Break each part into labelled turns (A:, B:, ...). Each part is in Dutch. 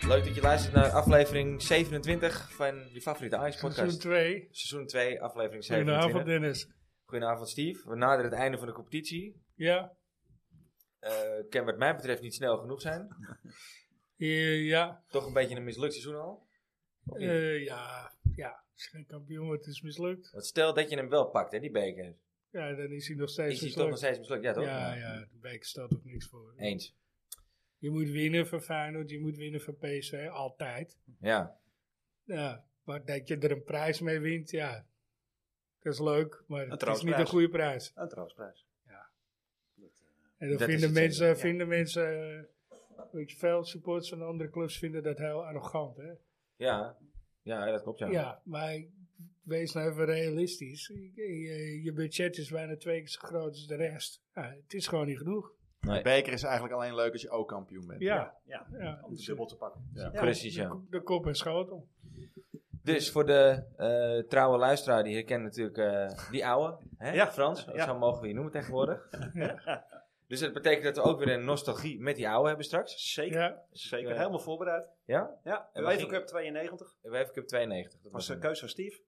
A: Leuk dat je luistert naar aflevering 27 van je favoriete Ajax
B: Seizoen
A: podcast.
B: 2.
A: Seizoen 2, aflevering 27.
B: Goedenavond
A: Goedenavond,
B: Dennis.
A: Steve. We naderen het einde van de competitie.
B: Ja,
A: Eh kan wat mij betreft niet snel genoeg zijn.
B: eh, ja,
A: Toch een beetje een mislukt seizoen al. Of niet?
B: eh, ja, ja. Het is geen kampioen, het is mislukt.
A: Want stel dat je hem wel pakt, hè, die beker.
B: Ja, dan is hij nog steeds
A: Is hij toch nog
B: mislukt.
A: steeds oh, nou. mislukt? Ja, toch?
B: ja, ja, de beker stelt ook niks voor.
A: Eens.
B: Je moet winnen van Feyenoord, je moet winnen van PSV, altijd.
A: Ja.
B: Ja, maar dat je er een prijs mee wint, ja. Dat is leuk, maar het is niet
C: troostprijs.
B: een goede prijs.
C: Een troostprijs. Ja. Dat, eh,
B: En dan
A: Dat is
B: vinden
A: het
B: mensen,
A: zeker, ja.
B: vinden mensen eh, weet je, veel supporters van andere clubs vinden dat heel arrogant, hè.
A: Ja. Ja, dat klopt, ja.
B: Ja, maar wees nou even realistisch. eh, Je, je budget is bijna twee keer zo groot als de rest. Ja, het is gewoon niet genoeg.
A: Nee.
D: De beker is eigenlijk alleen leuk als je ook kampioen bent.
B: Ja,
C: ja,
B: ja.
C: om de dubbel te pakken.
D: Ja.
C: Ja.
A: Precies,
B: De,
A: ja.
B: ko- de kop en schotel.
A: Dus voor de eh, trouwe luisteraar, die herkent natuurlijk eh, die oude, hè?
C: Ja,
A: Frans,
C: ja.
A: zo mogen we je noemen tegenwoordig. Dus dat betekent dat we ook weer een nostalgie met die oude hebben straks.
C: Zeker,
B: Ja,
C: zeker.
A: Ja.
C: Helemaal voorbereid.
A: Ja?
C: Ja,
A: En
C: en
A: waar
C: Leven
A: ging-
C: Cup 92.
A: We hebben Cup 92. Dat
C: Dat was
A: was
C: een
A: hem.
C: keuze van Steve.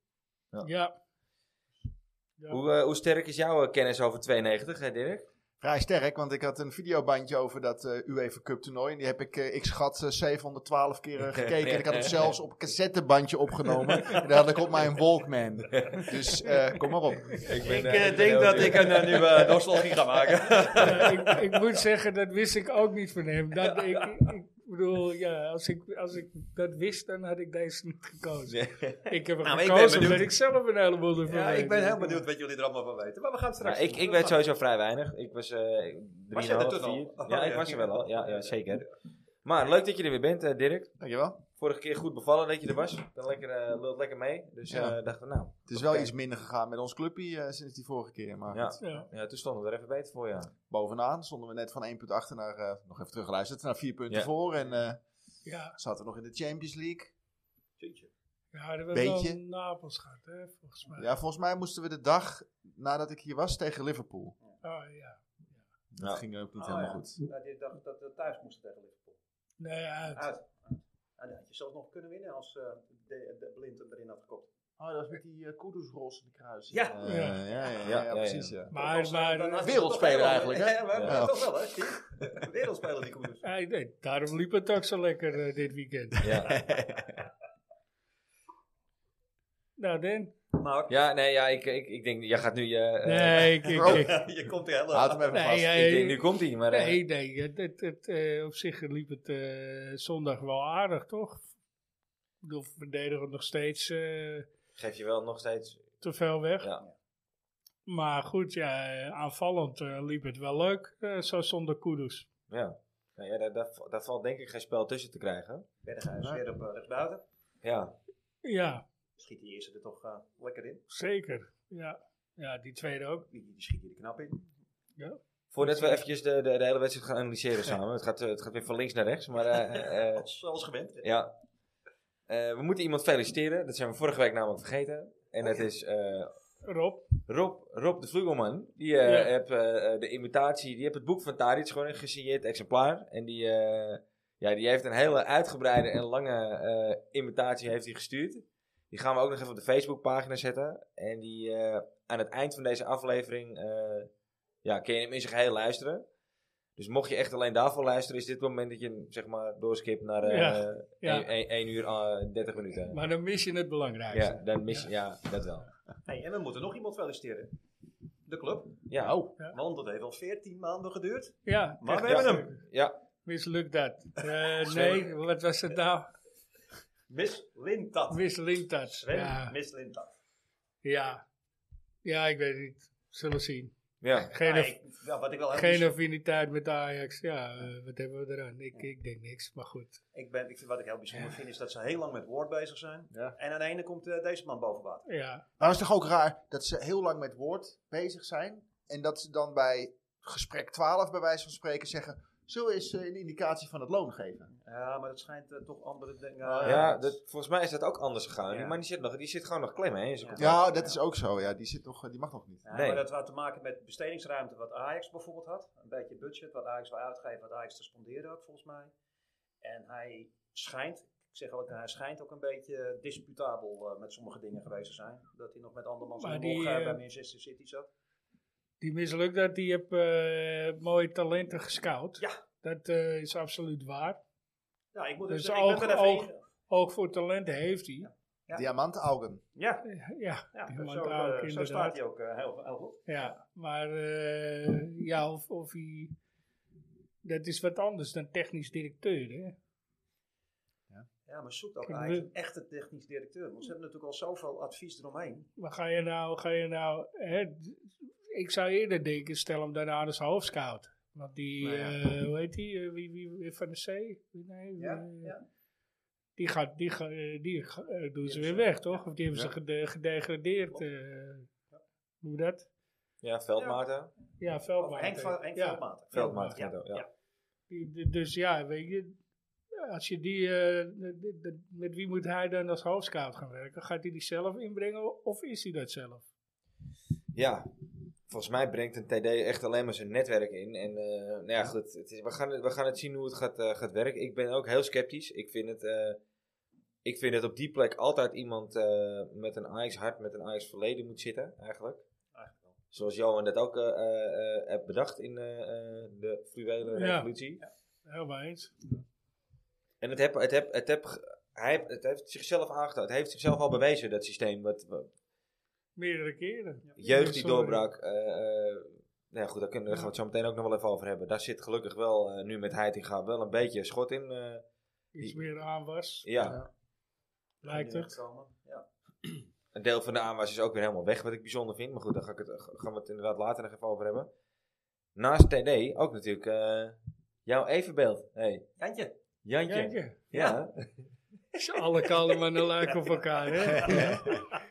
B: ja. Ja.
A: hoe, eh, hoe sterk is jouw eh, kennis over 92, hè Dirk?
D: Vrij sterk, want ik had een videobandje over dat eh UEFA Cup toernooi. En die heb ik, eh, ik schat, eh, 712 keer eh, gekeken. En ik had hem zelfs op een cassettebandje opgenomen. En dat had ik op mijn Walkman. Dus eh, kom maar op.
C: Ik eh, denk dat ik nou, een nieuwe nostalgie ga maken.
B: Ja, ik, ik moet zeggen, dat wist ik ook niet van hem. Dat, ik, ik bedoel, ja, als ik, als ik dat wist, dan had ik deze niet gekozen. Ik heb hem
C: Nou, maar ik ben
B: gekozen omdat
C: benieuwd.
B: ik zelf een heleboel ervan
C: Ja, ik ben
B: weet.
C: heel benieuwd wat jullie er allemaal van weten. Maar we gaan het straks.
A: Nou, ik, ik weet sowieso vrij weinig. Ik was eh
C: Was je er
A: 3,5,
C: toen al?
A: 4.
C: Oh,
A: ja, ik
C: ja.
A: was er wel al. Ja, ja, zeker. Maar leuk dat je er weer bent, eh, Dirk.
D: Dankjewel.
A: Vorige keer goed bevallen dat je er was. Dan lekker, eh, lult lekker mee. Dus eh
D: Ja.
A: dachten we, nou,
D: Het is wel
A: Oké.
D: iets minder gegaan met ons clubje eh, sinds die vorige keer. Maar
A: Ja.
B: Ja.
A: Ja, toen stonden we er even beter voor, ja.
D: bovenaan stonden we net van 1 punt achter naar, eh, nog even teruggeluisterd, naar 4 punten
A: Ja.
D: voor. En eh,
B: Ja,
D: zaten we nog in de Champions League.
B: ja, dat we wel
D: Beetje.
B: Napels gaat, hè, volgens mij.
D: Ja, volgens mij moesten we de dag nadat ik hier was tegen Liverpool.
B: Oh, ja.
D: Dat
A: Ja.
D: ging ook niet
C: Oh,
D: helemaal
C: ja.
D: goed.
C: Nou, die dacht dat we thuis moesten tegen Ah, Liverpool.
B: Nee, uit.
C: Uit. En dan had ah, nou, je zelfs nog kunnen winnen als eh, de, de Blind hem erin had gekopt.
D: Oh, dat is met die uh, Kudus-rols in de kruis.
C: Ja.
D: Eh, ja, ja, ja,
A: Ja,
D: ja,
A: ja,
D: precies. Ja.
B: Maar, maar,
C: eh,
B: eh,
C: Dan had je
D: wereldspeler
C: toch wel-
D: eigenlijk, hè?
C: Ja, maar
D: Ja.
C: toch wel, hè, Steve? Wereldspeler die dus. koers.
B: Ja, ik denk, Ah, daarom liep het ook zo lekker eh, dit weekend.
A: Ja,
B: Nou, Den.
C: Maar
A: ja nee, ja, ik, ik, ik denk, jij gaat nu je... eh,
B: Nee, ik, ik, ik-
C: je komt er helemaal
D: Houd hem even
B: nee,
D: vast.
B: ja,
A: Ik denk, nu komt hij, maar... eh,
B: nee, nee, het, het, het, eh, op zich liep het eh, zondag wel aardig, toch? Ik bedoel, we verdedigen nog steeds eh,
A: Geef je wel nog steeds...
B: te veel weg.
A: Ja.
B: Maar goed, ja, eh, aanvallend eh, liep het wel leuk, eh, zo zonder koeders.
A: Ja. Nou ja, daar, daar, daar valt denk ik geen spel tussen te krijgen.
C: Berghuis weer op eh, rechtsbuiten.
A: Ja.
B: Ja,
C: Schiet die eerste er toch eh, lekker in.
B: zeker. Ja. ja, die tweede ook.
C: Die, die schiet hier er knap in.
A: Voordat we eventjes de, de, de hele wedstrijd gaan analyseren samen. Het gaat, eh, het gaat weer van links naar rechts, maar... eh, eh, eh,
C: Als, als gewend.
A: ja. Eh, we moeten iemand feliciteren. Dat zijn we vorige week namelijk vergeten. En
B: Oh,
A: dat is eh,
B: Rob,
A: Rob, Rob de Vlugelman. Die eh,
B: Ja.
A: heeft eh, eh, de imitatie... Die heeft het boek van Tadic gewoon een gesigneerd exemplaar. En die... eh, ja, die heeft een hele uitgebreide en lange eh, imitatie heeft hij gestuurd. Die gaan we ook nog even op de Facebookpagina zetten. En die eh, aan het eind van deze aflevering eh, ja, kun je hem in zijn geheel luisteren. Dus mocht je echt alleen daarvoor luisteren, is dit het moment dat je hem zeg maar doorskipt naar eh
B: Ja,
A: 1,
B: ja.
A: uur eh, 30 minuten.
B: maar dan mis je het belangrijkste.
A: Ja, dan mis je, ja, dat wel.
C: Hey, en we moeten nog iemand feliciteren. De club.
A: Ja, Oh.
C: Want dat heeft al 14 maanden geduurd.
B: Ja,
C: Maar we
B: echt.
C: hebben hem.
A: ja,
B: Mislukt dat. Eh, nee, wat was het nou?
C: Miss Lintat.
B: Mislukt dat.
C: Sven,
B: Ja,
C: Miss Lintat.
B: ja. Ja, ik weet het niet. Zullen we zien.
A: ja.
B: Geen,
C: Ah,
B: af-
C: ik- ja, wat ik wel heel
B: geen
C: bijz-
B: affiniteit met Ajax. Ja, eh, wat hebben we eraan? Ik, ik denk niks, maar goed.
C: ik ben, ik, vind- wat ik heel bijzonder vind is dat ze heel lang met Ward bezig zijn.
D: Ja.
C: En aan de ene komt eh, deze man boven water.
B: Ja,
D: Maar het is toch ook raar dat ze heel lang met woord bezig zijn. En dat ze dan bij gesprek 12 bij wijze van spreken zeggen... Zullen we eens eh, een indicatie van het loon geven?
C: Ja, maar dat schijnt eh, toch andere dingen. eh,
D: Ja,
A: ja dat, volgens mij is dat ook anders gegaan.
C: Ja.
A: Maar die zit, nog, die zit gewoon nog klem, hè? in zijn
C: Ja.
A: contract.
D: Ja, dat is ook zo. Ja, die, zit nog, eh, die mag nog niet.
C: Ja,
A: Nee.
C: Maar dat had te maken met bestedingsruimte wat Ajax bijvoorbeeld had. Een beetje budget wat Ajax wil uitgeven, wat Ajax te sponderen had volgens mij. En hij schijnt, ik zeg altijd, hij schijnt ook een beetje disputabel eh, met sommige dingen geweest te zijn. Dat hij nog met andermans
B: Maar
C: en
B: die,
C: Mog, eh,
B: eh,
C: bij Manchester City zat.
B: Die mislukt dat, die heb eh, mooie talenten gescout.
C: Ja.
B: Dat eh, is absoluut waar.
C: Nou, ik moet dus
B: dus
C: zeggen, ik ben er even
B: oog-
C: in-
B: Oog voor talent heeft hij.
C: Ja.
D: Diamantaugen.
C: Ja,
B: Ja,
C: ja
B: Die man
C: zo,
B: daar ook
C: eh, zo
B: inderdaad.
C: staat hij ook eh, heel, heel goed.
B: ja. maar eh, ja, of, of hij... Dat is wat anders dan technisch directeur, hè?
C: Ja, maar zoek ook
B: Kijk,
C: eigenlijk
B: we-
C: een echte technisch directeur. Want ze hebben natuurlijk al zoveel advies eromheen.
B: Maar ga je nou, ga je nou, hè, d- ik zou eerder denken, stel hem daarna als hoofdscout. Want die,
C: Nou ja.
B: eh, hoe heet die, Eh, wie, wie, wie van de C? Nee,
C: Ja,
B: eh,
C: ja.
B: Die, gaat, die, ga- eh, die ga- eh, doen ze
C: hebben
B: weer
C: ze-
B: weg, toch? Of die hebben
D: Ja.
B: ze gede- gedegradeerd.
C: Klopt.
B: eh Hoe moet dat?
A: Ja, Veldmaten.
B: Ja,
C: Of
B: Veldmaat.
C: Henk, van, Henk
B: ja.
C: Veldmaten.
A: Veldmaten
C: Ja,
A: gaat ook, ja.
C: ja.
B: Die- die- Dus ja, weet je, als je die, eh, d- d- d- met wie moet hij dan als hoofdscout gaan werken? Gaat hij die zelf inbrengen of is hij dat zelf?
A: Ja, volgens mij brengt een TD echt alleen maar zijn netwerk in. En eh, nou ja, goed, het is, we, gaan, het- we gaan het zien hoe het gaat, eh, gaat werken. Ik ben ook heel sceptisch. Ik vind het, eh, ik vind het op die plek altijd iemand eh, met een Ajax hart, met een Ajax verleden moet zitten, eigenlijk.
C: Eigenlijk wel.
A: Zoals Johan dat ook eh, eh, eh, heeft bedacht in eh, eh, de fluwele
B: Ja.
A: revolutie.
B: Helemaal eens.
A: En het heb, het heb, het heb, ge- hij, heeft- het heeft zichzelf aangetoond. Het heeft zichzelf al bewezen, dat systeem. Wat, wat-
B: Meerdere keren.
A: jeugd die
B: Sorry.
A: doorbrak. eh, eh, nou ja, goed, daar, kunnen, daar gaan we het zo meteen ook nog wel even over hebben. Daar zit gelukkig wel, eh, nu met Heitinga, wel een beetje schot in. eh,
B: Iets
A: Die-
B: meer aan was.
A: ja,
B: Lijkt
C: Die
B: het.
C: komen, Ja.
A: een deel van de aanwas is ook weer helemaal weg, wat ik bijzonder vind. Maar goed, daar ga ik het, gaan we het inderdaad later nog even over hebben. Naast TD ook natuurlijk eh, jouw evenbeeld. Hey,
C: Jantje.
A: Jantje.
B: Kijk je.
A: Ja.
B: Ze alle kalm en lijken op elkaar. Hè?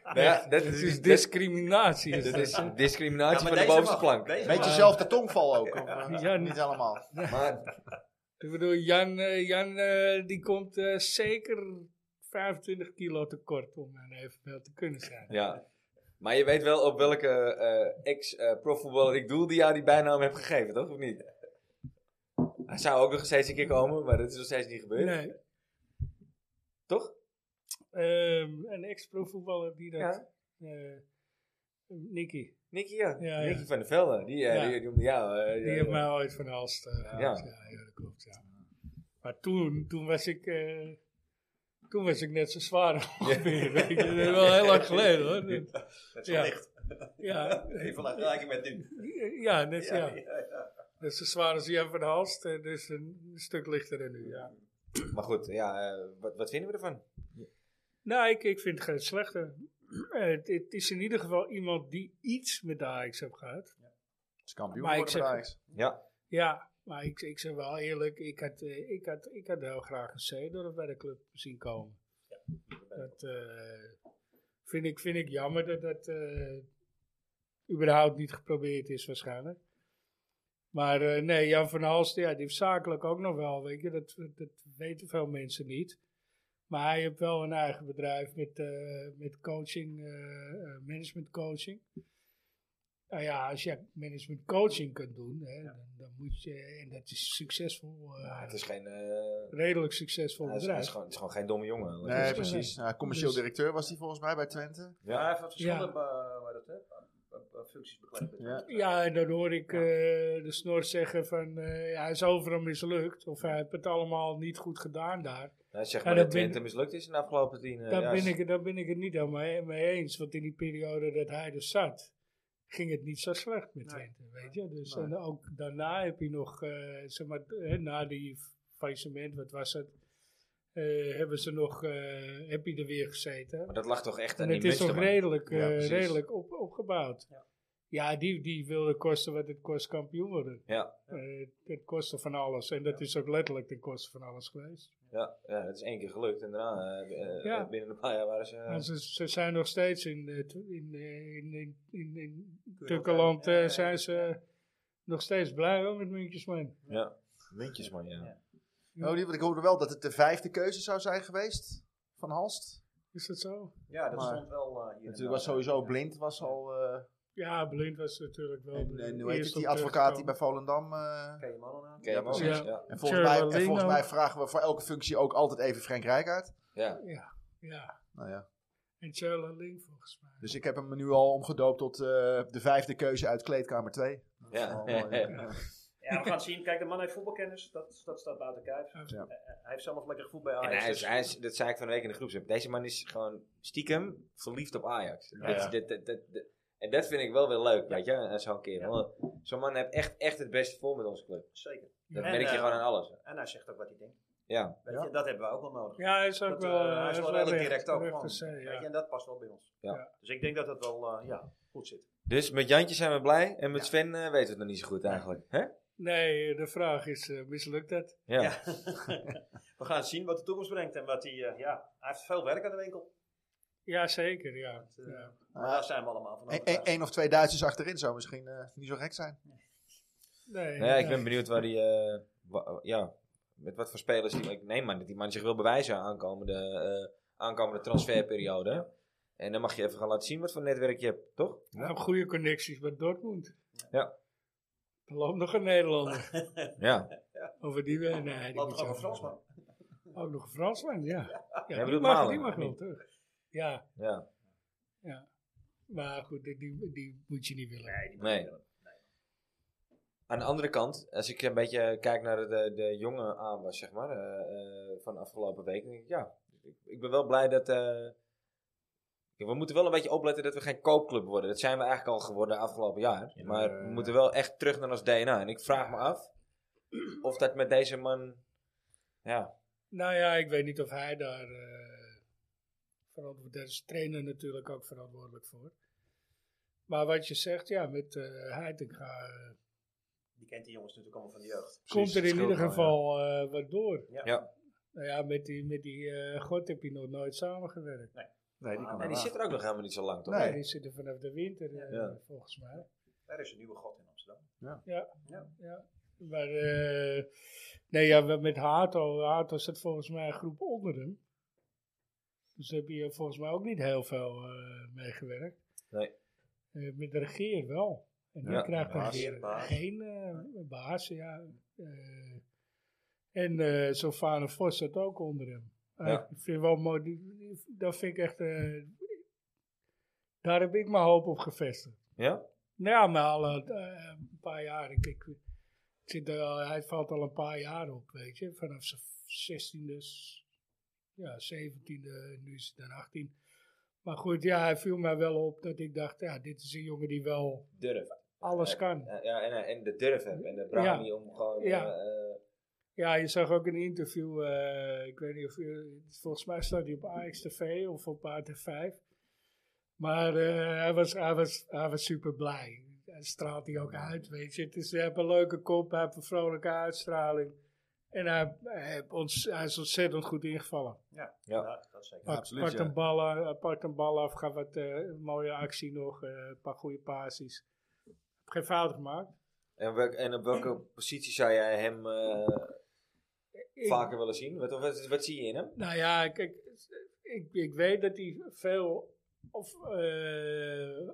A: Nou ja, dat
B: Het
A: is,
B: is
A: dat,
B: discriminatie. Is
A: dat
B: dat,
A: is
B: hè?
A: discriminatie
C: maar
A: van de
C: deze
A: bovenste
C: mag.
A: plank.
C: Deze
D: Beetje
C: mag.
D: zelf de tongval ook. Of, eh,
B: Ja,
D: niet allemaal.
A: Maar
B: Ik bedoel, Jan, eh, Jan eh, die komt eh, zeker 25 kilo tekort om een evenbeeld te kunnen zijn.
A: Ja. Maar je weet wel op welke eh ex-profvoetballer ik doel die jou die bijnaam heb gegeven, toch? Of niet? Hij zou ook nog steeds een keer komen, maar dat is nog steeds niet gebeurd.
B: Nee.
A: Toch?
B: Ehm, een ex-profvoetballer die dat...
A: Ja.
B: eh, Nicky,
A: Nicky, ja.
B: Ja, ja.
A: Nicky van der Velde. Die, eh,
B: Ja.
A: die, die noemde jou. eh,
B: die
A: ja,
B: heeft
A: ja.
B: mij ooit van de hals gehaald.
A: Ja.
B: Ja, ja, dat klopt, ja. Maar toen, toen was ik... eh, toen was ik net zo zwaar. ongeveer, weet je. Dat is wel heel lang geleden, hoor. Dat-
C: Het
B: Ja.
C: is licht.
B: Ja,
C: Even laten raken met nu.
B: ja, net, ja.
C: ja.
B: Dat is zo zwaar als Jan van Halst, eh, dus een stuk lichter dan nu. Ja.
A: Maar goed, ja, eh, wat, wat vinden we ervan?
B: Nou, ik, ik vind het geen slechte. Eh, het, het is in ieder geval iemand die iets met de Ajax heeft gehad.
D: Het is kampioen
B: Maar ik
D: geworden bij
B: zeg-
D: Ajax.
A: Ja.
B: Ja, maar ik, ik zeg wel eerlijk, ik had, eh, ik had, ik had heel graag een Seedorf bij de club zien komen. Dat eh, vind, ik, vind ik jammer dat dat eh, überhaupt niet geprobeerd is waarschijnlijk. Maar eh, nee, Jan van Halst, ja, die heeft zakelijk ook nog wel, weet je, dat, dat weten veel mensen niet. Maar hij heeft wel een eigen bedrijf met, eh, met coaching, eh, eh, management coaching. Nou ja, als je management coaching kunt doen, hè, dan, dan moet je, en dat is succesvol, eh,
A: Ja, het is geen... eh,
B: redelijk succesvol
A: hij is, hij is
B: bedrijf.
A: gewoon, het is gewoon geen domme jongen. Dat
D: Nee,
A: is-
D: precies. Ja, commercieel
B: Dus-
D: directeur was hij volgens mij bij Twente.
C: Ja, hij
A: Ja.
C: heeft wat verschillende eh, waar dat, hè, eh, eh, functies bekleed.
D: Ja.
B: Ja, en dan hoor ik eh, de snor zeggen van eh, ja, hij is overal mislukt. Of hij heeft het allemaal niet goed gedaan daar.
A: Nou, zeg
B: Ja,
A: maar
B: dat
A: dat Twente
B: ben-
A: mislukt is in de afgelopen tien eh,
B: Daar,
A: jaar.
B: ben, ik, daar ben ik het niet helemaal mee, mee eens. Want in die periode dat hij er zat, ging het niet zo slecht met
C: Nee.
B: Twente. Weet je? Dus
D: Nee.
B: en ook daarna heb je nog, eh, zeg maar, eh, na die faillissement, wat was het? eh, hebben ze nog, eh, heb je er weer gezeten.
A: Maar dat lag toch echt aan
B: En
A: die
B: het is
A: mensen,
B: toch
A: man.
B: redelijk,
A: Ja,
B: eh,
A: precies.
B: redelijk op, opgebouwd.
C: Ja.
B: Ja, die, die wilde kosten wat het kost kampioen worden.
A: Ja.
B: Eh, ten koste van alles. En dat is ook letterlijk ten koste van alles geweest.
A: Ja, ja, het is één keer gelukt. En daarna, eh, eh,
B: Ja.
A: binnen een paar jaar waren ze... eh,
B: Maar ze, ze zijn nog steeds in, eh, t- in, eh, in, in, in, in
C: Keurig,
B: Turkeland
C: ja, ja,
B: eh,
C: ja.
B: zijn ze nog steeds blij hoor, met Muntjesman.
A: ja. Muntjes, man, ja.
B: Ja.
D: Oh, die, want ik hoorde wel dat het de vijfde keuze zou zijn geweest van Halst.
B: Is dat zo?
C: Ja, dat
D: Maar-
C: stond wel eh, hier. en
D: Het
C: daar.
D: was sowieso blind, was al eh,
B: Ja, Blind was natuurlijk wel.
D: En,
B: de
D: en hoe heet het,
B: eerste
D: die
B: op
D: advocaat die bij
B: terugkwam.
D: Volendam... eh,
C: Ken je mannen aan?
A: Ken je hem ook?
B: precies.
A: Ja.
D: en, volgens mij, en
B: Geraldino.
D: volgens mij vragen we voor elke functie ook altijd even Frank Rijkaard.
A: Ja.
B: Ja,
D: Nou ja.
B: en Charla Ling volgens mij.
D: Dus ik heb hem nu al omgedoopt tot eh, de vijfde keuze uit kleedkamer 2.
A: Ja.
D: eh. E-
C: Ja, we gaan zien. Kijk, de man heeft voetbalkennis. Dat, dat staat buiten kijf.
D: Ja.
C: Eh, Hij heeft zelf nog lekker gevoel bij
A: En
C: Ajax.
A: hij is,
C: dus-
A: hij is, dat zei ik van de week in de groep. Deze man is gewoon stiekem verliefd op Ajax. Dat, is- dat, dat, dat, dat- en dat vind ik wel weer leuk, weet je, aan zo'n kerel. Zo'n man heeft echt, echt het beste voor met onze club.
C: Zeker.
A: Dat
C: En,
A: merk je
C: eh,
A: gewoon aan alles.
C: En hij zegt ook wat hij denkt.
A: Ja.
C: Weet
D: Ja.
C: je, dat hebben we ook wel nodig.
B: Ja, hij is ook
C: Dat, eh,
B: wel. eh,
C: hij is wel redelijk direct ook.
B: recht
C: man.
B: te zijn,
C: Weet je,
B: ja.
C: en dat past wel bij ons.
A: Ja.
B: Ja.
C: Dus ik denk dat dat wel eh, ja, goed zit.
A: Dus met Jantje zijn we blij en met
C: Ja.
A: Sven eh, weten we het nog niet zo goed eigenlijk. Hè?
B: Nee, de vraag is: eh, mislukt dat?
A: Ja.
C: Ja. we gaan zien wat de toekomst brengt. En wat hij, eh, ja, hij heeft veel werk aan de winkel.
B: Ja, zeker, ja.
C: eh,
B: ja.
C: Maar daar zijn we allemaal van
D: Eén
C: overtuigd.
D: één e- of twee Duitsers achterin zou misschien eh, niet zo gek zijn.
B: Nee,
A: Nou ja, ik
B: ja.
A: ben benieuwd waar die, eh, wa- ja, met wat voor spelers die. Ik neem maar dat die man zich wil bewijzen aankomende, eh, aankomende transferperiode. En dan mag je even gaan laten zien wat voor netwerk je hebt, toch?
B: Hij heeft Nou, goede connecties met Dortmund.
A: Ja.
B: Er loopt nog een Nederlander.
A: Ja.
B: Over die we. Nee, die moet
C: Loopt er
B: je
C: ook een
B: afvallen.
C: Fransman.
B: Ook nog een Fransman, ja. ja, die,
A: bedoelt
B: mag,
A: Malen,
B: die mag
A: of
B: wel
A: niet?
B: terug. Ja,
A: ja.
B: maar goed, die, die, die moet je niet willen.
C: Nee, die
A: Nee. Aan de andere kant, als ik een beetje kijk naar de, de jonge aanwas, zeg maar, eh, eh, van de afgelopen week. dan denk ik, ja, ik, ik ben wel blij dat. eh, we moeten wel een beetje opletten dat we geen koopclub worden. Dat zijn we eigenlijk al geworden de afgelopen jaar. maar we moeten wel echt terug naar ons DNA. En ik vraag me af of dat met deze man. Ja,
B: Nou ja, ik weet niet of hij daar eh verantwoordelijk Daar is de trainer natuurlijk ook verantwoordelijk voor. Maar wat je zegt, ja, met eh Heitinga eh,
C: Die kent die jongens natuurlijk allemaal van de jeugd.
B: komt er
A: het
B: in
A: scheelt
B: ieder
A: wel,
B: geval eh, wat door.
A: Ja.
B: Nou ja, met die, met die eh, God heb je nog nooit samengewerkt.
D: Nee,
C: die kan
A: en die zit er ook nog helemaal niet zo lang, toch?
D: Nee.
B: Die zitten vanaf de winter, eh,
A: Ja.
B: volgens mij.
C: Daar is een nieuwe god in Amsterdam.
B: Maar, eh, nee, ja, we- met Hato. Hato zit volgens mij een groep onder hem. Dus daar heb je volgens mij ook niet heel veel eh meegewerkt.
A: Nee.
B: Eh, met de regeer wel. En die
A: Ja,
B: krijgt dan
D: baas,
B: weer
C: baas.
B: geen eh, baas, ja. Eh, en eh Sylvana Vos zit ook onder hem. Ah,
A: Ja.
B: Ik vind wel mooi, die- die- dat vind ik echt, eh, daar heb ik mijn hoop op gevestigd.
A: Ja?
B: Nou Ja, maar al eh, eh, een paar jaar. Ik, ik, ik zit er al, hij valt al een paar jaar op, weet je. Vanaf zijn 16e, s- ja, 17e, nu is hij dan 18. Maar goed, ja, hij viel mij wel op dat ik dacht, ja, dit is een jongen die wel
A: Durf.
B: alles kan.
A: Ja, ja, en, en de durf hebben. En de brani om gewoon. eh,
B: Ja.
A: eh,
B: Ja, je zag ook in een interview, eh, ik weet niet of je, volgens mij staat hij op AXTV of op AT5. Maar eh, hij, was, hij, was, hij was super blij. Hij straalt hij ook uit, weet je. Het is, hij heeft een leuke kop, hij heeft een vrolijke uitstraling. En hij, hij, heeft ons, hij is ontzettend goed ingevallen.
A: Ja.
C: dat is zeker.
D: Ja,
B: Pak
D: absoluut,
B: pakt,
D: ja.
B: een bal, aan- hij pakt een bal af, gaat wat eh, mooie actie nog, eh, een paar goede passies. Geen fout gemaakt.
A: en, welk- en op welke positie zou jij hem eh,
B: Ik-
A: vaker willen zien? Wat, wat, wat zie je in hem?
B: Nou ja, kijk, ik, ik weet dat hij veel of eh, eh,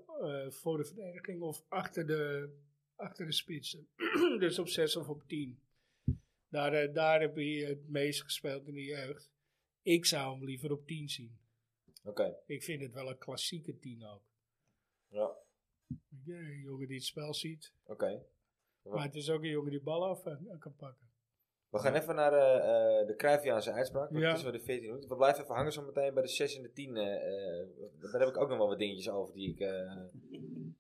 B: voor de verdediging of achter de, achter de spitsen. dus op 6 of op 10. Daar, eh, daar heb hij het meest gespeeld in de jeugd. Ik zou hem liever op 10 zien.
A: Oké.
B: Ik vind het wel een klassieke 10 ook.
A: Ja, oké.
B: Ja, Een jongen die het spel ziet. Maar het is ook een jongen die bal af en- en kan pakken.
A: We gaan even naar eh, eh, de Cruyffiaanse uitspraak. Want
B: Ja.
A: het is wel de 14 minuten. We blijven even hangen zo meteen bij de 6 en de 10. eh, eh, daar heb ik ook nog wel wat dingetjes over die ik eh,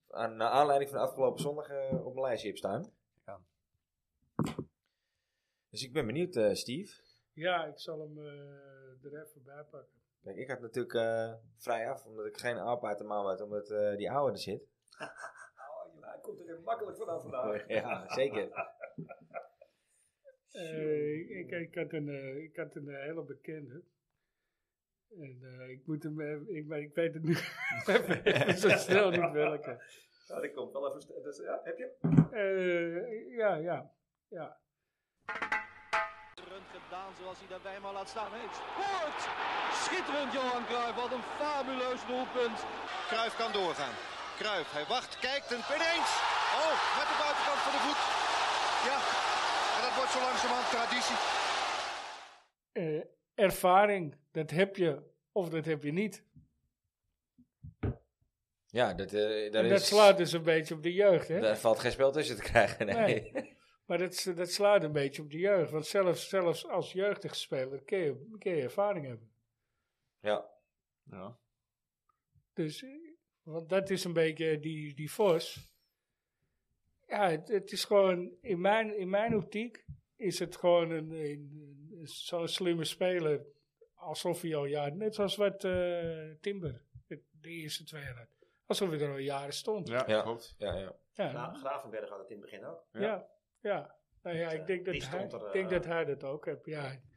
A: aan, naar aanleiding van de afgelopen zondag eh, op mijn lijstje heb staan.
D: Ja.
A: Dus ik ben benieuwd, eh, Steve.
B: Ja, ik zal hem eh, er even bij pakken.
A: Kijk, ik had natuurlijk eh, vrij af, omdat ik geen aap uit de maan had, omdat eh, die oude er zit.
C: Oh, ja, hij komt er weer makkelijk vanaf vandaag.
A: Ja, zeker.
B: Eh, ik, ik, had een, eh, ik had een eh, hele bekende. En eh, ik moet hem, eh, ik, maar ik weet het nu even zo snel niet welke.
C: Ja, die komt wel even. st- Dus, ja, heb je? hem?
B: Eh, ja, ja, ja.
E: Schitterend gedaan zoals hij dat bij hem al laat staan heeft. Sport! Schitterend Johan Cruijff, wat een fabuleus doelpunt.
F: Kruif kan doorgaan. Kruijf. Hij wacht, kijkt en ineens. Oh, met de buitenkant van de voet. Ja, en dat wordt zo langzamerhand traditie.
B: Eh, ervaring, dat heb je of dat heb je niet.
A: Ja, dat, eh, daar
B: En dat
A: is-
B: slaat dus een beetje op de jeugd, hè?
A: Daar valt geen spel tussen te krijgen. Nee.
B: Nee. Maar dat, s- dat slaat een beetje op de jeugd. Want zelfs, zelfs als jeugdige speler kun je, kun je ervaring hebben.
A: Ja.
D: Ja.
B: Dus, eh, want dat is een beetje die, die fors. Ja, het, het is gewoon, in mijn, in mijn optiek, is het gewoon een, een- een- zo'n slimme speler. Alsof hij al jaren, net zoals wat eh, Timber, het- de eerste twee jaar. Alsof hij er al jaren stond.
D: Ja,
A: Ja.
D: klopt.
A: Ja, ja.
B: Ja.
C: Nou, Gravenberg had het in het begin ook.
B: Ja, ja. Nou ja,
C: Dus,
B: ik
C: eh,
B: denk dat,
C: die
B: hij,
C: stond er,
B: ik denk
C: eh,
B: dat hij dat ook heeft. Ja. Ik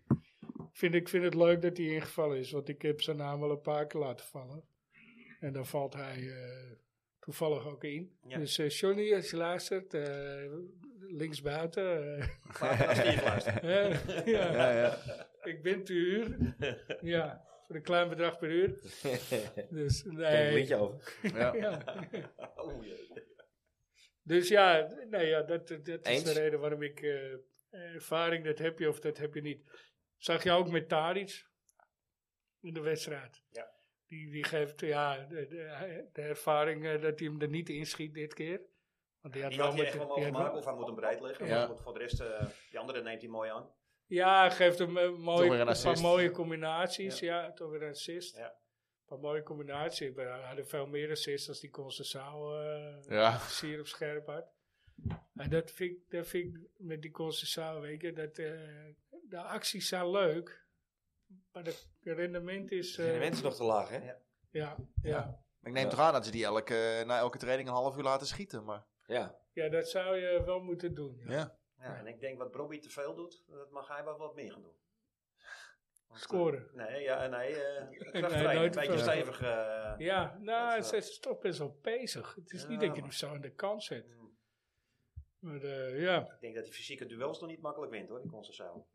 B: Vind, ik vind het leuk dat hij ingevallen is, want ik heb zijn naam al een paar keer laten vallen. En dan valt hij eh, toevallig ook in.
C: Ja.
B: Dus eh, Johnny, als je luistert, eh, linksbuiten. eh,
C: Maar als die heeft geluisterd.
B: eh, ja.
D: Ja, ja.
B: Ik ben te huur. Ja, voor een klein bedrag per uur. Dus
A: Hey. Een
B: nee.
A: liedje over.
D: Ja.
B: Ja.
C: Oeh, jee.
B: Dus ja, nou ja dat, dat dat is
A: Eens?
B: de reden waarom ik eh, ervaring, dat heb je of dat heb je niet. Zag je ook met Tadic in de wedstrijd.
C: Ja.
B: Die, die geeft ja, de, de- de ervaring eh, dat hij hem er niet inschiet dit keer. Want die had
C: Die
B: wel
C: had hij
B: met-
C: echt wel
B: die
C: mogen
B: had wel-
C: maken of hij moet hem breed leggen.
D: Ja.
C: Maar Voor de rest, eh, die andere neemt hij mooi aan.
B: Ja, geeft hem eh, een, mooie,
D: Toch weer een
B: een paar
D: assist.
B: mooie combinaties. Ja. toch weer een assist.
C: Ja.
B: Een paar mooie combinaties. Maar Hij had er veel meer assists als die Constanzaal eh
D: Ja.
B: sier op scherp had. En dat vind ik, dat vind ik met die Constanzaal, weet je, dat eh, de acties zijn leuk. Maar het rendement is... eh,
A: De mensen nog te laag, hè?
C: Ja.
B: ja, ja.
D: Ik neem toch aan dat ze die elke, eh, na elke training een half uur laten schieten. Maar,
A: Ja.
B: ja, dat zou je wel moeten doen. ja.
D: ja.
C: Ja, en ik denk wat Bobby te veel doet, dat mag hij wel wat meer gaan doen. Want, eh,
B: Scoren.
C: Nee, ja, nee. eh krachttraining,
B: nooit
C: een
B: te
C: beetje
B: veel.
C: stevig. eh,
B: Ja, nou,
C: Dat,
B: het
C: eh,
B: is toch best wel bezig. Het is
C: Ja,
B: niet dat je hem
C: maar-
B: zo aan de kant zet.
C: mm.
B: Maar eh, ja...
C: Ik denk dat die fysieke duels nog niet makkelijk wint hoor, die Constanzaal.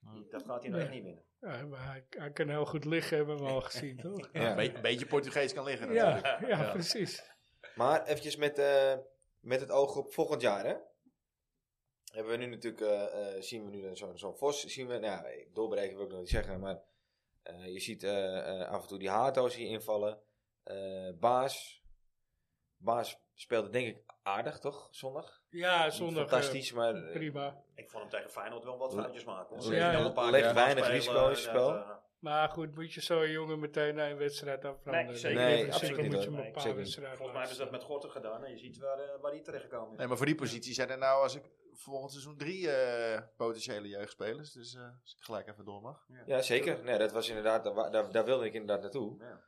D: Nee.
C: Dat gaat hij nog
B: Nee.
C: echt niet winnen.
B: Ja, maar hij, hij kan heel goed liggen, hebben we al gezien, toch?
A: Ja.
D: Een be- beetje Portugees kan liggen
B: Ja,
D: natuurlijk.
B: ja, precies.
A: Maar eventjes met, eh, met het oog op volgend jaar, hè? Hebben we nu natuurlijk, eh, eh, zien we nu dan zo'n zo'n Vos, zien we, nou ja, doorbreken wil ik nog niet zeggen, maar eh, je ziet eh, eh, af en toe die Hato's hier invallen. Eh, Baas, Baas speelde denk ik aardig, toch, zondag?
B: Ja,
A: Niet
B: zondag. eh,
A: Fantastisch, maar eh,
B: prima.
C: Ik vond hem tegen Feyenoord wel wat
A: Le-
C: foutjes maken. hoor.
A: Ja,
C: Hij heeft
B: ja,
C: wel keer
A: legt
C: gaan
A: weinig
C: spelen,
A: risico in het
C: eh,
A: spel.
C: dat, eh,
B: Maar goed, moet je zo'n jongen meteen naar een wedstrijd afbranden?
C: Nee, zeker
B: In
A: niet.
B: principe
A: Nee, absoluut
B: moet
A: niet,
B: je hem
A: hoor.
B: een paar
A: Zeker niet.
B: wedstrijden
C: eh, Volgens mij hebben ze dat
B: laten
C: met Gorten gedaan en je ziet waar, eh, waar hij terechtgekomen
D: Nee,
C: is.
D: maar voor die positie zijn er nou als ik volgend seizoen drie eh, potentiële jeugdspelers. Dus eh, als ik gelijk even door mag.
A: Ja, zeker. Nee, dat was inderdaad, daar, daar, daar wilde ik inderdaad naartoe.
C: Ja.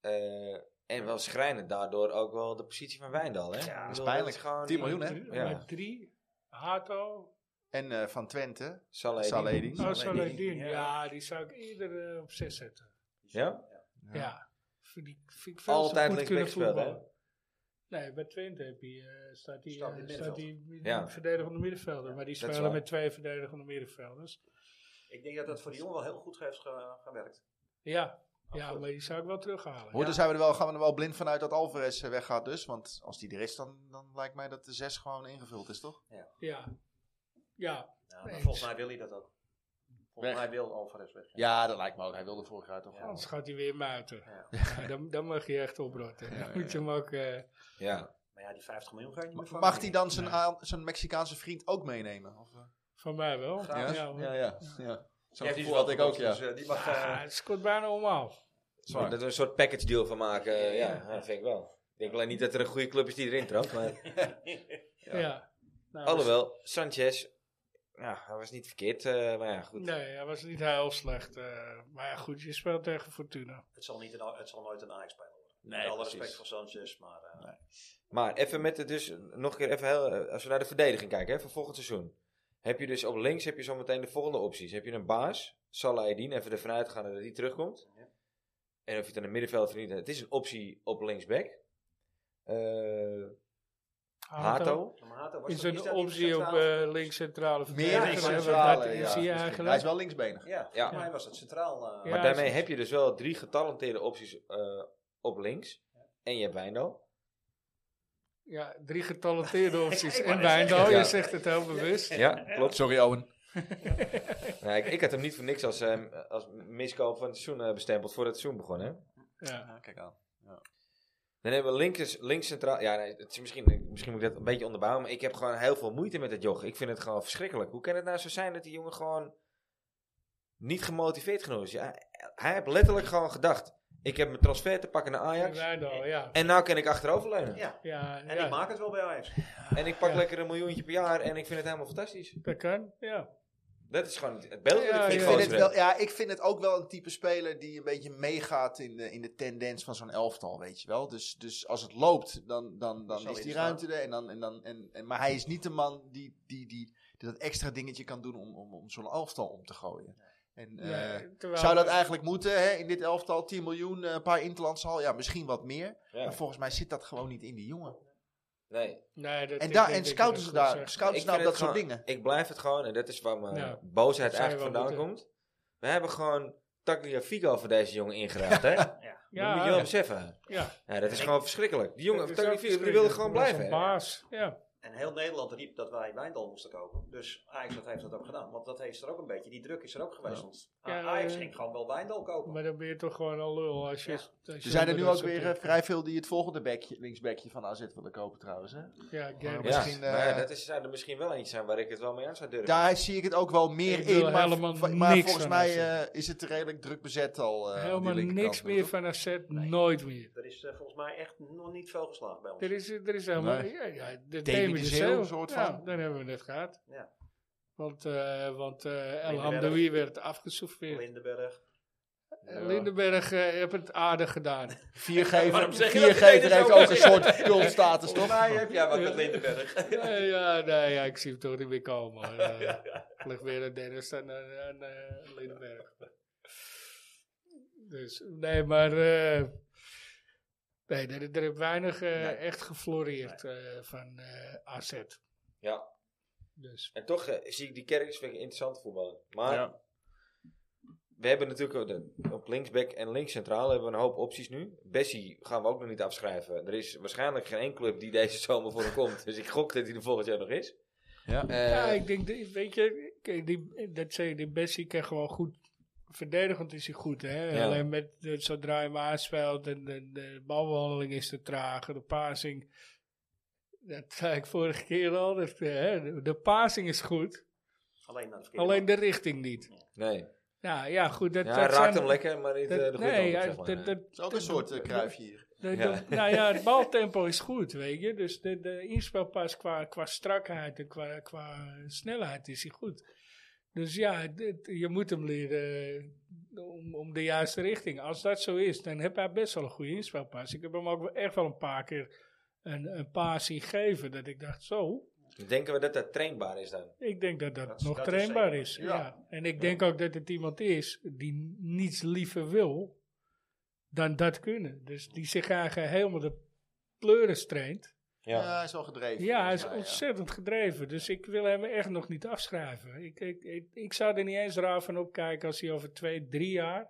A: Eh, en wel schrijnend daardoor ook wel de positie van Wijndal, hè?
C: Ja,
A: Ik
D: dat is
A: bedoel,
D: pijnlijk.
A: is gewoon-
D: 10 miljoen, hè?
B: staan.
A: Ja.
B: Met drie, Hato,
D: En eh, van Twente,
A: Saleh.
D: Saledin.
B: oh,
C: Saladin,
B: Saladin.
C: ja.
B: Ja, die zou ik eerder eh, op zes zetten.
A: Ja?
B: Ja.
D: Ja.
B: Vind ik, vind ik veel
A: Altijd
B: Altijd goed
A: linksback
B: kunnen
A: gespeeld, hè?
B: voetballen. Nee, bij Twente heb je, eh, staat die,
C: Staat
B: eh,
C: in het
B: staat die
A: Ja.
B: verdedigende middenvelder. Maar die
A: dat is
B: spelen
A: waar.
B: met twee verdedigende middenvelders.
C: Ik denk dat dat voor die jongen wel heel goed heeft ge- gewerkt.
B: Ja, ja
C: Absoluut.
B: maar die zou ik wel terughalen.
D: Hoor,
B: Ja.
D: dan
A: dus-
D: zijn we er wel, gaan we er wel blind vanuit dat Alvarez eh, weggaat dus. Want als die er is, dan, dan lijkt mij dat de zes gewoon ingevuld is, toch?
B: Ja. Ja.
C: Ja,
B: Nee,
C: maar volgens mij wil hij dat ook.
D: Weg.
C: Volgens mij wil Alvarez weg.
D: Ja, dat lijkt me ook. Hij wilde vorig jaar toch
C: Ja.
B: Anders gaat hij weer muiten.
C: Ja.
B: Ja, dan, dan mag je echt oprotten. Dan
D: Ja, ja,
B: moet je hem ook... eh,
A: Ja.
C: Maar ja, die 50 miljoen ga je niet meer vangen.
D: Mag hij dan zijn, aan- zijn Mexicaanse vriend ook meenemen? Of, eh?
B: van mij wel.
C: Graag.
B: Ja, hoor.
D: ja.
C: Die
D: Zo'n
C: heeft die
D: gevoel had ik ook,
C: verkocht,
D: ja.
C: Dus, eh, die mag,
B: Ja,
C: eh,
B: het scoort bijna allemaal.
A: Dat we een soort package deal van maken, eh, ja,
C: Ja.
A: ja, dat vind ik wel. Ik denk alleen niet dat er een goede club is die erin trapt, maar...
B: Ja. Nou,
A: Alhoewel, Sanchez, ja, hij was niet verkeerd, eh, maar ja, goed.
B: Nee, hij was niet heel slecht. eh, maar ja, goed, je speelt tegen Fortuna.
C: het, zal niet een, het zal nooit een Ajax-speler worden.
A: Nee,
C: Met alle
A: precies.
C: respect voor Sanchez, maar... eh,
A: Maar even met het dus, nog een keer even heel, eh, als we naar de verdediging kijken, hè, voor volgend seizoen. Heb je dus op links heb je zo meteen de volgende opties. Heb je een baas, Salah Eddin, even ervan uitgaan dat hij terugkomt.
C: Ja.
A: En of je het aan een middenveld verdient, het is een optie op linksback. Eh Hato.
C: maar Hato was
B: Is
C: toch-
B: een
C: dat niet
B: optie op
C: centraal?
B: eh links centrale
D: Meer
B: verdediger,
D: dan
C: links
B: hè, want
D: centrale,
B: dat
D: ja.
B: Zie je
D: Hij is
B: eigenlijk.
D: wel linksbenig.
C: Ja, volgens mij was dat centraal. eh,
B: Ja.
A: Maar daarmee heb je dus wel drie getalenteerde opties eh, op links. En je hebt Wijndal.
B: Ja, drie getalenteerde opties. en
C: net
B: Wijndal,
A: ja.
B: je zegt het heel bewust.
A: Ja, klopt.
D: Sorry, Owen.
A: Nee, ik, ik had hem niet voor niks als, eh, als miskoop van het seizoen eh, bestempeld voordat het seizoen begon. Hè?
B: Ja.
C: kijk aan.
A: Dan hebben we linkers, links centraal. Ja, nee, het is misschien, misschien moet ik dat een beetje onderbouwen. Maar ik heb gewoon heel veel moeite met dat joch. Ik vind het gewoon verschrikkelijk. Hoe kan het nou zo zijn dat die jongen gewoon niet gemotiveerd genoeg is? Ja, hij heeft letterlijk gewoon gedacht: ik heb mijn transfer te pakken naar
B: En
A: Ajax.
B: Wijndal, ja.
A: En nou kan ik achteroverleunen.
C: Ja,
B: Ja,
C: en
B: ja.
C: ik maak het wel bij Ajax.
A: En ik pak
B: Ja.
A: lekker een miljoentje per jaar en ik vind het helemaal fantastisch.
B: dat kan. Ja.
A: Dat is gewoon het- het beeld dat ik
B: Ja,
D: Ik
A: vind.
B: ja.
A: van
D: vind,
A: ze
D: het wel, ja, ik vind het ook wel een type speler die een beetje meegaat in de, in de tendens van zo'n elftal, weet je wel. Dus, dus als het loopt, dan, dan, dan
C: zal
D: is
C: hij
D: die
C: er staan.
D: ruimte er. En dan, en dan, en, en, maar hij is niet de man die, die, die, die dat extra dingetje kan doen om, om, om zo'n elftal om te gooien. En, eh,
B: Nee, terwijl-
D: zou dat eigenlijk moeten hè, in dit elftal? 10 miljoen, eh, een paar interlands al, ja, misschien wat meer.
A: Ja.
D: Maar volgens mij zit dat gewoon niet in die jongen.
A: Nee.
B: Nee, dat
D: En,
B: ik
D: daar
B: denk
D: en
B: dat je
D: scouten
B: dat
D: ze
B: goed
D: daar
B: zegt.
D: scouten
A: Ik
D: ze daar op
A: vind
D: dat
A: het
D: soort
A: gewoon-
D: dingen.
A: Ik blijf het gewoon, en dat is waar mijn
B: Ja.
A: boosheid
B: Dat zou je
A: eigenlijk
B: wel
A: vandaan
B: moeten.
A: komt. We hebben gewoon Tagliafico voor deze jongen ingeraakt, hè? Dat moet je wel
B: Ja,
A: beseffen.
B: ja.
A: Ja, dat is gewoon verschrikkelijk. Die jongen,
B: Dat is ook
A: Tagliafico, die wilde gewoon
B: verschrikkelijk. Dat was
A: blijven.
B: een
A: hè?
B: baas, ja.
C: En heel Nederland riep dat wij Wijndal moesten kopen. Dus Ajax dat heeft dat ook gedaan. Want dat heeft er ook een beetje. Die druk is er ook geweest. Want
B: Ja,
C: Ajax
B: eh,
C: ging gewoon wel Wijndal kopen.
B: Maar dan ben je toch gewoon al lul als je...
C: Ja.
B: als je
D: Er zijn er
B: onder
D: nu
B: dat
D: ook
B: soort
D: weer eh,
B: druk-
D: vrij veel die het volgende bekje, linksbekje van AZ willen kopen trouwens. Hè?
B: Ja, Gerrit.
A: Ja,
D: Misschien,
A: maar Nou ja,
D: eh,
A: dat is, zou er misschien wel eentje zijn waar ik het wel mee aan zou durven.
D: Daar zie ik het ook wel meer
B: Ik wil
D: in, maar,
B: helemaal
D: v- maar
B: niks
D: volgens
B: van
D: mij
B: AZ.
D: eh, is het redelijk druk bezet al. eh, aan die
B: Helemaal
D: linkerkant,
B: niks
D: hoor,
B: meer
D: toch?
B: van AZ, nooit meer.
C: Er is eh, volgens mij echt nog niet veel geslaagd bij ons.
B: Er is, er is helemaal...
D: Nee.
B: Ja, ja, de
D: David
B: Demi de
D: de Zeeuw,
B: Zeeuw,
D: soort
B: ja,
D: van.
B: dan hebben we het gehad.
C: Ja.
B: Want, eh want eh El
C: Lindenberg.
B: Hamdoui werd afgesouffeerd.
C: Lindenberg.
B: Lindenberg eh, heeft het aardig gedaan.
D: Viergever,
A: Waarom zeg je dat
D: viergever
A: meteen
D: heeft
A: zo?
D: ook een soort cultstatus,
A: Volgens
D: toch?
A: mij Oh, heb jij wat met Lindenberg.
B: Eh, ja, nee, ja, ik zie hem toch niet meer komen. hoor. Eh, ligt weer een Dennis dan aan, aan eh, Lindenberg. Dus, nee, maar... eh, nee, er, er heeft weinig eh, echt gefloreerd eh, van eh AZ.
A: Ja,
B: Dus,
A: en toch eh, zie ik die kerkers vind ik interessant voetballen. Maar
D: Ja.
A: we hebben natuurlijk ook de- op linksback en linkscentraal hebben we een hoop opties nu. Bessie gaan we ook nog niet afschrijven. Er is waarschijnlijk geen één club die deze zomer voor hem komt. Dus ik gok dat hij er volgend jaar nog is.
D: Ja.
A: Eh,
B: ja, ik denk, die- weet je, kijk, die, dat zei je, die Bessie kan gewoon goed. Verdedigend is hij goed, hè?
A: Ja.
B: Alleen met, eh, zodra hij hem aanspeelt en de, de balbehandeling is te traag, de passing. Dat zei ik vorige keer al, dat, eh, hè, de, de passing is goed,
C: Alleen naar de verkeerde
B: alleen
C: man.
B: de richting niet.
A: nee.
B: Ja, ja goed. Dat,
A: Ja,
B: dat
A: hij raakt
B: zijn-
A: hem lekker, maar niet
B: dat-
A: eh, de goede
B: nee,
A: kant op,
B: ja,
A: zeg maar.
B: dat- dat-
D: Het is ook een soort eh, kruifje hier.
B: De-
A: Ja.
B: de- nou ja, het baltempo is goed, weet je. Dus de, de inspelpas qua, qua strakheid en qua, qua snelheid is hij goed. Dus ja, dit- je moet hem leren eh, om, om de juiste richting. Als dat zo is, dan heb hij best wel een goede inspelpas. Ik heb hem ook wel- echt wel een paar keer een, een paar zien geven. Dat ik dacht, zo,
A: Denken we dat dat trainbaar is dan?
B: ik denk dat dat,
C: Dat is-
B: nog
C: dat is
B: trainbaar
C: zeker.
B: is.
D: Ja.
B: ja. En ik denk ook dat het iemand is die niets liever wil dan dat kunnen. Dus die zich eigenlijk helemaal de pleuris traint.
D: Ja, hij is wel gedreven.
B: Ja, hij
D: volgens
B: is
D: mij,
B: ontzettend gedreven. Dus ik wil hem echt nog niet afschrijven. Ik, ik, ik, ik zou er niet eens raar van opkijken als hij over twee, drie jaar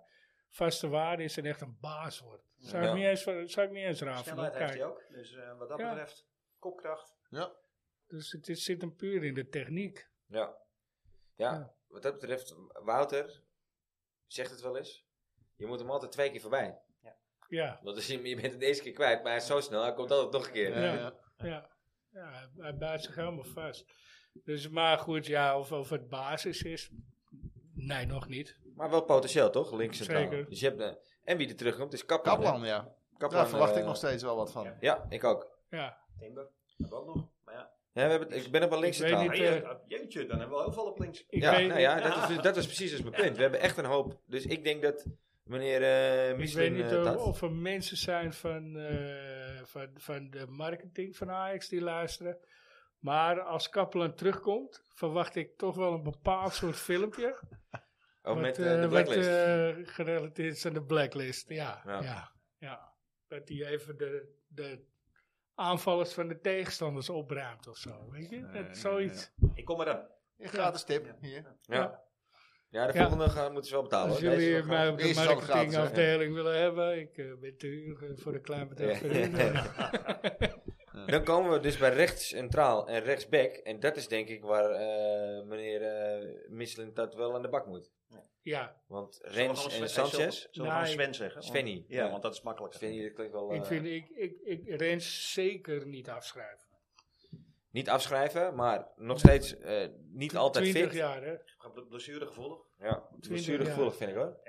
B: vaste waarde is en echt een baas wordt. Zou,
A: Ja.
B: ik, niet eens, van- zou ik niet eens raar van
C: Snelheid heeft hij
B: opkijken.
C: ook. Dus eh, wat dat
B: Ja.
C: betreft, kopkracht.
B: Dus het is, zit hem puur in de techniek.
A: Ja. ja.
B: Ja.
A: wat dat betreft, Wouter zegt het wel eens. Je moet hem altijd twee keer voorbij.
B: Ja,
A: Want dus je, je bent het deze keer kwijt, maar hij is zo snel, hij komt altijd nog een keer.
D: Ja.
B: Ja.
D: Ja, Eh, ja.
B: ja. ja hij- hij bijt zich helemaal vast. Dus, maar goed, ja, of, of het basis is, nee, nog niet.
A: Maar wel potentieel, toch? Links centraal.
B: Zeker.
A: Dus je hebt, eh, en wie er terugkomt is Kaplan. hè?
D: Kaplan, ja.
A: Kaplan,
D: Daar verwacht
A: eh,
D: ik nog steeds wel wat van.
A: Ja, ik ook.
B: Ja,
C: Timber. Hebben we ook nog. Maar ja.
A: Ja, we hebben het, ik ben op een links
B: Ik weet
A: centraal.
B: niet. eh,
C: Ah, ja, Jeetje, dan hebben we heel veel op links.
B: ik
A: Ja,
B: weet,
A: nou ja,
C: Ja.
A: Dat, is, dat is precies dus mijn punt. We hebben echt een hoop. Dus ik denk dat meneer eh
B: Ik
A: Michelin
B: weet niet
A: eh,
B: of-
A: dat...
B: of er mensen zijn van, eh, van, van de marketing van Ajax die luisteren. Maar als Kaplan terugkomt, verwacht ik toch wel een bepaald soort filmpje.
A: Oh, met eh,
B: eh,
A: de blacklist.
B: Wat, eh, gerelateerd is aan de blacklist, ja.
A: Ja.
B: ja. ja, Dat hij even de, de aanvallers van de tegenstanders opruimt of zo. Weet je,
D: ja, ja,
B: dat, zoiets.
C: Ik kom eraan.
D: Een gratis tip hier.
A: ja. ja, de
B: Ja.
A: volgende gaan, moeten ze wel betalen.
B: Als
A: hoor. Deze
B: jullie
A: wel
B: mij op de
D: Deze is ook gratis,
B: eh,
D: hè?
B: marketingafdeling willen hebben, ik eh, ben te huur eh, voor een klein bedrag.
A: Ja.
B: verhuurd.
A: Dan komen we dus bij rechts centraal en rechtsback. En dat is denk ik waar eh, meneer eh Misselin dat wel aan de bak moet.
B: Ja,
A: Want
C: Zullen we
A: Rens
C: gewoon
A: en
C: Sven- hey, zullen we-
A: Sanchez.
C: Zullen we gewoon
B: Nee.
C: Sven zeggen?
A: Svenny.
C: Ja, want dat is makkelijker.
A: Svenny, dat klinkt wel.
B: ik
A: eh,
B: vind ik, ik, ik Rens zeker niet afschrijven.
A: Niet afschrijven, maar nog steeds eh, niet altijd
B: 20
A: fit.
B: jaar, hè?
C: Blessure gevoelig.
A: Ja, blessuregevoelig vind ik hoor.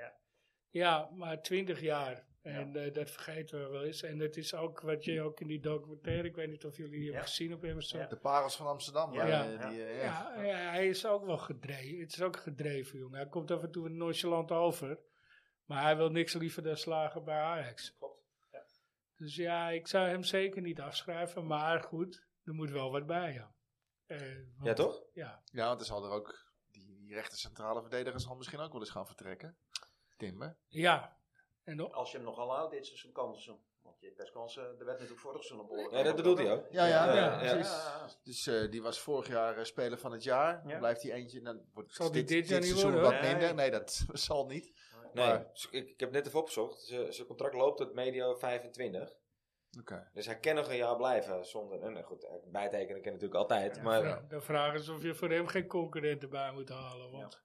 B: Ja, maar 20 jaar. En eh, dat vergeten we wel eens. En dat is ook wat je ook in die documentaire, ik weet niet of jullie die hebben gezien op Amazon.
D: De parels van Amsterdam.
C: Ja.
D: eh,
C: Ja.
D: die, eh,
B: Ja, ja, hij is ook wel gedreven. Het is ook gedreven, jongen. Hij komt af en toe nonchalant over. Maar hij wil niks liever dan slagen bij Ajax. Klopt. Dus ja, ik zou hem zeker niet afschrijven. Maar goed, er moet wel wat bij, ja. Eh, want-
A: Ja, toch?
B: Ja.
D: Ja, want er zal er ook die, die rechter centrale verdediger zal misschien ook wel eens gaan vertrekken. Timber.
B: Ja. En dan-
C: Als je hem nogal houdt dit dus seizoen, kan seizoen. Want je hebt best kansen. Er werd natuurlijk vorig seizoen op behoorlijk.
A: Ja, dat bedoelt hij ook.
D: Ja, ja,
A: ja,
B: ja,
A: ja.
B: precies.
D: Dus eh, die was vorig jaar eh, speler van het jaar. Dan
C: Ja.
D: blijft hij eentje. Dan wordt
B: Zal die
D: dit,
B: dit jaar niet
D: seizoen
B: worden,
D: wat
C: hoor.
D: minder.
C: Nee.
D: Nee, dat zal niet.
A: Nee,
D: Maar-
A: ze- ik, ik heb net even opgezocht. Ze- Zijn contract loopt tot medio 25.
D: Oké.
A: Dus hij kan nog een jaar blijven zonder. En eh, goed, eh, bijtekenen kan natuurlijk altijd. maar
B: Ja, de vraag is of je voor hem geen concurrenten bij moet halen. Want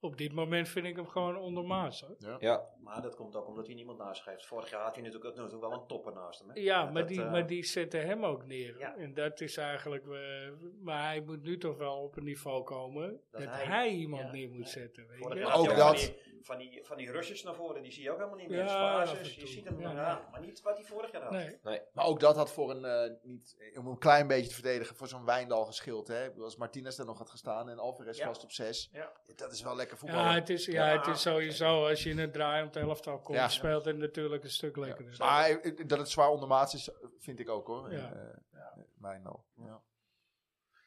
B: op dit moment vind ik hem gewoon ondermaats. hoor.
A: ja,
C: Maar dat komt ook omdat hij niemand naast zich heeft. Vorig jaar had hij natuurlijk ook natuurlijk wel een topper naast hem. hè.
B: Ja, maar,
C: dat,
B: die,
C: eh,
B: maar die zetten hem ook neer.
C: Ja.
B: En dat is eigenlijk. we- maar hij moet nu toch wel op een niveau komen dat,
C: Dat
B: hij,
C: hij-
B: iemand
C: ja,
B: neer moet zetten. Weet
C: Vorig
B: je? Oh,
C: jaar had
D: Ook dat.
C: hij Van die, van, die, van die rushes naar voren, die zie je ook helemaal niet meer.
B: Ja,
C: Ja,
B: af en toe.
C: je ziet hem
B: Ja.
C: ja. maar niet wat hij vorig jaar had.
B: Nee.
D: Maar ook dat had voor een, eh, niet, om een klein beetje te verdedigen, voor zo'n Wijndal geschild. Hè? Ik bedoel, Als Martinez daar nog had gestaan en Alvarez
C: Ja.
D: vast op zes.
C: Ja.
D: Dat is wel lekker voetbal.
B: Ja, het is, ja,
C: Ja.
B: het is sowieso. Als je in het draai om het elftal komt,
D: Ja.
B: speelt het natuurlijk een stuk lekkerder.
D: maar eh, dat het zwaar ondermaats is, vind ik ook hoor.
B: Ja.
D: Eh, eh, Wijndal. Ja.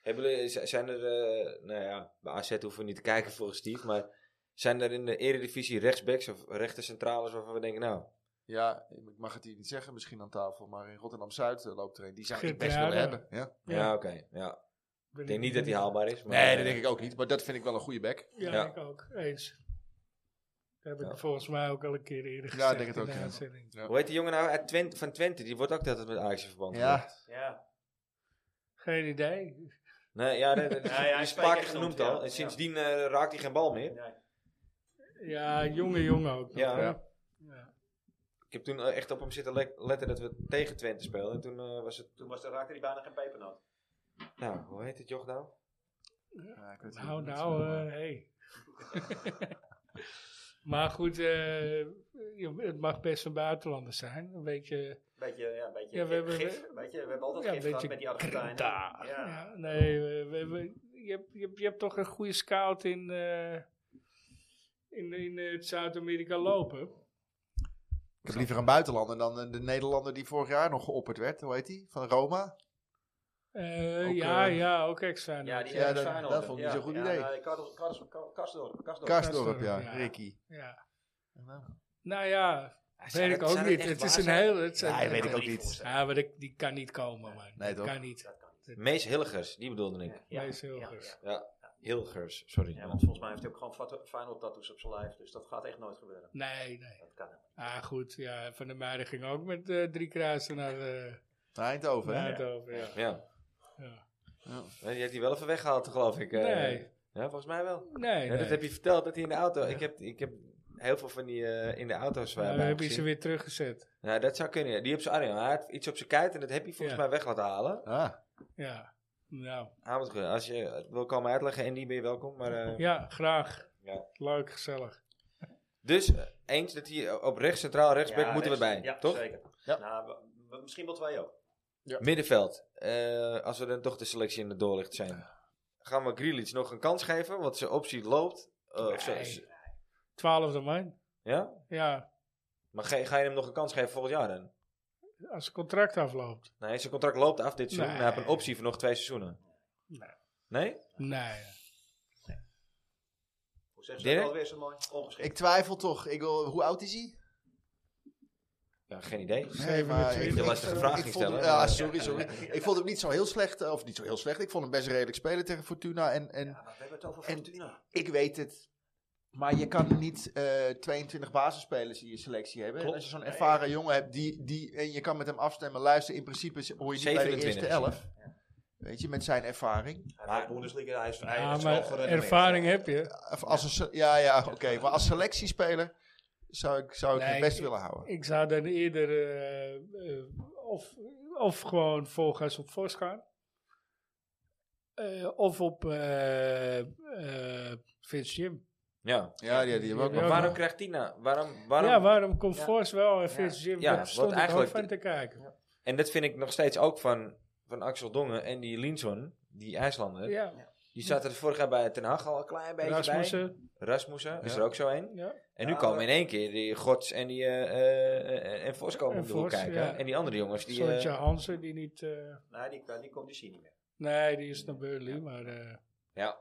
A: hebben jullie- z- zijn er. eh, nou ja, bij AZ hoeven we niet te kijken volgens Steve. Maar zijn er in de Eredivisie rechtsbacks of rechtercentrales waarvan we denken, nou.
D: Ja, ik mag het hier niet zeggen misschien aan tafel, maar in Rotterdam-Zuid eh, loopt er een. Die zou ik best
B: Gertruida.
D: willen hebben. Ja.
A: Ja,
B: Ja.
A: oké. ja. Ik denk niet dat hij haalbaar is. Maar, eh,
D: Nee, dat denk ik ook niet, maar dat vind ik wel een goede back.
B: Ja,
A: Ja.
B: ik ook. Eens. Dat heb ik
A: Ja.
B: volgens mij ook al een keer eerder gezegd.
D: Ja, ik denk het
B: in
D: ook,
B: de
D: ja.
B: uitzending.
A: Hoe heet die jongen nou uit Twente, van Twente? Die wordt ook altijd met Ajax in verband
D: Ja.
A: gebracht.
C: Ja.
B: Geen idee.
A: Nee, ja, dat, dat-
C: Ja, ja, hij
A: die
C: is
A: is een paar
C: twee
A: keer
C: keer
A: genoemd
C: genoemd,
A: al.
C: ja.
A: En sindsdien eh, raakt hij geen bal meer.
C: Nee.
B: Ja, jonge jongen ook. nog,
A: Ja.
B: hè?
A: Ja. Ik heb toen eh, echt op hem zitten le- letten dat we tegen Twente speelden. En toen eh, was het...
C: Toen was, er- raakte hij bijna geen pepernoot.
A: Nou, hoe heet het joch nou?
D: Ja, ik weet het
B: Nou,
D: niet.
B: nou, eh, hey. maar goed, eh, je- het mag best een buitenlander zijn. Een beetje,
C: Beetje, ja, beetje
B: Ja, we hebben-
C: gif. beetje, we hebben altijd
B: ja, een
C: gif gehad
B: beetje
C: met die Argentijnen.
B: grinta.
C: Ja.
B: Ja, nee, we- we- we- je, hebt, je, hebt, je hebt toch een goede scout in, eh, in, in eh, het Zuid-Amerika lopen.
D: Ik heb liever een buitenlander dan eh, de Nederlander die vorig jaar nog geopperd werd. Hoe heet die? Van Roma?
B: Eh,
D: Ook,
B: ja,
D: eh,
B: ja, ook extra.
C: Ja, die
D: Ja,
C: ja, nou,
D: dat- dat vond ik niet zo'n goed idee.
C: Kastdorp. Kastdorp.
D: Kaasdorp, ja.
B: ja.
D: Ricky.
B: Ja.
D: Ja,
B: Nou ja,
A: Zou dat-
B: weet ik ook
A: zou dat
B: niet.
A: echt
B: Het
A: waar
B: is een
A: zijn?
B: heel... Het zijn-
D: Ja, weet
C: kan
D: ik
C: me
D: ook
C: niet
D: niet.
B: Ja, maar dat- die kan niet komen, man.
D: Nee,
B: dat
D: toch?
B: kan niet.
A: Mees Hilligers, die bedoelde ik.
C: Ja,
B: Mees
C: ja,
B: Hilgers.
C: ja.
A: Ja, Hilgers, sorry.
C: Ja, want volgens mij heeft hij ook gewoon fat- final tattoos op zijn lijf. Dus dat gaat echt nooit gebeuren.
B: Nee, nee.
C: Dat kan niet.
B: Ah, goed. Ja, Van der Meijden ging ook met eh, drie kruisen naar eh,
D: Naar Eindhoven,
B: naar
D: hè?
B: Eindhoven. Ja.
A: Ja.
B: Ja.
D: Ja.
A: Nee, Die heeft hij wel even weggehaald, geloof ik. eh.
B: Nee.
A: Ja, volgens mij wel.
B: Nee,
A: Ja,
B: nee.
A: dat heb je verteld, dat hij in de auto... Ik, heb, ik heb heel veel van die eh, in de auto's
B: Maar
A: waar
B: we hebben ze weer teruggezet.
A: Nou, dat zou kunnen. ja. Die op zijn arm. Hij had iets op zijn kuit en dat heb je volgens
B: Ja.
A: mij weg laten halen.
D: Ah,
B: Ja. Nou,
A: Ah, wat goed. Als je het wil komen uitleggen, Andy, ben je welkom. Maar, eh,
B: ja, graag.
A: Ja.
B: Leuk, gezellig.
A: Dus eh, eens dat hij op rechts centraal, rechtsback
C: Ja,
A: moeten we
C: rechts-
A: bij.
C: Ja,
A: toch?
C: zeker.
D: Ja.
C: Nou, we- we- misschien wel twee ook.
A: Middenveld. Eh, als we dan toch de selectie in het doorlicht zijn. Gaan we Grealish nog een kans geven? Want zijn optie loopt. Eh, of zo-
B: Nee.
A: z-
B: Twaalfde man.
A: ja?
B: Ja,
A: Maar ga, ga je hem nog een kans geven volgend jaar dan?
B: als het contract afloopt.
A: Nee, zijn contract loopt af dit seizoen.
B: Nee.
A: en Hij heeft een optie voor nog twee seizoenen.
B: Nee.
A: Nee?
B: Nee.
C: Hoe zeggen ze dat
A: Dirk?
C: alweer zo mooi? Ongeschikt.
D: ik twijfel toch. Ik wil, hoe oud is hij?
A: Ja, geen idee.
D: Nee, maar ik-
A: Beetje lastige vraag
D: ik
A: ging
D: vond hem-
A: stellen.
D: Ja, sorry, sorry. Ik vond hem niet zo heel slecht, eh, of niet zo heel slecht. Ik vond hem best redelijk spelen tegen Fortuna. En, en
C: Ja, maar we hebben het over
D: En-
C: Fortuna.
D: ik weet het. Maar je kan niet eh, 22 basisspelers in je selectie hebben. En
A: Klopt.
D: als je zo'n ervaren jongen hebt die, die, en je kan met hem afstemmen, luister, in principe is- hoor je niet bij de eerste
A: 27
D: elf. Weet je, met zijn ervaring.
C: Hij maar, Bundesliga, hij is, hij
B: Ja,
C: is wel
B: maar
C: gerenommeerd.
B: ervaring heb je.
D: Of als een, se- ja, ja, oké. Maar als selectiespeler zou ik, zou ik
B: Nee,
D: het best
B: ik-
D: willen houden.
B: Ik zou dan eerder eh, eh, of, of gewoon volgas op Vos gaan. Eh, of op eh, eh, Vince Jim.
A: Ja.
D: Ja, die, die hebben we ook
B: Ja,
A: Maar
D: nog.
A: waarom krijgt die nou? Waarom, waarom?
B: Ja, waarom komt
A: Ja.
B: Vos wel en Vince
A: Ja,
B: Jim? Ja,
A: wat
B: Daar stond ik ook
A: eigenlijk
B: van
A: de-
B: te kijken.
A: En dat vind ik nog steeds ook van, van Axel Dongen en die Linson, die IJslander.
B: Ja,
A: Die zaten er vorig jaar bij Ten Hag al een klein beetje bij.
B: Rasmussen.
A: Rasmussen is
D: Ja.
A: er ook zo een.
B: Ja.
A: En nu
C: Ja,
A: komen
C: maar-
A: in één keer die Gods en die eh, eh, eh, en Vos komen
B: En
A: om de hoek
B: Vos,
A: kijken.
B: ja.
A: En die andere jongens die... eh,
B: Sontje Hansen, die niet... eh,
C: Nee, die, die komt die zie je niet meer.
B: nee, die is naar Burnley, maar... eh,
A: Ja.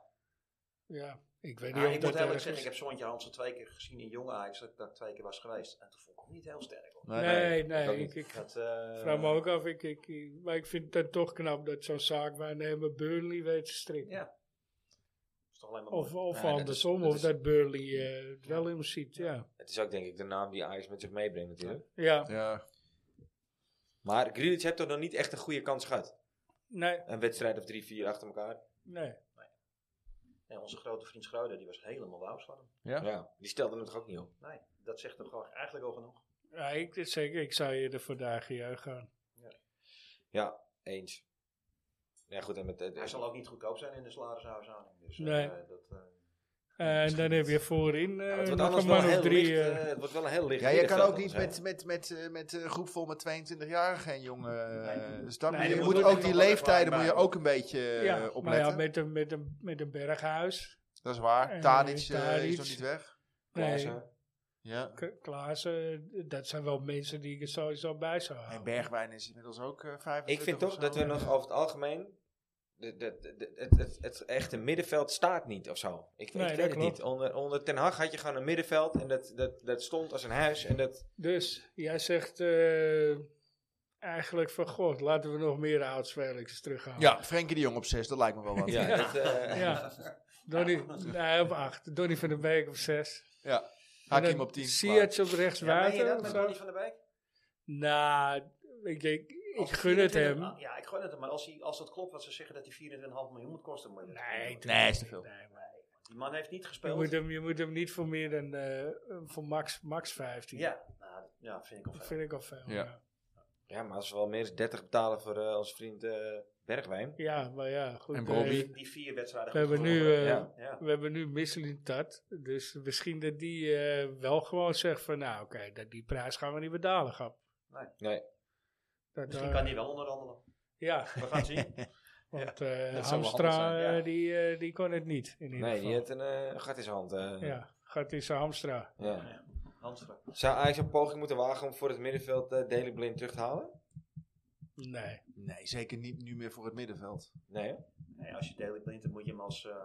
B: Ja, ik weet
C: Ja,
B: niet of
C: ik
B: dat
C: moet eerlijk
B: erg
C: zeggen, ik
B: is.
C: heb Sontje Hansen twee keer gezien in jonge Ajax, dat ik daar twee keer was geweest. En toen vond ik hem niet heel sterk. Hoor.
D: Nee,
B: Nee,
A: ik ook
B: nee,
A: niet.
B: ik, ik
C: Dat, eh,
B: vraag me ook af. Ik, ik, ik- maar ik vind het dan toch knap dat zo'n zaakwaarnemer Burnley weet te strikken.
C: Ja. is toch alleen maar
B: Of,
C: mooi.
B: of
A: Ja, dat
B: andersom,
A: is- dat
B: of
A: is-
B: dat Burnley eh, het wel in hem ziet, ja.
A: Het is ook denk ik de naam die Ajax met zich meebrengt natuurlijk.
B: Ja,
D: Ja.
A: Maar Grealish heeft toch nog niet echt een goede kans gehad?
B: nee,
A: Een wedstrijd of drie, vier achter elkaar.
B: nee.
C: Ja, onze grote vriend Schreuder, die was helemaal wauw van hem.
D: Ja.
A: Ja. Die stelde hem toch ook niet op?
C: Nee, dat zegt hem gewoon eigenlijk al genoeg.
B: Ja, ik, dit zeker, ik zou eerder voor Dagen juich gaan.
A: Ja, eens. Ja goed, en met... eh,
C: Hij zal ook niet goedkoop zijn in de salarishuishouding. Dus, eh,
B: Nee.
C: dat, eh,
B: En dan heb je voorin
A: ja,
B: eh,
A: het wordt
B: nog
A: anders
B: een
A: wel
B: man
A: heel
B: of drie.
A: licht,
B: eh,
A: eh, Het wordt wel een heel licht
D: Ja, je kan
A: middenveld
D: ook niet
A: dan,
D: met, met, met, eh, met eh, groep vol met 22-jarigen en jongen.
C: Nee.
D: dus dan
B: Nee,
D: moet je
B: dan
D: moet
B: moet
D: ook
C: er
D: die
C: wel
D: leeftijden moet
C: ervaring
D: je
C: bij.
D: ook een beetje eh,
B: ja, maar ja,
D: opletten.
B: met een, met, een, met een berghuis.
D: Dat is waar.
B: Eh,
D: Tadic, eh, is
B: Tadic.
D: nog niet weg.
B: Nee,
A: Klaassen.
D: Ja.
B: K- Klaassen, eh, dat zijn wel mensen die ik er sowieso bij zou
D: En
B: houden.
D: Bergwijn is inmiddels ook eh 25
A: Ik vind
D: of
A: toch
D: zo.
A: dat we nog over het algemeen... de- de- de- de- Het, het, het echte middenveld staat niet of zo. Ik,
B: Nee,
A: ik
B: dat
A: weet het
B: klopt.
A: niet. Onder, onder Ten Hag had je gewoon een middenveld en dat, dat, dat stond als een huis. En dat,
B: Dus jij zegt eh, eigenlijk van god, laten we nog meer oud spelers terughalen.
D: Ja, Frenkie de Jong op 6, dat lijkt me wel wat.
A: ja,
D: ja.
A: dat, eh,
B: ja. Donny, nee, op acht. Donny van der Beek op zes.
D: Hakim op 10.
B: Siets op rechts
C: Ja, meen je
B: buiten
C: dat
B: of
C: met
B: zo?
C: Donny van der Beek?
B: Nou, ik, ik, ik
C: Als
B: gun het
C: 24
B: hem.
C: ah, Ja, ik gun het hem. Maar als, hij, als dat klopt wat ze zeggen dat hij 4,5 miljoen moet kosten. moet je dat
B: Nee,
C: niet doen.
D: Nee, is te veel.
B: Nee, maar
C: Die man heeft niet
B: je,
C: gespeeld.
B: moet hem, je moet hem niet voor meer dan eh, voor max, max 15.
C: Ja, nou, ja, vind ik al
B: Dat
C: fijn.
B: vind ik al veel.
D: Ja.
B: Ja,
A: ja, maar als we wel meer dan 30 betalen voor eh, onze vriend eh, Bergwijn.
B: Ja, maar ja, goed.
D: En
B: eh,
D: Brobbey.
C: Die vier wedstrijden.
B: we
C: goed
B: hebben nu,
C: gewonnen.
B: eh,
A: Ja.
C: Ja.
B: we hebben nu Misselintat, dus misschien dat die eh, wel gewoon zegt van, nou oké, dat die prijs gaan we niet betalen, grap.
A: Nee.
B: Dat,
C: Misschien
B: eh,
C: kan hij wel onderhandelen.
B: Ja,
C: We gaan het zien.
B: want eh,
A: wel
B: Hamstra,
A: handig zijn, ja.
B: eh, die, eh, die kon het niet, in ieder
A: Nee,
B: geval.
A: die had een eh, gat in zijn hand. eh. ja.
B: Ja, gaat in zijn Hamstra.
C: Ja. Hamstra.
A: Zou Ajax een poging moeten wagen om voor het middenveld eh Daily Blind terug te halen?
B: Nee.
D: Nee, zeker niet nu meer voor het middenveld.
A: Nee, hè?
C: Nee, Nou als je Daley Blind, dan moet je hem als, eh,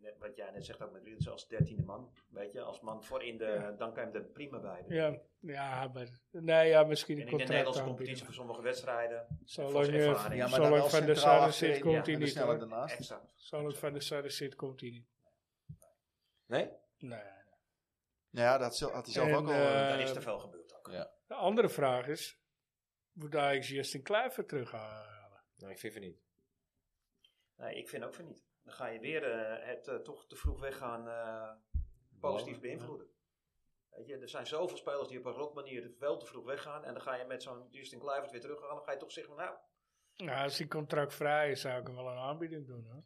C: net wat jij net zegt ook met Rieders, als dertiende man. Weet je, als man voorin de,
B: Ja.
C: dan kan je hem er prima bij. doen.
B: Ja, ja, maar, nee, ja misschien
C: En
B: een
C: in de
B: contract
C: Nederlandse
B: aanbieden.
C: competitie voor sommige wedstrijden,
B: Zolang,
C: volgens
B: eh,
C: ervaring. Ja, maar
D: dan
B: zolang
D: wel
B: Van der
D: centraal
B: Sar
D: achterin,
B: zit, komt
C: ja,
B: hij
D: En de
B: niet.
D: sneller
B: hoor.
D: daarnaast.
C: extra.
B: Zolang Van der Sar zit, komt hij niet.
A: Nee?
B: Nee.
D: Nou Ja, dat zel- had hij zelf
B: En,
D: ook al.
B: eh,
C: Daar is te veel gebeurd ook.
D: Ja.
B: De andere vraag is, moet Ajax Justin Kluiver terughalen?
A: Nee, ik vind het niet.
C: Nee, ik vind ook van niet. Dan ga je weer eh, het eh, toch te vroeg weggaan eh, positief beïnvloeden. Weet je, er zijn zoveel spelers die op een rot manier wel te vroeg weggaan. En dan ga je met zo'n Justin Kluivert weer terughalen. Dan ga je toch zeggen, nou,
B: Nou, als die contract vrij is, zou ik hem wel een aanbieding doen. Hoor.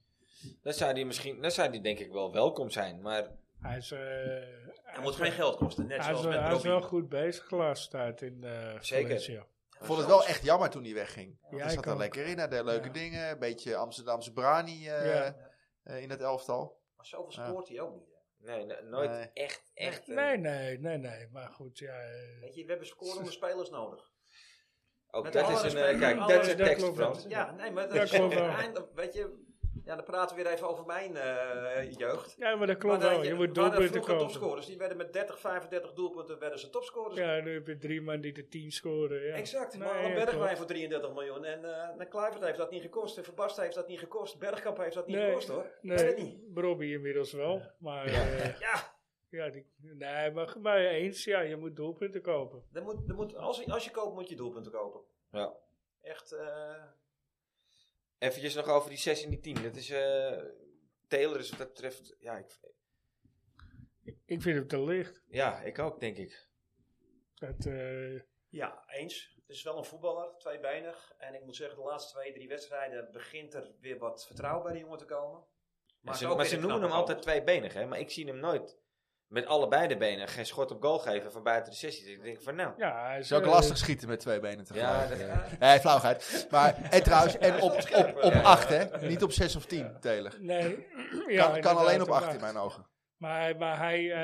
A: Dan zou die misschien, dan zou die denk ik wel welkom zijn, maar
B: Hij is, eh, hij
C: het moet
B: is-
C: geen geld kosten. Net
B: hij is,
C: zoals
B: wel-
C: met
B: hij is wel
C: Robbie.
B: goed bezig de laatste tijd in eh
A: Zeker.
B: Valencia.
D: Ik vond het wel echt jammer toen hij wegging.
B: Ja,
D: hij
B: ik
D: zat er
B: ook.
D: lekker in, hij deed leuke
B: Ja.
D: dingen. Een beetje Amsterdamse brani eh,
B: Ja.
D: eh, in het elftal.
C: Maar zoveel
D: Ja.
C: scoort hij ook niet. hè.
A: nee, no- nooit
D: Nee.
A: echt, echt. eh,
B: Nee, nee, nee, nee. Maar goed, ja. eh,
C: Weet je, we hebben scorende spelers nodig.
A: Ook
C: Met
A: dat
C: alle
A: is een, eh,
C: respect,
A: kijk,
C: alle
A: dat is een
B: respect,
A: tekst,
B: klopt,
A: Frans.
B: ja.
C: Ja, nee, maar dat
B: Ja,
C: is
B: klopt wel.
C: eind- Weet je, ja, dan praten we weer even over mijn eh, jeugd.
B: Ja, maar dat
C: Maar
B: klopt
C: dan
B: wel.
C: had
B: Je moet
C: waren
B: doelpunten
C: vroeger
B: kopen.
C: topscorers. Die werden met 30, 35 doelpunten werden ze topscorers.
B: Ja, nu heb je drie man die de tien scoren. Ja.
C: Exact,
B: Nee,
C: maar
B: ja,
C: Alan Bergwijn
B: klopt.
C: voor 33 miljoen. En uh, Kluivert heeft dat niet gekost. En Verbast heeft dat niet gekost. Bergkamp heeft dat niet
B: Nee,
C: gekost hoor. Ik weet het niet.
B: Nee, Robbie inmiddels wel. Maar eh,
C: Ja,
B: Ja, die- nee, maar, maar eens, ja, je moet doelpunten kopen.
C: Er moet, er moet, als, je- als je koopt, moet je doelpunten kopen.
A: Ja.
C: Echt, eh,
A: Eventjes nog over die 6 en die 10. Dat is eh Taylor, dus wat dat betreft. Ja ik,
B: Ik vind hem te licht.
A: ja, ik ook, denk ik.
B: Dat, eh,
C: ja, eens. Het is wel een voetballer, tweebeinig. En ik moet zeggen, de laatste twee, drie wedstrijden begint er weer wat vertrouwen bij de jongen te komen.
A: Maar
C: is
A: ze,
C: ook
A: maar
C: weer
A: ze
C: een
A: noemen hem
C: knappe
A: altijd
C: goal.
A: tweebenig, hè? Maar ik zie hem nooit met allebei de benen geen schot op goal geven van buiten de 16. Dus ik denk van nou.
B: ja, hij is
D: is ook
B: eh,
D: lastig schieten met twee benen
A: Ja,
D: tegelijk.
A: dat,
D: Nee, flauwigheid. Maar, en trouwens, en op, op, op
A: Ja.
D: acht, hè. Niet op zes of tien, Taylor.
B: Nee, ja,
D: Kan, kan alleen
B: inderdaad,
D: op acht in mijn ogen.
B: Maar, maar hij, eh,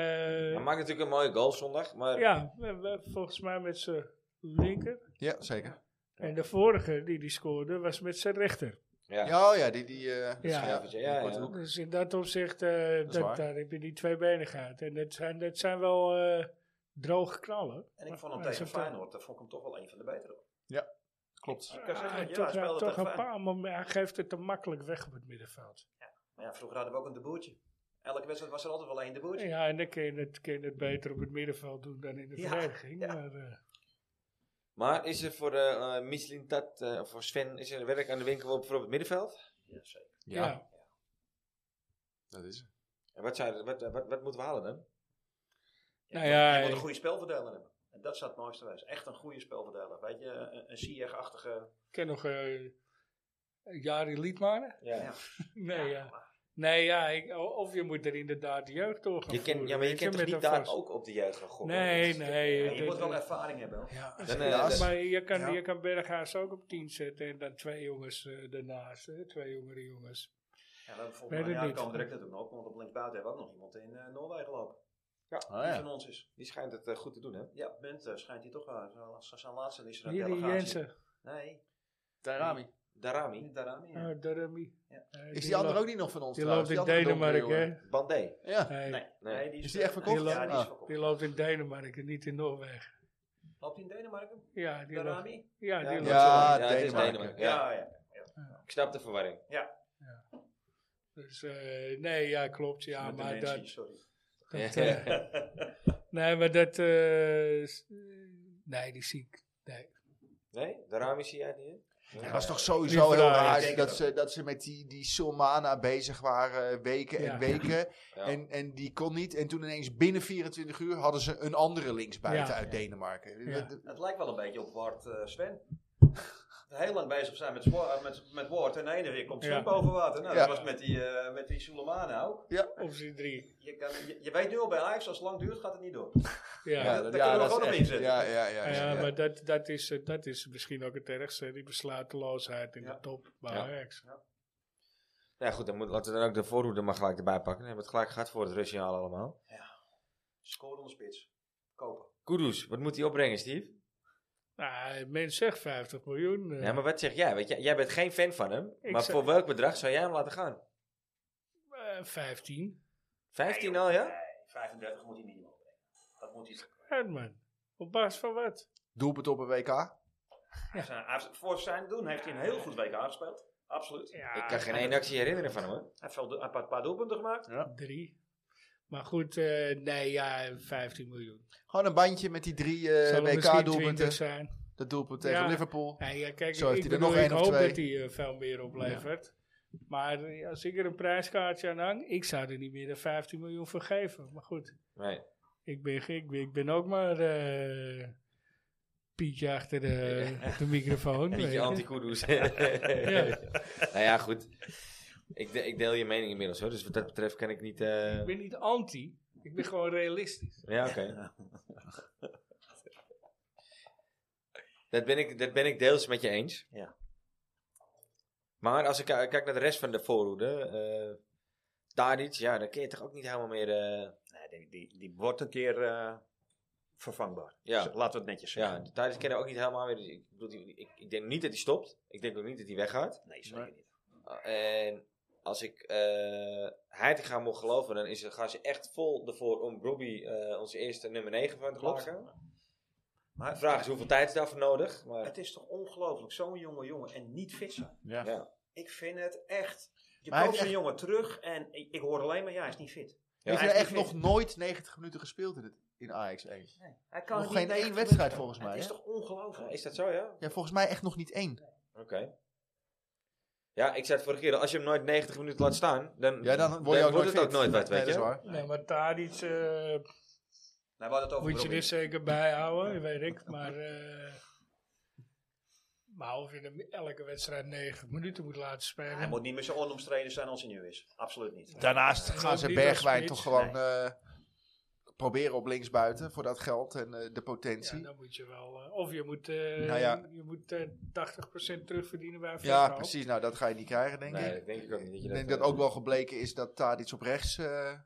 A: Hij maakt natuurlijk een mooie goal zondag, maar
B: ja, we- we- volgens mij met zijn linker.
D: Ja, zeker.
B: En de vorige die die scoorde was met zijn rechter.
A: ja.
D: Ja, oh ja, die... die eh
B: Ja.
A: Schuivertje, ja,
D: Die
A: ja.
D: korte-
B: Dus in dat opzicht, eh,
D: is
B: dat
D: waar.
B: daar heb je die tweebenigheid. En dat zijn, dat zijn wel eh droge knallen.
C: En ik
B: Maar-
C: vond hem
B: maar
C: tegen
B: ze hebben
C: Feyenoord, daar vond ik hem toch wel een van de betere.
D: Klopt.
C: Ik kan zeggen,
B: Ah,
C: ja,
B: toch
C: hij speelde
B: toch
C: tegen
B: een
C: Feyenoord.
B: paar momenten, hij geeft het te makkelijk weg op het middenveld.
C: Maar ja, vroeger hadden we ook een deboertje. Elke wedstrijd was er altijd wel één deboertje.
B: Ja, en dan kun je, het, kun je het beter op het middenveld doen dan in de
C: Ja,
B: verdediging.
C: ja.
B: Maar, eh,
A: Maar is er voor eh eh, Michelin dat, eh, voor Sven, is er werk aan de winkel voor op het middenveld?
C: Ja, zeker.
B: ja.
D: Ja, dat is het.
A: En wat, zou, wat, eh, wat, wat moeten we halen dan?
C: Ja,
B: Nou
C: je
B: ja,
C: moet- je moet
B: ik-
C: een goede spelverdeler hebben. En dat zou het mooiste zijn. Echt een goede spelverdeler. Weet je, een, een Ziyech-achtige...
B: Ik ken nog eh Jari Liedmanen.
A: Ja.
C: Ja.
B: Nee, ja. Nee, ja, ik- o- of je moet er inderdaad de jeugd door gaan
A: Je ken,
B: voeren,
A: ja, maar je
B: weet
A: kent toch
B: met
A: niet
B: een
A: daar
B: vast-
A: ook op de jeugd gaan gokken?
B: Nee,
A: Dat is-
B: nee.
C: Ja, je
B: dat-
C: moet wel
B: dat-
C: ervaring hebben. hoor.
B: ja,
A: Dan, eh,
B: ja,
A: dat-
B: maar je kan,
D: ja.
B: je kan Berghuis ook op 10 zetten en dan twee jongens eh daarnaast, hè, twee jongere jongens.
C: Ja, we hebben
B: Weet
C: volgens mij,
B: het
C: ja,
B: niet.
C: komen direct natuurlijk op, want op linksbuiten hebben we ook nog iemand in eh, Noorwegen gelopen.
D: Oh,
C: Die
D: ja.
C: van ons is.
A: Die schijnt het eh, goed te doen, hè?
C: Ja, Bent eh, schijnt hij toch wel. Zo- zo- Zijn laatste is er een
B: Hier die
C: delegatie.
B: Jensen,
C: Nee,
D: Tarami.
A: Darami.
C: niet daaraan. Ja.
B: oh, Darami.
C: Ja.
B: Eh,
D: Is die
B: loopt-
D: andere ook niet nog van ons
B: Die
D: trouwens?
B: loopt in
D: andere
B: Denemarken,
D: donkere
B: hè?
A: Bandé.
D: jongen. Ja.
B: Nee,
C: Nee,
A: Nee.
C: nee, die is, eh,
D: Is die echt verkocht?
C: Ja, die is
D: Ah.
C: verkocht.
B: Die loopt in Denemarken, niet in Noorwegen.
C: Loopt hij in Denemarken?
B: Ja, die loopt,
C: Darami?
B: ja, die
A: Ja,
B: loopt.
D: Ja,
A: het is
D: Denemarken.
A: Ja.
C: Ja, ja.
A: Ik snap de verwarring.
B: Dus eh, nee, ja, klopt. Ja,
C: Met
B: maar
C: dementie,
B: dat,
C: sorry.
B: dat, eh, nee, maar dat, eh, s- eh, nee, die zie ik. Nee.
A: Nee? Darami zie jij niet? hè?
D: Het was toch sowieso
B: Niet
D: heel
B: verraaiend.
D: raar
C: Ik denk
D: dat
C: het
D: ze, dat ze met die, die Silmana bezig waren eh, weken en
B: Ja.
D: weken.
A: Ja.
D: En, en die kon niet. En toen ineens binnen 24 uur hadden ze een andere linksbuiten
B: Ja.
D: uit Denemarken.
B: Ja.
D: Dat-
C: Het lijkt wel een beetje op Ward eh, Sven. Heel lang bezig zijn met, Swa- eh, met, met Ward en de ene weer komt Sven
B: Ja.
C: boven water. Nou,
D: Ja.
C: dat was met die, eh met die Soleimana ook.
B: Optie drie.
C: Je, kan, je, je weet nu al bij Ajax, als het lang duurt gaat het niet door.
B: Ja,
D: Ja,
B: ja,
C: dat kunnen
D: is
C: we gewoon op
D: echt-
C: inzetten.
D: Ja, ja, ja. ja, ja.
B: maar dat, dat, is, eh, dat is misschien ook het ergste. hè, Die besluiteloosheid in
C: Ja.
B: de top bij
A: Ja.
B: Ajax.
A: Nou goed, dan moet, laten we dan ook de voorhoede maar gelijk erbij pakken. Dan hebben we het gelijk gehad voor het Russiaal allemaal.
C: Score onder spits. Kopen.
A: Kudus, wat moet hij opbrengen, Steve?
B: Nou, men zegt 50 miljoen. eh.
A: Ja, maar wat zeg jij? Want jij, jij bent geen fan van hem.
B: Ik
A: maar
B: zeg-
A: voor welk bedrag zou jij hem laten gaan?
B: Eh, 15.
A: 15 al, ja?
C: 35 moet hij minimaal brengen. Dat moet hij.
B: Uit, man. Op basis van wat?
D: Doelpunt op een WK.
C: Hij heeft- hij heeft- Voor zijn doen heeft hij een heel goed WK gespeeld. Absoluut. Hij
B: Ja,
A: Ik kan geen één actie herinneren van hem, hoor.
C: heeft wel do- hij heeft een paar doelpunten gemaakt.
B: Drie. Maar goed, eh, nee, ja, 15 miljoen.
D: Gewoon een bandje met die drie eh,
B: Zal er misschien 20
D: WK-doelpunten.
B: zijn.
D: Dat doelpunt tegen
B: Ja.
D: Liverpool.
B: Nee, ja, kijk,
D: Zo heeft
B: ik,
D: hij er
B: bedoel,
D: nog
B: ik
D: één of
B: hoop
D: twee.
B: dat hij eh, veel meer oplevert. Maar eh, als ik er een prijskaartje aan hang, ik zou er niet meer dan 15 miljoen voor geven. Maar goed,
A: Nee.
B: ik ben, ge- ik ben, ik ben ook maar eh, Pietje achter de, de microfoon. weet
A: Pietje
B: je.
A: anti-Kudus. Nou ja, goed. Ik, de- ik deel je mening inmiddels, hoor. Dus wat dat betreft kan ik niet... eh,
B: Ik ben niet anti, ik ben gewoon realistisch.
A: Ja, oké. dat, ben ik, dat ben ik deels met je eens.
C: Ja.
A: Maar als ik k- kijk naar de rest van de voorhoede. eh Tadic, ja, dan kun je toch ook niet helemaal meer... eh,
C: Nee, die, die, die wordt een keer eh, vervangbaar.
A: Ja.
C: Z- Laten we het netjes
A: ja,
C: zeggen.
A: de Tadic ken je ook niet helemaal meer. Dus ik, bedoel, die- ik, ik denk niet dat hij stopt. Ik denk ook niet dat hij weggaat. Eh,
C: Nee, zeker
D: Nee.
C: niet.
A: En als ik eh Heitinga moet geloven, dan is, gaan ze echt vol ervoor om Robbie eh, onze eerste nummer 9 van te
C: Klopt.
A: maken.
C: Maar
A: De vraag is hoeveel tijd is daarvoor nodig. Maar,
C: Het is toch ongelooflijk, zo'n jonge jongen en niet fit zijn.
D: Ja.
A: Ja.
C: Ik vind het echt. Je
D: Maar hij
C: koopt
D: heeft
C: een jongen terug en ik, ik hoor alleen maar, ja, hij is niet fit.
D: Heeft hij
C: hij is
D: echt
C: niet
D: nog
C: fit.
D: nooit 90 minuten gespeeld in, het- in Ajax 1?
C: Nee, hij kan
D: Nog
C: het niet
D: geen één
C: echt-
D: wedstrijd volgens mij,
C: Het is
D: hè?
C: toch ongelooflijk?
A: eh, Is dat zo, ja?
D: Ja, volgens mij echt nog niet één.
A: Oké. Ja, ik zei het vorige keer, al, als je hem nooit 90 minuten laat staan, dan,
D: Ja, dan word je ook
A: wordt
D: nooit
A: het ook
D: fit.
A: nooit wat,
D: Nee,
A: weet
D: dat is
A: je?
D: waar.
B: Nee, maar Tadic eh,
C: Nou, we hadden het over
B: moet je
D: dus
C: Robin.
B: er zeker bij houden, weet ik. Maar, eh, maar of je hem elke wedstrijd 90 minuten moet laten spelen.
C: Hij moet niet meer zo onomstreden zijn als hij nu is. Absoluut niet.
D: Daarnaast
B: Nee,
D: gaan
B: ook
D: ze
B: eh, niet als
D: Bergwijn
B: spits.
D: toch gewoon eh, proberen op linksbuiten voor dat geld en eh, de
B: ja,
D: potentie.
C: nou,
D: Ja,
B: dan moet je wel. eh, of je moet, eh,
D: Nou ja.
B: je moet eh, 80% terugverdienen bij Veenendaal.
D: precies. Nou, dat ga je niet krijgen, denk
A: Nee,
D: ik.
A: dat denk ik ook niet. Dat je
D: Ik denk dat
A: eh,
D: ook wel gebleken is dat Tadic op rechts eh,
A: niet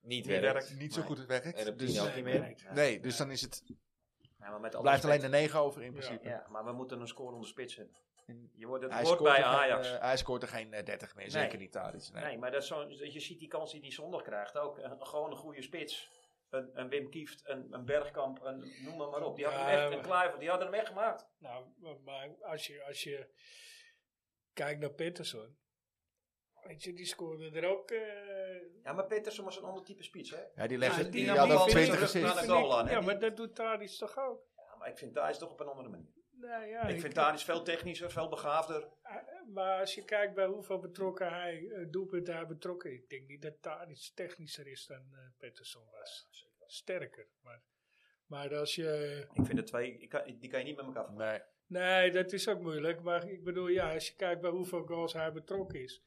C: niet
A: werkt.
C: werkt.
D: niet zo
C: Nee.
D: goed het werkt.
A: En op
D: dus,
A: tien ook.
B: Nee,
A: niet meer.
B: nee.
D: nee, dus dan is het,
C: Ja, maar met alle
D: blijft alleen de
C: respect.
D: 9 over in
B: Ja.
D: principe.
C: Ja, maar we moeten een scorende spits hebben. Je wordt
D: Hij
C: het
D: scoort,
C: woord bij
D: er geen,
C: Ajax.
D: eh, hij scoort er geen eh, 30 meer,
C: Nee.
D: zeker niet Tadic. Nee.
C: Nee, maar dat is zo, je ziet die kans die hij zondag krijgt ook. Een- gewoon een goede spits. Een, een Wim Kieft, een, een Bergkamp, een, noem maar, maar op. Die hadden
B: Ja,
C: hem echt, een
B: maar-
C: Kluivert, die hadden hem echt gemaakt.
B: Nou, maar- maar als je, als je kijkt naar Peterson. Weet je, die scoorde er ook. eh, nou,
C: Ja, maar Petersen was een ander type spits, hè?
D: Ja, die legde,
C: Ja,
D: die,
C: die nam
D: had
C: die
D: al
C: bal
D: 20
C: terug naar
D: assists.
C: de- goal aan, hè,
B: Ja,
C: die-
B: maar dat doet Tadic toch ook?
C: Ja, maar ik vind Thijs toch op een andere manier.
B: Nou ja, eh,
C: ik vind Thadis veel technischer, veel begaafder.
B: Maar als je kijkt bij hoeveel betrokken hij, eh, doelpunten hij betrokken is, ik denk niet dat Tadic technischer is dan eh Peterson was. Sterker. Maar, maar als je.
C: Ik vind de twee, ik kan, die kan je niet met elkaar vergelijken.
D: Nee.
B: Nee, dat is ook moeilijk. Maar ik bedoel, ja, als je kijkt bij hoeveel goals hij betrokken is.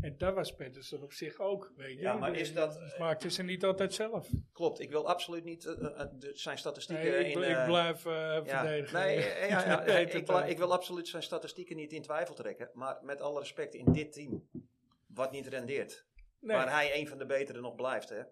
B: En dat was Patterson op zich ook, weet je.
C: Ja, maar is dat-
B: Het Maakte ze niet altijd zelf.
C: Klopt, ik wil absoluut niet eh, eh, eh, de- zijn statistieken
B: Nee, ik,
C: in...
B: bl-
C: eh,
B: ik blijf eh,
C: ja.
B: verdedigen.
C: Nee, eh, ja, ja,
B: Dat
C: eh,
B: heet
C: ik,
B: het
C: bla-
B: dan.
C: ik wil absoluut zijn statistieken niet in twijfel trekken. Maar met alle respect, in dit team, wat niet rendeert,
B: Nee.
C: Waar hij een van de betere nog blijft, hè.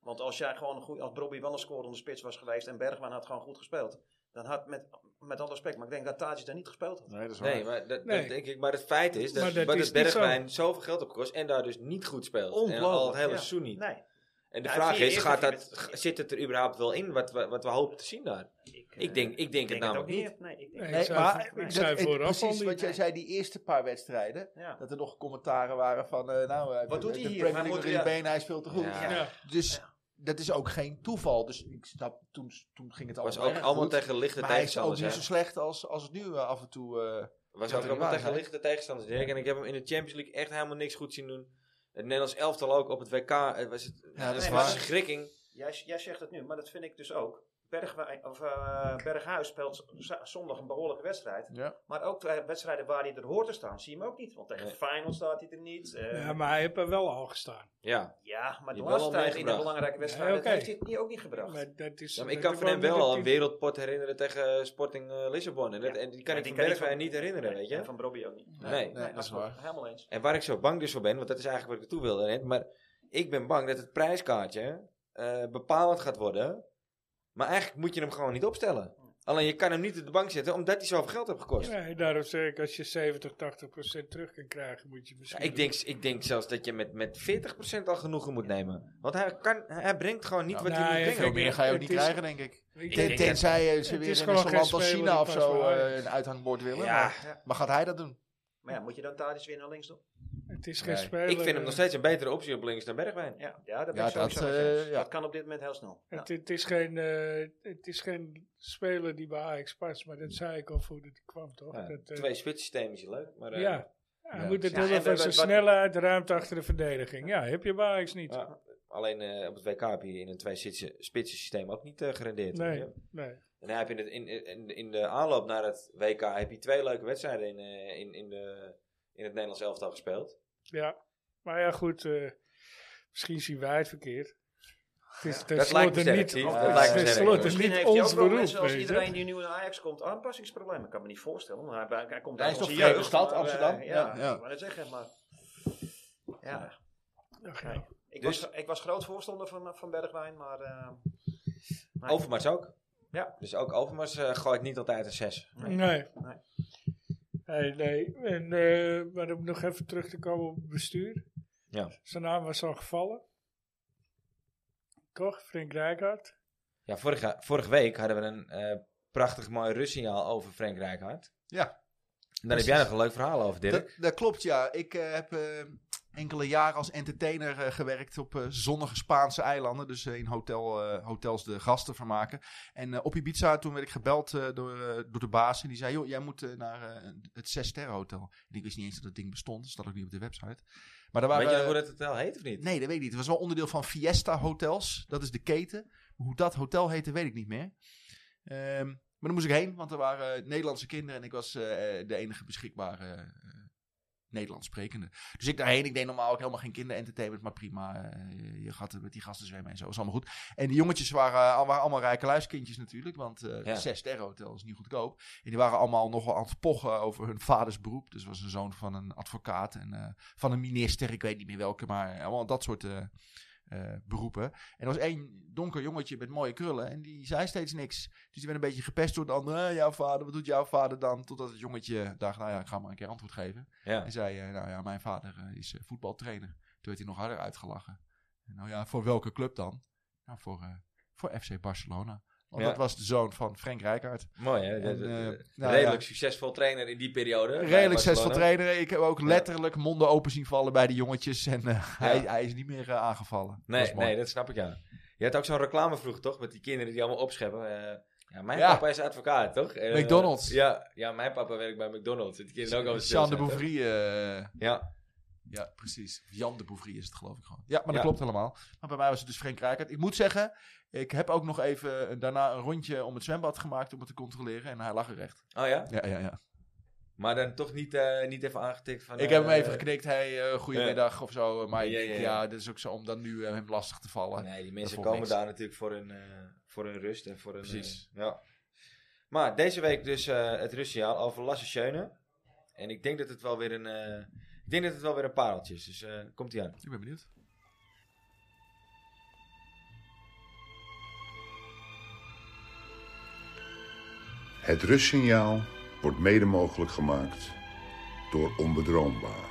C: Want als jij gewoon een goeie, als Bobby wel een scorende spits was geweest en Bergman had gewoon goed gespeeld, dan had met, met alle respect, maar ik denk dat Tadis daar niet gespeeld had.
D: Nee, dat is waar.
A: Nee, maar dat, dat
B: Nee.
A: denk ik. Maar het feit is dat,
B: Maar dat
A: dat
B: is niet
A: Bergwijn zoveel geld op kost en daar dus niet goed speelt. En al het
C: Ongelooflijk,
A: hele
C: ja.
A: seizoen niet.
C: Nee,
A: En de
C: Ja,
A: vraag
C: zie je
A: is,
C: eerst
A: gaat
C: dat je
A: dat,
C: met-
A: g- zit het er überhaupt wel in wat we, wat we hopen te zien daar?
C: ik,
A: Ik
C: eh,
A: denk, ik denk het namelijk niet.
C: Nee, ik denk
B: Nee,
D: Nee,
B: ik zei,
D: maar
B: ik
D: dat-
B: zei
D: het-
B: vooraf al
D: precies
B: niet.
D: wat jij zei, die eerste paar wedstrijden,
C: Ja.
D: dat er nog commentaren waren van, eh, nou, hij-
C: Wat doet
D: de
C: hij hier?
D: Premier League
C: Hij
D: nog
C: moet-
D: in de
C: ja.
D: benen, hij speelt te goed.
A: Ja.
B: Ja.
D: Dus dat is ook geen toeval. Dus ik snap, toen, toen ging het
A: Het was
D: allemaal
A: ook
D: erg
A: allemaal
D: Nou goed.
A: tegen lichte
D: Maar hij is ook
A: tegenstanders.
D: niet
A: hè?
D: zo slecht als, als het nu eh, af en toe. eh,
A: was
D: Ja,
A: ook
D: dat
A: allemaal
D: waar,
A: tegen
D: hè?
A: lichte tegenstanders, Dirk. En ik heb hem in de Champions League echt helemaal niks goed zien doen. Het Nederlands elftal ook op het WK. Het was, het,
D: Ja, dat
A: het
D: is
A: was
D: waar.
A: verschrikking.
C: Jij, jij zegt het nu, maar dat vind ik dus ook. Bergwijn, of, eh, Berghuis speelt z- zondag een behoorlijke wedstrijd.
D: ja.
C: Maar ook eh, wedstrijden waar hij er hoort te staan, zie je hem ook niet. Want tegen
A: Nee.
C: Feyenoord staat hij er niet. eh,
B: Ja, maar hij heeft er wel al gestaan.
A: Ja.
C: ja, maar de
A: Die wel
C: laatste
A: al
C: tijd in de
A: meegebracht.
C: belangrijke wedstrijden
B: Nee, oké.
C: heeft hij het niet- ook niet gebracht.
B: Maar dat is,
A: Ja, maar ik
B: dat
A: kan
B: is
A: van hem
B: niet
A: wel
B: dat
A: al een
B: hij-
A: wereldpot herinneren tegen eh, Sporting eh, Lissabon. En, dat,
C: Ja.
A: en die kan
C: Ja,
A: ik
C: die
A: van
C: kan ik
A: Bergwijn
C: van-
A: niet herinneren, weet
C: En
A: je.
C: van Robbie ook niet.
A: Nee.
D: Nee, dat is waar.
C: Helemaal eens.
A: En waar ik zo bang dus voor ben, want dat is eigenlijk wat ik naartoe wilde net. Maar ik ben bang dat het prijskaartje eh, bepalend gaat worden. Maar eigenlijk moet je hem gewoon niet opstellen. Alleen je kan hem niet op de bank zetten, omdat hij zoveel geld heeft gekost.
B: Nee, daarom zeg ik, als je 70, 80 procent terug kan krijgen, moet je
A: Ja,
B: misschien...
A: ik, denk, ik denk zelfs dat je met, met 40% al genoegen moet nemen. Want hij, kan, hij brengt gewoon niet
D: Ja,
A: wat
B: nee,
A: hij moet
B: hij
A: brengen.
D: Veel
B: vindt-
D: meer ga je ook
B: Het
D: niet
B: is-
D: krijgen, denk ik.
B: Ik
D: Ten-
B: denk-
A: denk dat-
D: tenzij eh, ze
B: het
D: weer
B: is
D: in
B: gewoon
D: zo'n land
B: geen
D: als
B: speler
D: China
B: die
D: of
B: past
D: zo
B: bij
D: eh,
B: Ajax.
D: een uithangbord willen.
A: Ja.
D: Maar, maar gaat hij dat doen?
C: Maar ja, moet je dan Tadis weer naar links doen?
B: Het is geen
A: Nee.
B: speler.
A: Ik vind hem nog
B: eh,
A: steeds een betere optie op links dan Bergwijn.
C: Ja, ja
D: Ja,
C: dat ben ik
D: dat,
C: sowieso met je
D: eh,
C: eens.
D: ja.
C: Dat kan op dit moment heel snel. Ja.
B: Het, het, is geen, eh, het is geen speler die bij Ajax past, maar dat zei ik al voordat hij kwam, toch?
A: Ja,
B: dat, eh,
A: Twee spitsystemen is leuk. Maar, eh,
B: ja. Hij
D: Ja.
B: moet het
C: Ja,
B: hebben
C: en
B: van
C: we-
B: zijn
C: wat-
B: snelheid, ruimte achter de verdediging. Ja, heb je bij Ajax niet.
A: ja. Alleen eh, op het WK heb je in een twee spitsen- spitsensysteem ook niet eh, gerendeerd.
B: Nee,
A: Ja.
B: nee.
A: En hij heb je in, het, in, in, in de aanloop naar het WK heb je twee leuke wedstrijden in, eh, in, in, de, in het Nederlands elftal gespeeld.
B: Ja, maar ja, goed. eh, misschien zien wij het verkeerd. Het is
A: dat lijkt me
B: tenslotte
A: sterk,
B: niet,
A: Steve.
B: het
A: Dat
B: is
A: lijkt me sterk,
B: tenslotte
A: hoor.
C: Misschien
B: niet
C: heeft hij
B: ons
C: ook wel,
B: beroep.
C: net zoals
B: weet je.
C: iedereen die nu naar Ajax komt, aanpassingsproblemen. Ik kan me niet voorstellen. want Hij, hij komt
D: Hij
C: uit
D: is
C: onze
D: toch vreemde
C: jeugd,
D: stad,
C: maar, eh,
D: Amsterdam?
C: Ja,
D: Ja, ja.
C: maar dat zeggen. Maar, ja,
B: Ach,
C: nee.
B: ja.
C: ik,
A: Dus-
C: was, ik was groot voorstander van, van Bergwijn, maar... eh, nee.
A: Overmars ook.
C: Ja.
A: Dus ook Overmars eh, gooit niet altijd een 6.
C: Nee.
B: Nee.
C: Nee.
B: Nee, nee. En, eh, maar om nog even terug te komen op het bestuur.
A: Ja.
B: Zijn naam was al gevallen. Toch? Frank Rijkaard.
A: Ja, vorige, vorige week hadden we een eh, prachtig mooi rustsignaal over Frank Rijkaard.
D: Ja.
A: En daar heb jij nog een leuk verhaal over, Dirk.
D: Dat, dat klopt, ja. Ik eh, heb eh, enkele jaren als entertainer eh, gewerkt op eh, zonnige Spaanse eilanden. Dus eh, in hotel, eh, hotels de gasten vermaken. En eh, op Ibiza, toen werd ik gebeld eh, door, eh, door de baas. En die zei, joh, jij moet eh, naar eh, het Zes Sterren Hotel. En ik wist niet eens dat dat ding bestond. Dat staat ook niet op de website. Maar daar waren,
A: Weet je hoe dat hotel heet of niet?
D: eh, Nee, dat weet ik niet. Het was wel onderdeel van Fiesta Hotels. Dat is de keten. Maar Hoe dat hotel heette, weet ik niet meer. Ehm, maar dan moest ik heen, want er waren eh, Nederlandse kinderen en ik was eh, de enige beschikbare eh, Nederlands sprekende. Dus ik daarheen, ik deed normaal ook helemaal geen kinderentertainment, maar prima. eh, je gaat er met die gasten zwemmen en zo, is allemaal goed. En die jongetjes waren, eh, al- waren allemaal rijke luiskindjes natuurlijk, want eh
A: Ja.
D: zes sterren hotel is niet goedkoop. En die waren allemaal nogal aan het pochen over hun vaders beroep. Dus was een zoon van een advocaat en eh, van een minister, ik weet niet meer welke, maar allemaal dat soort eh, eh, beroepen. En er was één donker jongetje met mooie krullen en die zei steeds niks. Dus die werd een beetje gepest door de andere. "Eh, jouw vader, wat doet jouw vader dan? Totdat het jongetje dacht, nou ja, ik ga maar een keer antwoord geven.
A: Ja.
D: En zei, eh, nou ja, mijn vader eh, is eh, voetbaltrainer. Toen werd hij nog harder uitgelachen. En nou ja, voor welke club dan? Nou, voor, eh, voor FC Barcelona. Want
A: Ja.
D: dat was de zoon van Frank Rijkaard.
A: Mooi, hè?
D: En,
A: Dat- dat-
D: eh,
A: dat-
D: nou
A: redelijk
D: ja.
A: succesvol trainer in die periode. bij
D: Redelijk
A: Barcelona.
D: succesvol trainer. Ik heb ook letterlijk monden open zien vallen bij de jongetjes. En eh, hij, hij is niet meer eh, aangevallen.
A: Nee,
D: Dat is mooi.
A: nee, dat snap ik, ja. Je had ook zo'n reclame vroeger, toch? Met die kinderen die allemaal opscheppen. eh, ja, mijn
D: Ja.
A: papa is advocaat, toch? Eh,
D: McDonald's.
A: Ja, ja, mijn papa werkt bij McDonald's. Die kinderen ook al
D: Jean de Bouvry. eh,
A: Ja,
D: Ja, precies. Jan de Bouvry is het geloof ik gewoon. Ja, maar dat
A: Ja.
D: klopt helemaal. Maar bij mij was het dus Frank Rijkaard. Ik moet zeggen, ik heb ook nog even eh, daarna een rondje om het zwembad gemaakt om het te controleren. En hij lag er recht.
A: oh ja?
D: Ja, ja, ja.
A: Maar dan toch niet, eh, niet even aangetikt van...
D: ik
A: eh,
D: heb hem even geknikt. Hey, eh, goedemiddag of zo. Maar ik
A: Ja, ja,
D: denk, ja,
A: ja.
D: dat is ook zo om dan nu eh, hem lastig te vallen.
A: Nee, die mensen
D: voor
A: komen
D: niks.
A: daar natuurlijk voor hun, eh, voor hun rust en voor hun...
D: Precies.
A: eh, ja. Maar deze week dus eh, het rustsignaal over Lasse Schöne. En ik denk dat het wel weer een... eh, ik denk dat het wel weer een pareltje is. Dus eh, komt ie aan.
D: Ik ben benieuwd.
G: Het rustsignaal wordt mede mogelijk gemaakt door onbedroombaar.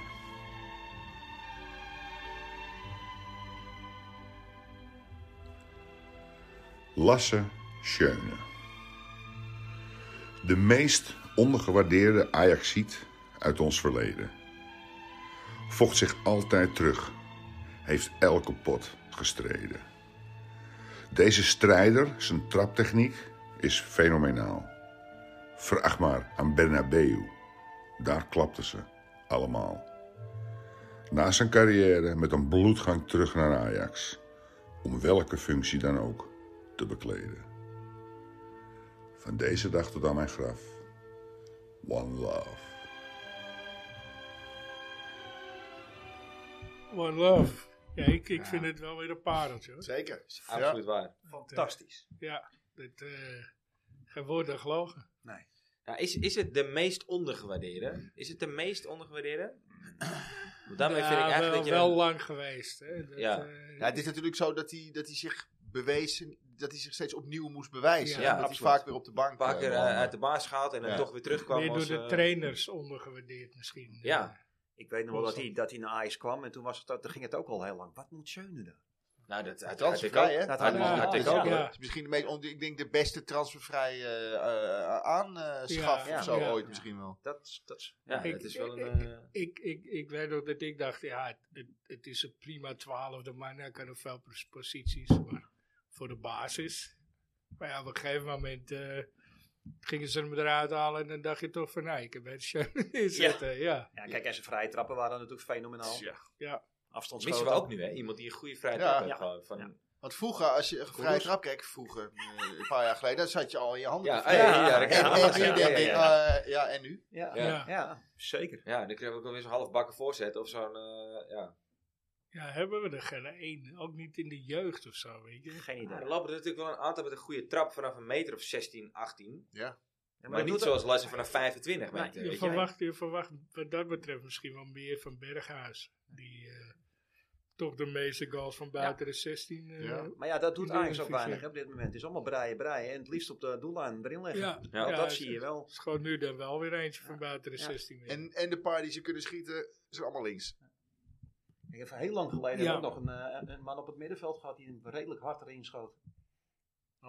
G: Lasse Schöne. De meest ondergewaardeerde Ajaxiet uit ons verleden. Vocht zich altijd terug, heeft elke pot gestreden. Deze strijder, zijn traptechniek, is fenomenaal. Vraag maar aan Bernabeu. Daar klapten ze allemaal. Na zijn carrière met een bloedgang terug naar Ajax. Om welke functie dan ook te bekleden. Van deze dag tot aan mijn graf. One love.
B: One love. Ja, ik, ik vind het wel weer een pareltje hoor.
D: Zeker.
A: Absoluut waar.
C: Fantastisch.
B: Ja, dit, eh, geen woord aan gelogen.
A: Ja, Nou, is, is het de meest ondergewaardeerde? Is het de meest ondergewaardeerde? Want daarmee
B: Ja,
A: vind ik eigenlijk
B: wel,
A: dat je...
B: wel
A: een-
B: lang geweest. Hè. Dat,
A: Ja.
B: eh,
D: Ja, het is natuurlijk zo dat hij, dat hij zich bewezen, dat hij zich steeds opnieuw moest
B: Ja,
D: bewijzen. Ja, dat
A: absoluut.
D: hij vaak weer op de bank
A: een paar keer
D: eh,
A: eh,
D: belandde.
A: uit de baas gehaald en dan
D: Ja.
A: toch weer terugkwam
B: meer door
A: als...
B: de
A: eh,
B: trainers ondergewaardeerd misschien.
A: Ja.
C: Ik weet nog wel dat hij,
B: Constant.
C: dat hij naar Ajax kwam en toen, was het, ook- toen ging het ook al heel lang. Wat moet Schöne dan?
A: nou, dat had, had ik
D: Transfervrij,
A: ook.
D: hè?
C: Dat had ik ook.
A: had ik
D: Ja.
A: ook, hoor.
D: Het is eh, misschien de meest, on- ik denk de beste transfervrij eh aanschaf
B: Ja,
D: eh, of zo
B: ja.
D: ooit misschien wel.
C: Dat, is- dat, is-
A: Ja,
B: Ik-
A: het is wel
B: ik-
A: een... eh,
B: Ik, ik, ik weet nog dat ik dacht, ja, het- het, het is een prima twaalfde man. Hij kan op veel pos- posities, maar voor de basis. Maar ja, op een gegeven moment eh, gingen ze hem eruit halen en dan dacht je toch van, nou, ik heb het Schöne inzetten. Ja.
C: ja, kijk, en zijn vrije trappen waren natuurlijk fenomenaal.
B: Ja. ja.
A: missen
C: Afstandsschoten.
A: we ook nu, hè? Iemand die een goede vrije
D: Ja.
A: trap heeft
C: Ja.
A: gewoon. Van,
C: Ja.
A: ja.
D: Want vroeger, als je een vrije trap kreeg, vroeger, eh, een paar jaar geleden, dan zat je al in je handen.
A: Ja,
D: te
A: ah, ja,
D: vreten.
A: ja, dat
D: en,
A: kan.
D: en nu
A: Ja, ja,
D: denk ik,
A: ja.
D: eh, ja, en nu?
C: Ja,
A: Ja.
C: ja.
B: Ja.
C: zeker.
A: dan krijgen we ook alweer zo'n halfbakken voorzet of zo'n... eh, ja.
B: hebben we er geen één. Ook niet in de jeugd of zo, weet je.
C: Geen idee.
A: Ja, er lopen er natuurlijk wel een aantal met een goede trap vanaf een meter of 16, 18.
C: Ja,
A: Maar,
C: dat
A: niet
C: doet
A: zoals Lasse vanaf 25
C: Nee,
A: meter.
B: Je
A: weet je.
B: verwacht, je verwacht wat dat betreft misschien wel meer van Berghuis. Die eh, toch de meeste goals van buiten de 16 eh,
D: Ja.
C: ook- Maar ja, dat doet
B: Die doen
C: Ajax ook
B: het niet,
C: weinig
B: ja.
C: hè, op dit moment. Het is allemaal breien, breien en het liefst op de doellijn erin leggen.
B: Ja,
A: Ja,
C: Want dat
B: is-
C: zie je wel.
B: Schoot nu dan wel weer eentje van buiten de
C: Ja.
B: 16 meter.
D: En, en de paar die ze kunnen schieten, zijn allemaal links.
C: Ik heb heel lang geleden
B: Ja.
C: ook nog een, eh, een man op het middenveld gehad die hem redelijk hard erin schoot.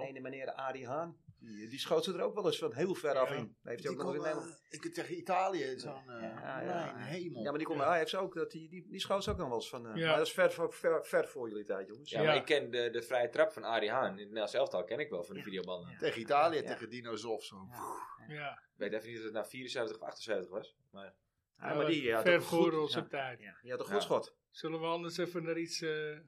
C: Ene meneer Arie Haan. Die, die schoot ze er ook wel eens van heel ver af in. Dat Heeft hij
D: Die
C: ook nog in
D: kon, eh,
C: Nederland.
D: ik tegen Italië, zo'n eh,
C: Ja, ja.
D: mijn hemel.
C: Ja, maar die kon bij Ajax ook. Dat die, die, die schoot ze ook nog wel eens van. eh,
B: Ja.
C: Maar dat is ver, voor- ver, ver voor jullie tijd, jongens.
A: Ja, maar
B: Ja.
A: ik ken de, de vrije trap van Arie Haan. In het Nederlands elftal ken ik wel van de videobanden.
D: Tegen Italië,
C: Ja.
D: tegen Dinosof zo.
B: Ja,
A: Ik weet even niet of het nou 74 of 78 was. Maar
C: Ja, maar die, eh, had
B: ver
C: ook een goed-
B: voor onze
C: ja.
B: tijd.
C: Ja, die had een
A: Ja.
C: goed schot.
B: Zullen we anders even naar iets eh,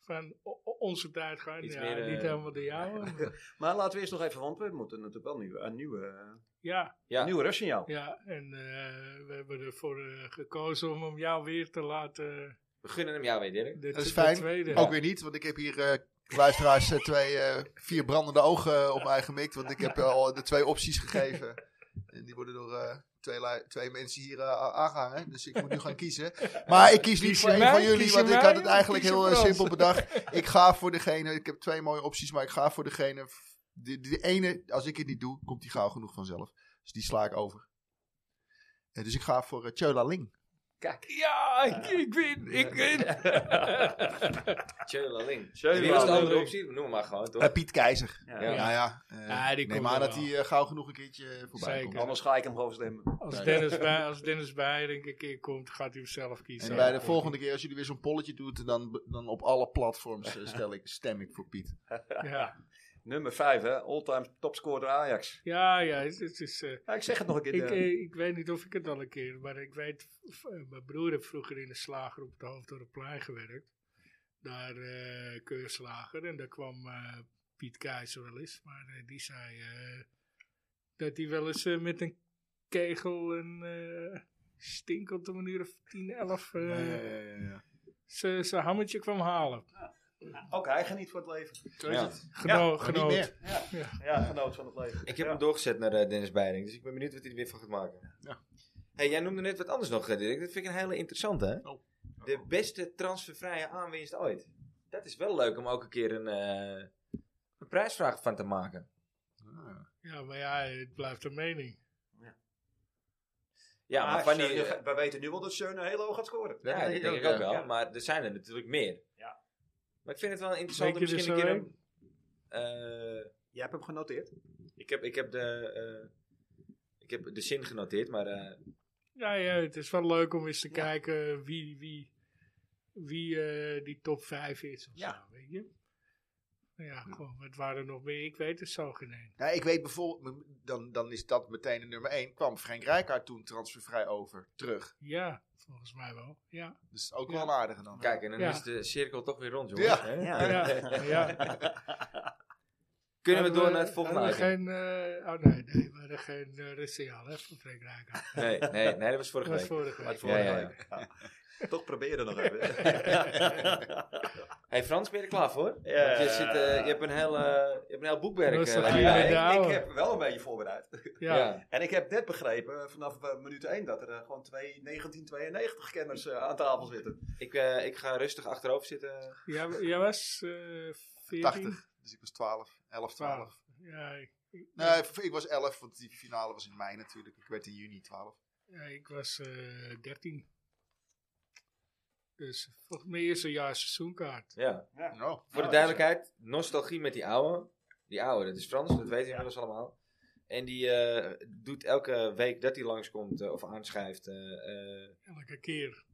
B: van o- o- onze tijd gaan?
A: Iets
B: ja,
A: meer, eh,
B: niet helemaal de jouwe. maar-
C: Maar laten we eerst nog even, want we moeten natuurlijk wel nieuw, een nieuwe, eh,
B: ja,
A: Ja.
C: nieuwe rustsignaal.
B: ja, en eh, we hebben ervoor eh, gekozen om hem jou weer te laten. eh,
A: we gunnen hem jou weer, Dirk.
B: De,
D: Dat is
B: de
D: fijn.
B: tweede.
D: Ook weer niet, want ik heb hier eh, luisteraars eh, twee, eh, vier brandende ogen eh, op mij gemikt. Want ik heb eh, al de twee opties gegeven. En die worden door eh, twee, lui- twee mensen hier eh, a- aangehangen. Dus ik moet nu gaan kiezen. Maar ik kies niet
B: Kies
D: voor
B: je
D: een
B: mij?
D: van jullie,
B: Kies je
D: want ik
B: mij
D: had het
B: of
D: eigenlijk
B: kies je
D: heel eh,
B: Frans?
D: simpel bedacht. Ik ga voor degene, ik heb twee mooie opties, maar ik ga voor degene... De, de ene, als ik het niet doe, komt die gauw genoeg vanzelf. Dus die sla ik over. Eh, dus ik ga voor eh, Tjöla Ling.
B: Ja, ik, ik win, ik win.
A: Tjöla Ling.
C: Tjöla
A: Wie was de andere
B: Ling.
A: optie? Noem hem maar gewoon, toch?
D: Eh, Piet Keizer.
C: Ja.
A: Ja.
D: Nou ja, eh,
B: Ja, die
D: neem
B: komt
D: aan
B: wel.
D: dat hij eh, gauw genoeg een keertje voorbij
B: Zeker.
D: komt.
C: Anders ga ik hem gewoon stemmen.
B: Als Dennis, bij, als Dennis Beiring een keer komt, gaat hij hem zelf kiezen.
D: En bij de volgende keer, als jullie weer zo'n polletje doen, dan, dan op alle platforms eh, stel ik, stem ik voor Piet.
B: Ja,
C: Nummer 5, hè? All-time topscorer Ajax.
B: ja, ja het, het is... eh,
C: Ja, ik zeg het nog een keer.
B: ik,
C: eh,
B: eh, ik weet niet of ik het al een keer, maar ik weet, v- eh, mijn broer heeft vroeger in de slager op het Hoofddorpplein gewerkt. Daar eh keurslager en daar kwam eh, Piet Keizer wel eens, maar eh, die zei eh, dat hij wel eens eh, met een kegel een eh stink op de manier of 10, 11 eh, zijn zijn hammetje kwam halen.
C: Ook hij geniet van het leven.
A: Ja.
B: Geno
D: Maar niet
B: genoot.
D: meer.
C: Ja, genoot van het leven.
A: Ik heb
C: ja.
A: hem doorgezet naar eh, Dennis Beiring, dus ik ben benieuwd wat hij er weer van gaat maken.
D: Ja.
A: Hey, jij noemde net wat anders nog, eh, Dirk. Dat vind ik een hele interessante, hè?
D: Oh.
A: De beste transfervrije aanwinst ooit. Dat is wel leuk om ook een keer een, eh, een prijsvraag van te maken.
B: Ja, maar ja, het blijft een mening.
A: Ja,
C: Ah,
A: maar van die... eh,
C: Wij weten nu wel dat Schöne heel hoog gaat scoren.
A: ja, dat denk ik
D: ja.
A: ook wel,
C: Ja.
A: maar er zijn er natuurlijk meer.
C: Ja.
A: Maar ik vind het wel interessant om
B: Weet je
A: misschien een
B: er
A: keer...
B: zo
A: Een, eh,
C: Jij hebt hem genoteerd.
A: ik, heb, ik, heb de, eh, ik heb de zin genoteerd, maar... eh,
B: Ja, ja, het is wel leuk om eens te kijken wie, wie, wie eh, die top 5 is of
C: Ja.
B: zo, weet je? Ja, gewoon, wat waren er nog meer? Ik weet het zo geen één.
D: Nou, ik weet bijvoorbeeld, m- dan, dan is dat meteen de nummer 1. Kwam Frank Rijkaard toen transfervrij over, terug.
B: Ja, volgens mij wel. Ja,
D: Dus ook
B: Ja.
D: wel aardiger dan.
A: Kijk, en dan
B: Ja.
A: is de cirkel toch weer rond, jongens.
D: Ja.
A: hè?
B: ja, ja.
A: Eh. Kunnen we door naar het volgende
B: Hadden we
A: item?
B: geen, eh, oh nee, nee, we hadden geen uh, hè, van Frank Rijkaard.
A: Nee, nee, nee, dat was
B: Dat
A: vorige
B: was
A: week.
B: vorige
C: Maar
B: week.
C: het vorige
A: Ja, ja,
C: week. Ja. Toch proberen nog even.
A: Hey Frans, ben je er klaar voor?
C: Ja.
A: Want je, zit, eh, je, hebt een heel, eh, je hebt een heel boekwerk.
B: Rustig
A: eh,
B: hier.
A: liggen.
C: Ja,
B: de
C: ik, ik
B: oude.
C: heb wel een beetje voorbereid.
A: ja.
B: Ja,
C: En ik heb net begrepen eh, vanaf eh, minuut 1 dat er eh, gewoon twee 1992 kenners eh, aan tafel zitten.
A: Ik, eh, ik ga rustig achterover zitten.
B: Jij, jij was eh 14?
D: 80. Dus ik was 12, 11, 12.
B: 12. Ja, ik, ik-
D: Nee, v- ik was 11, want die finale was in mei natuurlijk. Ik werd in juni 12.
B: Ja, ik was eh 13. Dus volgens mij eerste jaar seizoenkaart.
A: Ja.
D: Nou,
A: Voor de
C: Oh,
A: duidelijkheid, nostalgie met die ouwe. Die ouwe, dat is Frans, dat weten we inmiddels allemaal. En die eh, doet elke week dat hij langskomt eh, of aanschrijft. eh, eh,
B: Elke keer.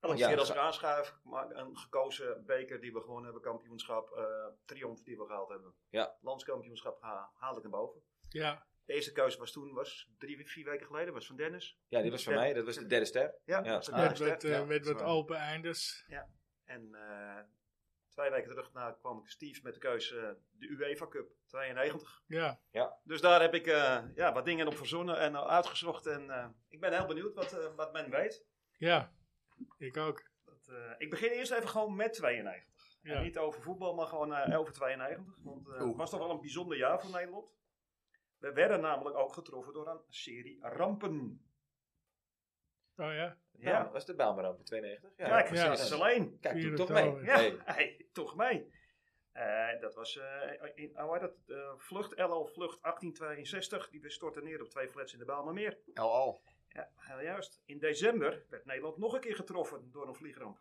C: Elke
A: Ja,
C: keer als
A: zo-
C: ik aanschuif, maar een gekozen beker die we gewonnen hebben, kampioenschap, eh triomf die we gehaald hebben.
A: Ja.
C: Landskampioenschap ha- haal ik hem boven.
B: Ja,
C: De eerste keuze was toen, was drie, vier weken geleden, was van Dennis.
A: ja, die was van mij, dat was de derde ster. Ja.
C: Ja, Ah, dat was de
B: met,
C: derde
B: wat,
C: ster.
B: eh,
D: ja,
B: met wat
D: zwaar.
B: open eindes.
C: En eh, twee weken terug na kwam Steve met de keuze eh, de UEFA Cup 92.
B: Ja,
C: Dus daar heb ik eh, ja, wat dingen op verzonnen en uitgezocht. En eh, ik ben heel benieuwd wat, eh, wat men weet.
B: ja. Ik ook.
C: Dat, eh, ik begin eerst even gewoon met 92. En
B: Ja.
C: Niet over voetbal, maar gewoon eh, over 92. Want eh, het
D: Oeh.
C: was toch wel een bijzonder jaar voor Nederland. We werden namelijk ook getroffen door een serie rampen.
B: Oh ja.
A: Ja,
C: Ja.
A: dat was de Bijlmerramp in 92. Ja,
C: Kijk,
A: ja.
B: ja.
C: ze is alleen.
A: Kijk, doe
B: Vier
A: toch mee.
B: oktober.
C: Ja,
A: Hey.
C: hey, toch mee. Eh, dat was eh, in, hoe heet dat, Eh, vlucht LO Vlucht 1862. Die stortte neer op twee flats in de Bijlmermeer.
D: El al.
C: Ja, heel juist. In december werd Nederland nog een keer getroffen door een vliegramp.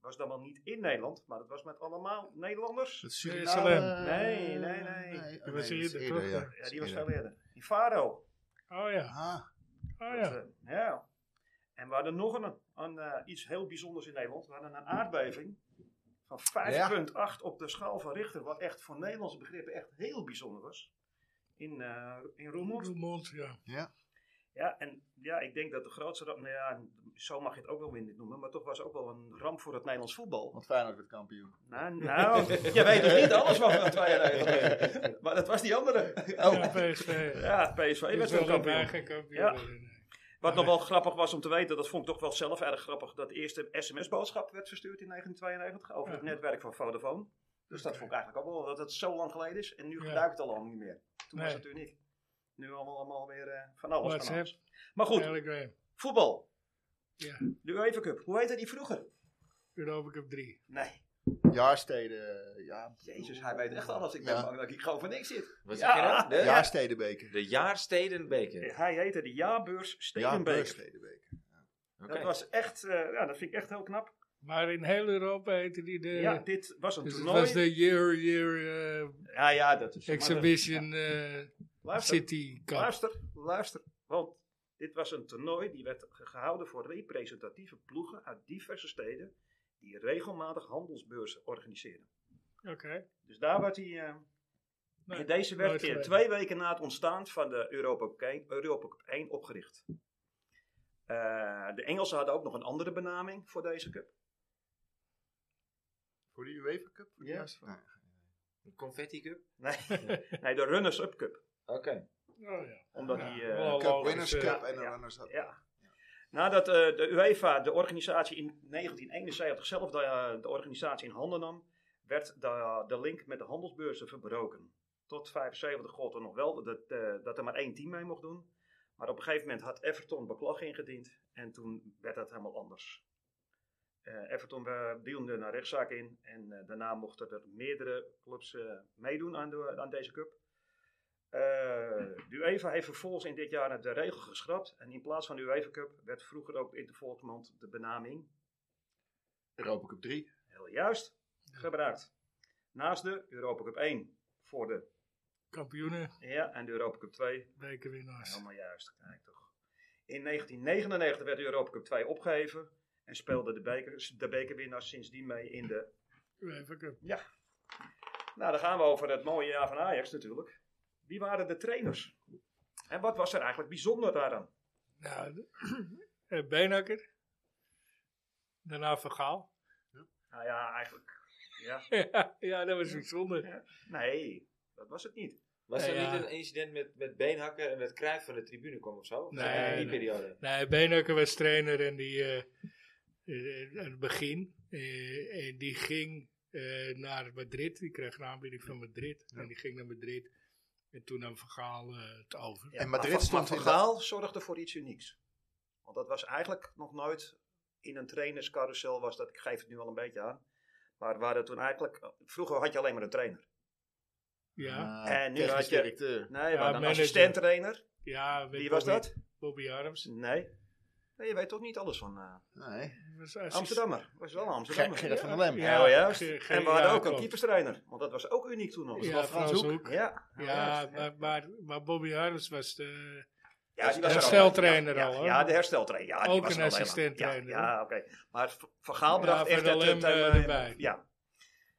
C: was dan wel niet in Nederland, maar dat was met allemaal Nederlanders.
H: Dus
D: Het
B: Jeruzalem.
C: Nee, nee, nee.
D: nee.
B: Dat was
D: nee, dat
B: eerder,
D: is eerder,
B: toch?
D: ja.
C: Ja,
D: Dat
C: die was
D: is
C: veel
D: eerder.
C: eerder. Die Faro.
B: Oh ja.
D: Ah,
B: Oh
C: Dat,
B: ja.
C: eh, ja. En we hadden nog een, een, eh, iets heel bijzonders in Nederland. We hadden een aardbeving van 5,8 op de schaal van Richter. Wat echt voor Nederlandse begrippen echt heel bijzonder was. In, eh in Roermond.
B: Roermond, ja.
C: Ja, en ja, ik denk dat de grootste ramp, nou ja, zo mag je het ook wel weer niet noemen, maar toch was ook wel een ramp voor het Nederlands voetbal.
D: want Feyenoord werd kampioen.
C: Nou, nou je weet dus niet alles wat we aan twee jaar geleden deden. Maar dat was die andere.
B: Ja, PSV.
C: Oh. Ja, PSV
B: Ik wil
C: werd wel
B: dat
C: kampioen.
B: eigen kampioen
C: Ja.
B: worden, nee.
C: Wat nog wel grappig was om te weten, dat vond ik toch wel zelf erg grappig, dat de eerste sms-boodschap werd verstuurd in 1992 over het
B: Ja.
C: netwerk van Vodafone. Dus dat
B: Oké.
C: vond ik eigenlijk ook wel, dat het zo lang geleden is en nu
B: Ja.
C: gebruikt het al lang niet meer. Toen was
B: Nee.
C: het uniek. Nu allemaal, allemaal weer eh, van alles. Van
B: WhatsApp.
C: alles. Maar goed,
B: Telegram.
C: voetbal.
B: Ja.
C: De UEFA Cup. Hoe heette die vroeger?
B: Europa Cup 3.
C: Nee.
D: Jaarsteden, eh, ja.
C: Jezus, hij weet echt alles. Ik ben
D: Ja.
C: bang dat ik gewoon voor niks zit.
A: Wat
C: Ja.
A: zeg je nou? De,
D: Jaarstedenbeker.
A: de jaarstedenbeker.
C: Hij heette de Jaarbeurs Stedenbeek.
D: Jaarstedenbeker.
A: Oké.
C: dat was echt, eh, ja, dat vind ik echt heel knap.
B: Maar in heel Europa heette die de...
C: ja, dit was een
B: dus het
C: toernooi.
B: was de Year Year eh,
C: Ja, ja, dat is. maar dat-
B: Exhibition eh,
C: Luister,
B: City Cup.
C: luister, luister. Want dit was een toernooi die werd ge- gehouden voor representatieve ploegen uit diverse steden. Die regelmatig handelsbeurzen organiseren.
B: Oké.
C: Dus daar werd hij. eh,
B: Nee,
C: in deze werd
B: nooit
C: keer
B: geweest.
C: twee weken na het ontstaan van de Europa Cup 1, Europa Cup 1 opgericht. Eh, de Engelsen hadden ook nog een andere benaming voor deze cup.
D: Voor de UEFA Cup? Voor de
C: Ja.
D: jaarsteden? Nee.
A: Confetti cup?
C: Nee, nee de Runners-Up Cup.
A: Oké.
B: Oh ja.
C: Omdat
B: Ja,
C: die, eh,
B: wel
D: Cup,
B: logisch,
D: Winners
B: eh,
D: Cup en de
C: ja.
D: Runners Up.
C: Ja. Nadat eh, de UEFA, de organisatie in 1971 zelf de, eh, de organisatie in handen nam, werd de, de link met de handelsbeurzen verbroken. Tot 75 gold er nog wel dat, eh, dat er maar één team mee mocht doen. Maar op een gegeven moment had Everton beklag ingediend en toen werd dat helemaal anders. Eh, Everton eh, diende naar rechtszaak in en eh, daarna mochten er meerdere clubs eh, meedoen aan, de, aan deze cup. Eh, de UEFA heeft vervolgens in dit jaar de regel geschrapt. En in plaats van de UEFA Cup werd vroeger ook in de volksmond de benaming,
D: Europa Cup 3.
C: heel juist, gebruikt. Naast de Europa Cup 1 voor de,
B: Kampioenen,
C: ja, en de Europa Cup 2
B: bekerwinnaars.
C: Helemaal juist, kijk toch. In 1999 werd de Europa Cup 2 opgeheven en speelden de, beker, de bekerwinnaars sindsdien mee in de...
B: UEFA Cup.
C: Nou, dan gaan we over het mooie jaar van Ajax natuurlijk. Wie waren de trainers? En wat was er eigenlijk bijzonder daaraan?
B: Nou, eh, Beenhakker. Daarna Van Gaal.
C: Nou ja, eigenlijk... Ja,
B: ja, dat was bijzonder.
C: nee, dat was het niet.
A: Was
B: Nou
A: er
B: ja.
A: niet een incident met, met Beenhakker en dat Cruijff van de tribune kwam of zo? Of
B: Nee,
A: zat het in die
B: nee.
A: periode.
B: Nee, Beenhakker was trainer en die, eh, eh, aan het begin, eh, en die ging eh, naar Madrid. Die kreeg een aanbieding van Madrid en die ging naar Madrid. En toen nam Vergaal het over.
C: Ja,
D: En
C: maar
D: Madrid
C: Van-
D: stond
C: maar Van
D: in
C: Gaal zorgde voor iets unieks. Want dat was eigenlijk nog nooit in een trainerscarousel was dat. Ik geef het nu al een beetje aan. Maar we hadden toen eigenlijk... Vroeger had je alleen maar een trainer.
B: Ja,
D: Ah,
C: En nu
D: technisch
C: had je-
D: directeur.
C: Nee, we hadden een
B: manager.
C: assistent trainer.
B: ja met
C: Wie was
B: Bobby-
C: dat?
B: Bobby Arms.
C: Nee. nee. Je weet toch niet alles van eh,
D: Nee.
B: Was assist-
C: Amsterdammer. Was wel een
D: Ger-
C: Amsterdammer.
D: Gerrit van der Lem.
B: Ja.
C: Ja, juist.
B: Ge- ge-
C: en we hadden
B: ja,
C: ook een
B: klopt.
C: keeperstrainer. Want dat was ook uniek toen nog.
B: Ja, Frans Hoek.
C: Ja,
B: Ja,
C: juist.
B: maar, maar, maar Bobby Arms was de...
C: Ja, die was er al.
B: Hersteltrainer
C: ja,
B: al,
C: ja,
B: hoor.
C: Ja, de hersteltrainer. Ja, die
B: Ook
C: was
B: een
C: er al helemaal.
B: assistenttrainer,
C: Ja, ja oké. Maar V- Van Gaal
B: Ja,
C: bracht
B: Van
C: echt
B: der
C: het-
B: Lem,
C: het-
B: eh,
C: eh,
B: erbij.
C: Ja.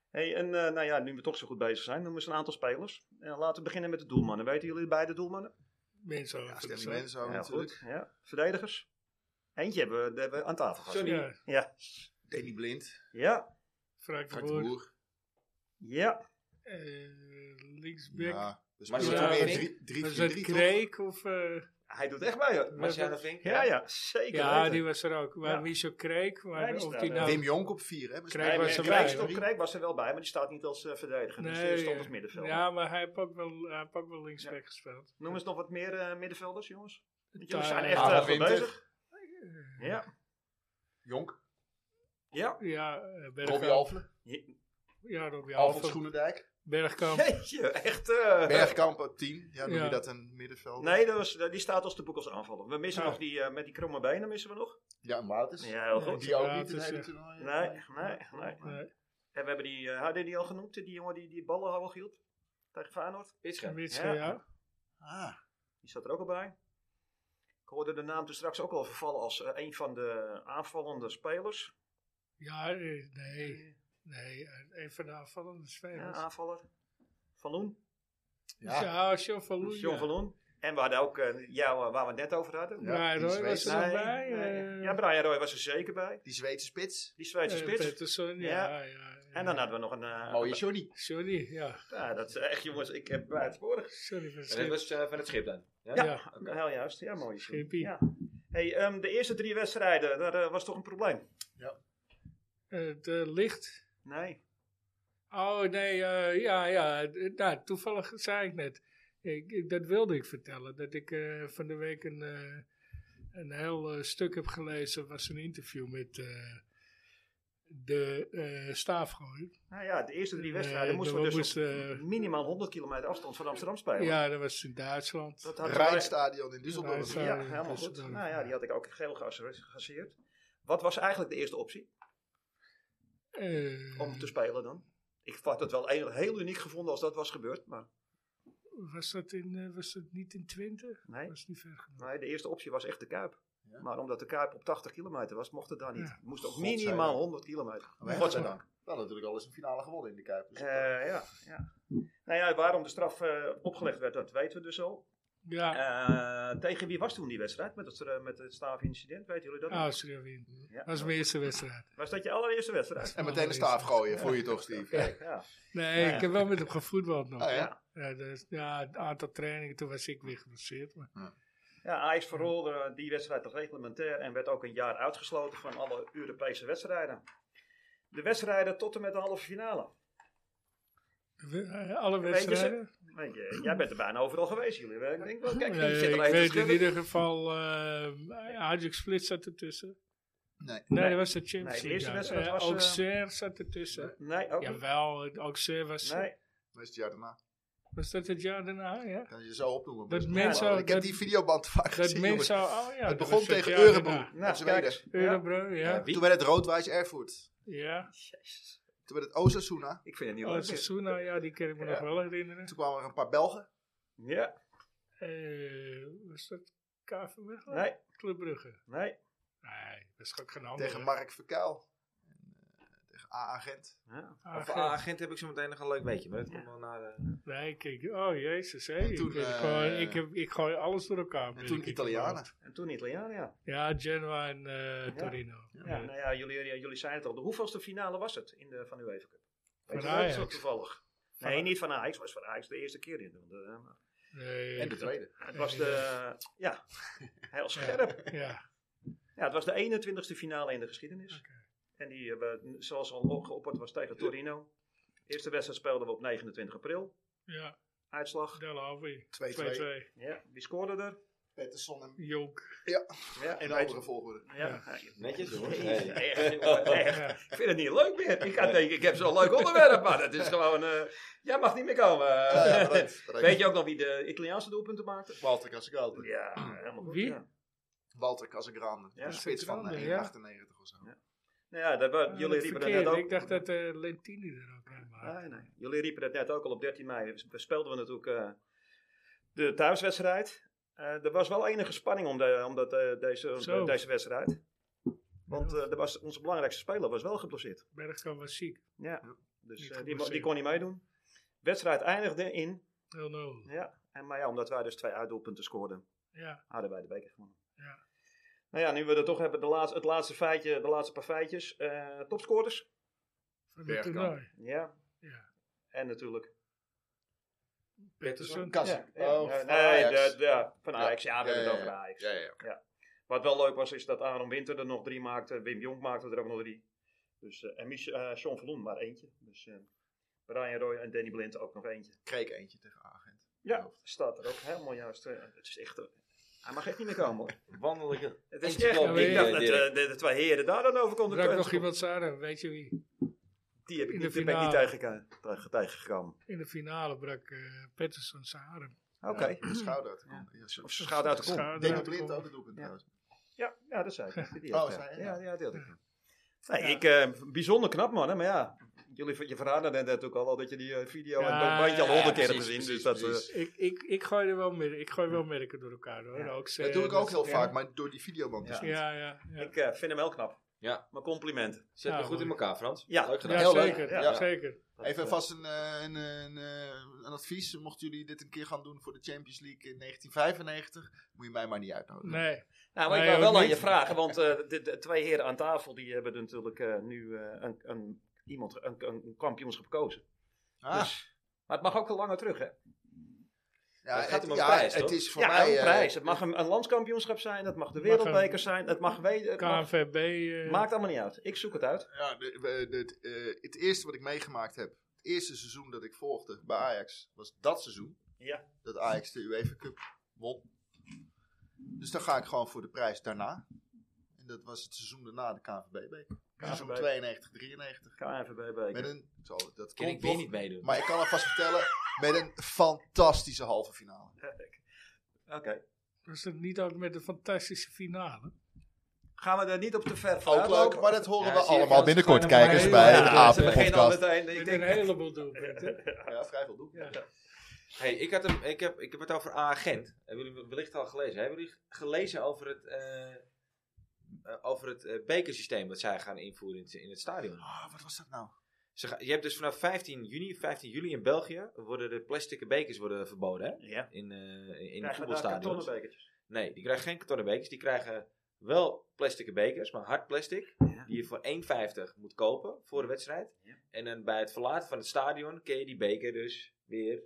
C: Hey, en eh, nou ja, nu we toch zo goed bezig zijn, noemen ze een aantal spelers. En laten we beginnen met de doelmannen. Weten jullie beide doelmannen?
B: Mensen
D: Ja,
B: over de
D: Stanley
B: zon.
D: Menzo
C: ja,
D: natuurlijk.
C: goed. Ja. Verdedigers? Eentje hebben we, die hebben we aan tafel gehad.
A: Johnny.
B: Ja,
C: Ja.
D: Danny Blind.
C: Ja.
B: Frank de
D: Frank de
B: Boer.
D: Boer.
C: Ja.
B: eh, Linksback.
D: Ja. We
A: Maar
D: spelen
B: ja,
D: toen
B: dat-
D: weer
B: was dat
D: 3-4-3 toch?
B: Kreek of... eh,
C: Hij doet echt bij hoor.
A: Marciano Vink?
C: Ja, ja. Zeker
B: ja,
C: weten.
B: die was er ook. Maar
C: Ja.
B: Michel Kreek, maar
C: Nee, die
B: of
C: staat
B: die
C: er.
B: nou...
D: Wim Jonk op 4 hè? We
B: Kreeg
D: spelen
B: was
D: met
B: er
D: drie-
B: bij,
C: Krijk,
B: hoor.
C: stond, Krijk was er wel bij, maar die staat niet als eh, verdediger. dus die stond als middenvelder.
B: ja, maar hij heeft ook wel, hij heeft ook wel linksback gespeeld.
C: Noem eens nog wat meer eh, middenvelders, jongens. Want
B: Daar-
C: jullie zijn echt
D: Karel
C: eh, goed
D: Winter.
C: bezig. Ja.
D: Jonk.
C: Ja.
B: Ja, eh,
D: Robbie
B: Bergkamp.
D: Alfle.
C: Je-
B: Ja, Robbie
D: Alfons
B: Alphen.
D: Groenendijk.
B: Bergkamp.
C: Jeetje, echt. eh,
D: Bergkamp op 10. Ja, noem
B: Ja.
D: je dat een middenveld?
C: Nee, dat was, eh, die staat als de boek als aanvaller. We missen
B: Ja.
C: nog die, eh, met die kromme benen missen we nog.
D: Ja, en Wouters.
C: Ja, heel
B: Nee.
C: goed.
D: Die ook
B: Ja,
D: niet
B: het
D: het
B: is,
D: hele
B: eh,
D: toernooi.
C: Nee, nee, nee.
B: Nee.
C: En we hebben die, eh, hadden die al genoemd, die jongen die die ballen hoog hield tegen Feyenoord.
B: En
A: Pitschke.
B: Witsche, ja.
D: Ah,
C: Die staat er ook al bij. Ik hoorde de naam toen straks ook al vervallen als eh, een van de aanvallende spelers.
B: Ja, eh, nee. Nee, eh, een van de aanvallende
C: Ja,
B: spelers.
C: aanvaller. Van Loen.
D: ja.
B: Ja, Sean van Loen.
C: John
B: ja.
C: van Loen. En we hadden ook eh, jou eh, waar we het net over hadden.
D: Ja,
B: Brian
D: die
B: Roy was er
D: Zweedse.
B: nog bij. eh,
C: Ja, Brian Roy was er zeker bij.
D: Die Zweedse spits.
C: Die Zweedse
B: eh,
C: spits.
B: Pettersson, ja. ja.
C: En dan hadden we nog een... eh,
D: Mooie Oh, Johnny.
B: Johnny, ja.
C: Ja, dat is echt jongens, ik heb buitensporig.
B: Sorry voor
A: Dat
B: het
A: was eh, van het schip dan. Ja.
B: Ja.
C: Heel juist, ja mooi. Sjoerd.
B: Schimpie.
C: Ja. Hey, ehm, de eerste drie wedstrijden, dat eh, was toch een probleem?
B: Het eh, licht.
C: Nee.
B: Oh, nee, eh, ja, ja. d- Nou, toevallig zei ik net. Ik, ik- dat wilde ik vertellen. Dat ik eh, van de week een, eh, een heel eh, stuk heb gelezen. was een interview met eh, de eh staafgooier.
C: Nou ja, de eerste drie
B: Nee,
C: wedstrijden moesten we
B: dan
C: dus
B: moesten,
C: op
B: eh,
C: minimaal 100 kilometer afstand van Amsterdam spelen.
B: Ja, dat was in Duitsland.
C: dat hadden wij-
D: Rijnstadion in Düsseldorf.
B: Rijnstadion.
C: Ja,
B: Ja,
C: helemaal
B: dus
C: goed.
B: dan-
C: Nou ja, die had ik ook geel geasse- geasseerd. Wat was eigenlijk de eerste optie
B: Eh,
C: om te spelen dan? Ik had het wel heel, heel uniek gevonden als dat was gebeurd, maar
B: was, dat in, eh, was dat niet in Twente?
C: nee.
B: was niet ver genoeg.
C: nee de eerste optie was echt de Kuip.
D: Ja.
C: Maar omdat de Kuip op 80 kilometer was, mocht het daar niet.
B: Ja.
C: Het moest op
D: Godzijdank. Oh,
C: minimaal 100 kilometer.
D: Maar
C: Godzijdank.
D: Godzijdank. Wel natuurlijk al eens een finale gewonnen in de Kuip. Dus dat-
C: Eh, ja, ja. Nou ja, waarom de straf eh, opgelegd werd, dat weten we dus al.
B: Ja,
C: Eh, tegen wie was toen die wedstrijd met het, eh, met het staafincident? Weten jullie dat? nog?
D: Nou,
B: ah, Sriwin.
C: Ja.
B: Dat was mijn eerste wedstrijd.
C: Was dat je allereerste wedstrijd?
D: En meteen de staaf gooien, voel je toch, Steve? Ja.
C: Ja.
B: Nee,
C: Ja.
B: ik heb wel met hem gevoetbald nog.
D: Oh, ja.
C: Ja.
B: Ja, dus, ja, een aantal trainingen, toen was ik weer geblesseerd. Maar
C: ja, Ajax verrolde die wedstrijd als reglementair en werd ook een jaar uitgesloten van alle Europese wedstrijden. De wedstrijden tot en met de halve finale.
B: we- eh, alle
C: Weet je ze-
B: wedstrijden?
C: Weet je, jij bent er bijna overal geweest, jullie. Ik denk wel, kijk,
B: Nee,
C: die zit er
B: ik
C: even te
B: weet in
C: schudden.
B: ieder geval, eh Ajax Split zat ertussen.
D: Nee.
B: Nee,
C: Nee.
B: dat was de Champions
C: Nee, de eerste
B: League, ja.
C: wedstrijd
B: Eh,
C: was, eh,
B: Auxerre zat ertussen.
C: Nee, ook niet.
B: Jawel, eh, Auxerre was...
C: Nee,
D: Dat is het jaar daarna.
B: Was dat het jaar daarna, ja?
D: Kan je zo opnoemen.
B: Dat
D: maar is
B: mensen-
D: normaal. Ik heb
B: dat-
D: die videoband vaak
B: Dat
D: gezien, jongens.
B: mensen... Oh, ja,
D: Het
B: dat
D: begon
B: was
D: tegen
B: jaar
D: Eurebro.
B: daarna.
C: nou,
D: Zweden.
C: kijk eens. Ja.
B: Eurebro, ja.
D: Toen werd het Roodwijs Erfurt.
B: Ja.
C: Jezus.
D: Toen werd het Osasuna.
C: Ik vind het niet
B: Oh,
C: leuk.
B: Sasuna, ja, die kan ik me
D: Ja.
B: nog wel herinneren.
D: Toen kwamen er een paar Belgen.
C: Ja,
B: Eh, was dat KV Mechelen?
C: nee,
B: Club Brugge.
C: nee.
B: Nee, dat is ook geen ander.
D: Tegen Mark Verkuil. En, eh, Tegen A-agent.
C: Ja.
B: Ah,
A: Over agent heb ik zo meteen nog een leuk weetje, maar dat komt wel naar de...
B: Nee, kijk, oh jezus, hé.
D: En
B: Ik,
D: toen,
B: ben
D: eh,
B: gewoon- ik, heb, ik gooi alles door elkaar. ben
D: En toen
B: ik in
D: Italianen.
B: verband.
C: En toen Italiaan, ja.
B: Ja, Genoa en eh, Torino. Ja.
C: Ja, nou ja, jullie, ja, jullie zeiden het al. De hoeveelste finale was het in de, van de UEFA Cup?
B: Van
C: Weet je, dat is
B: Ajax.
C: ook toevallig.
B: Van
C: Nee,
B: Ajax.
C: niet van Ajax. Het was van Ajax de eerste keer in. De, maar
B: Nee,
D: En de tweede.
C: het was de... Ja, heel scherp.
B: Ja,
C: Ja, het was de 21ste finale in de geschiedenis. En die hebben, zoals al opgeopperd, was tegen Torino. De eerste wedstrijd speelden we op 29 april.
B: ja,
C: Uitslag.
B: Del Alvi.
D: 2-2.
B: 2-2.
C: Ja, wie scoorde er?
D: Pettersson en
B: Jonk.
C: Ja,
D: in
C: weet-
D: andere volgorde.
C: Ja. ja.
A: Netjes, jongens.
C: Jezus,
A: Hey.
C: echt, jongen, echt. Ik vind het niet leuk meer. Ik ga denken, ik heb zo'n leuk onderwerp, maar dat is gewoon... eh, jij mag niet meer komen.
D: Ja, ja, bedankt, bedankt.
C: Weet je ook nog wie de Italiaanse doelpunten maakte?
D: Walter Casagrande.
C: Ja, helemaal goed.
B: Wie?
C: Ja.
D: Walter Casagrande.
C: Ja,
D: de spits van eh,
B: Casagrande, ja.
D: 1,98 of zo.
C: Nou ja, dat, wa-
B: Ah,
C: jullie
B: dat
C: riepen dat
B: verkeerde.
C: net ook.
B: Ik dacht dat eh, Lentini er ook aan was.
C: Nee, Ah, nee. Jullie riepen dat net ook al op 13 mei. We speelden we natuurlijk eh, de thuiswedstrijd. Eh, er was wel enige spanning om, de, om dat, eh, deze,
B: Zo.
C: deze wedstrijd. Want eh, er was, onze belangrijkste speler was wel geblesseerd.
B: Bergkamp was ziek.
C: Ja,
B: Niet
C: dus eh, die, mo-
B: geblesseerd.
C: die kon niet meedoen. Wedstrijd eindigde in.
B: 0-0.
C: Ja, en, maar ja, omdat wij dus twee uitdoelpunten scoorden,
B: Ja,
C: hadden wij de beker gewonnen.
B: Ja.
C: Nou ja, nu we er toch hebben, de laatste, het laatste feitje, de laatste paar feitjes. Eh, topscorers.
B: van het
D: Bergkamp.
B: toernooi.
C: Ja.
B: Ja.
C: En natuurlijk.
B: Pettersson.
D: Kassa.
C: ja,
D: Oh,
C: ja,
D: van
B: nou,
C: nee,
D: Ajax.
C: de- de- ja, van Ajax. Ja, we hebben het
D: ja,
C: over Ajax.
D: Ja, ja, ja.
C: Wat wel leuk was, is dat Aaron Winter er nog drie maakte. Wim Jong maakte er ook nog drie. Dus, eh, en Mich- eh, Sean Verloen maar eentje. Dus eh, Brian Roy en Danny Blind ook nog eentje.
D: Kreeg eentje tegen A-agent.
C: Ja, staat er ook helemaal juist. eh, Het is echt. eh, hij mag echt niet meer komen hoor.
A: Wandelijke...
C: Het is echt.
A: Eentje klopt,
C: Ik dacht dat
A: eh, Dirk.
C: eh, de, de twee heren daar dan over konden
B: Er ook nog
C: praten.
B: iemand aan, weet je wie?
C: Die heb ik
B: In
C: niet,
B: de
C: die ben ik niet
B: finale.
C: tegen, tegen, tegengekomen.
B: In de finale brak eh Patterson zijn arm.
C: Oké.
H: De schouder. uit de kom. Ja,
C: Of ze schouder uit de kom.
B: Schouder
H: Deen
B: uit
H: op
B: de
H: Blind
B: kom.
H: ook het doelpunt trouwens.
C: Ja, ja, dat zei ik. Die
H: Oh,
C: had,
H: zei
C: eh,
H: je?
C: ja, ja, die had ik. Nee, ik, eh, bijzonder knap man, hè, maar ja. Jullie, je verraadde net natuurlijk al, al dat je die eh, video en
B: Ja,
C: dat bandje al
B: ja,
C: honderd keer hebt
A: precies,
C: gezien.
A: precies,
C: Dus dat, eh,
A: precies.
B: Ik, ik, ik gooi er wel, mer- ik gooi wel merken door elkaar hoor.
C: Ja.
B: Ook ze-
H: Dat doe ik ook heel
B: ja.
H: vaak, maar door die videoband is
C: Ja.
H: niet.
B: Ja, ja, ja.
C: ik eh, vind hem heel knap.
A: Ja.
C: Mijn complimenten.
A: Zet me
B: Ja,
A: goed in
B: mooi.
A: elkaar, Frans.
C: Ja.
A: Leuk gedaan.
B: Ja,
H: Heel leuk.
B: zeker.
C: Ja.
B: ja, zeker.
H: Even vast een, eh, een, een, eh, een advies. Mochten jullie dit een keer gaan doen voor de Champions League in 1995, moet je mij maar niet uitnodigen.
B: Nee.
C: Nou, maar
B: Nee,
C: ik wou
B: ook
C: wel aan je
B: niet.
C: vragen, want eh, de, de twee heren aan tafel die hebben natuurlijk eh, nu eh, een, een, iemand, een, een kampioenschap gekozen.
H: Ah,
C: Dus, maar het mag ook al langer terug, hè?
H: ja,
A: het gaat om een
H: ja,
A: prijs,
H: het
A: toch?
H: is voor
C: ja,
H: mij...
C: een
H: eh,
C: prijs. Het mag een, een landskampioenschap zijn, het mag de
B: Het mag
C: wereldbeker
B: een-
C: zijn, het mag... we- het mag-
B: KNVB. eh,
C: maakt allemaal niet uit. Ik zoek het uit.
H: Ja, de, we- de- het, eh, het eerste wat ik meegemaakt heb, het eerste seizoen dat ik volgde bij Ajax, was dat seizoen.
C: Ja.
H: Dat Ajax de UEFA Cup won. Dus dan ga ik gewoon voor de prijs daarna. En dat was het seizoen daarna, de KNVB-beker. Seizoen 92, 93. Met
C: KNVB-beker.
H: een, zo, dat
A: Kan ik
H: komt
A: weer
H: toch,
A: niet meedoen.
H: maar ik kan alvast vertellen, met een fantastische halve finale.
C: Oké.
B: Was dat niet ook met een fantastische finale?
C: Gaan we daar niet op te ver
H: Ook
C: vooruitlopen?
H: leuk, maar dat horen
A: Ja,
H: we
A: zie je,
H: allemaal
A: Frans,
H: binnenkort,
A: het gaat
H: kijkers,
A: helemaal
H: bij
A: niet
H: de
A: uit.
C: Ze beginnen al
H: Apenpodcast.
C: meteen. Ik
B: Met
C: denk,
B: een heleboel doelpunten.
H: Ja, vrij veel doelpunten.
B: Ja.
A: Hey, ik, had hem, ik, heb, ik heb het over A-agent. Hebben jullie wellicht al gelezen? Hebben jullie gelezen over het, eh, eh, over het eh, bekersysteem dat zij gaan invoeren in het, in het stadion?
H: Ah, wat was dat nou?
A: Ze ga- je hebt dus vanaf 15 juni, 15 juli in België, worden de plastic bekers worden verboden hè?
C: Ja.
A: in, eh, in- in de
C: Krijgen we daar
A: voetbalstadions.
C: kartonnen bekertjes?
A: Nee, die krijgen geen kartonnen bekers. Die krijgen wel plastic bekers, maar hard plastic.
C: Ja.
A: Die je voor 1,50 moet kopen voor de wedstrijd.
C: Ja.
A: En dan bij het verlaten van het stadion kun je die beker dus weer in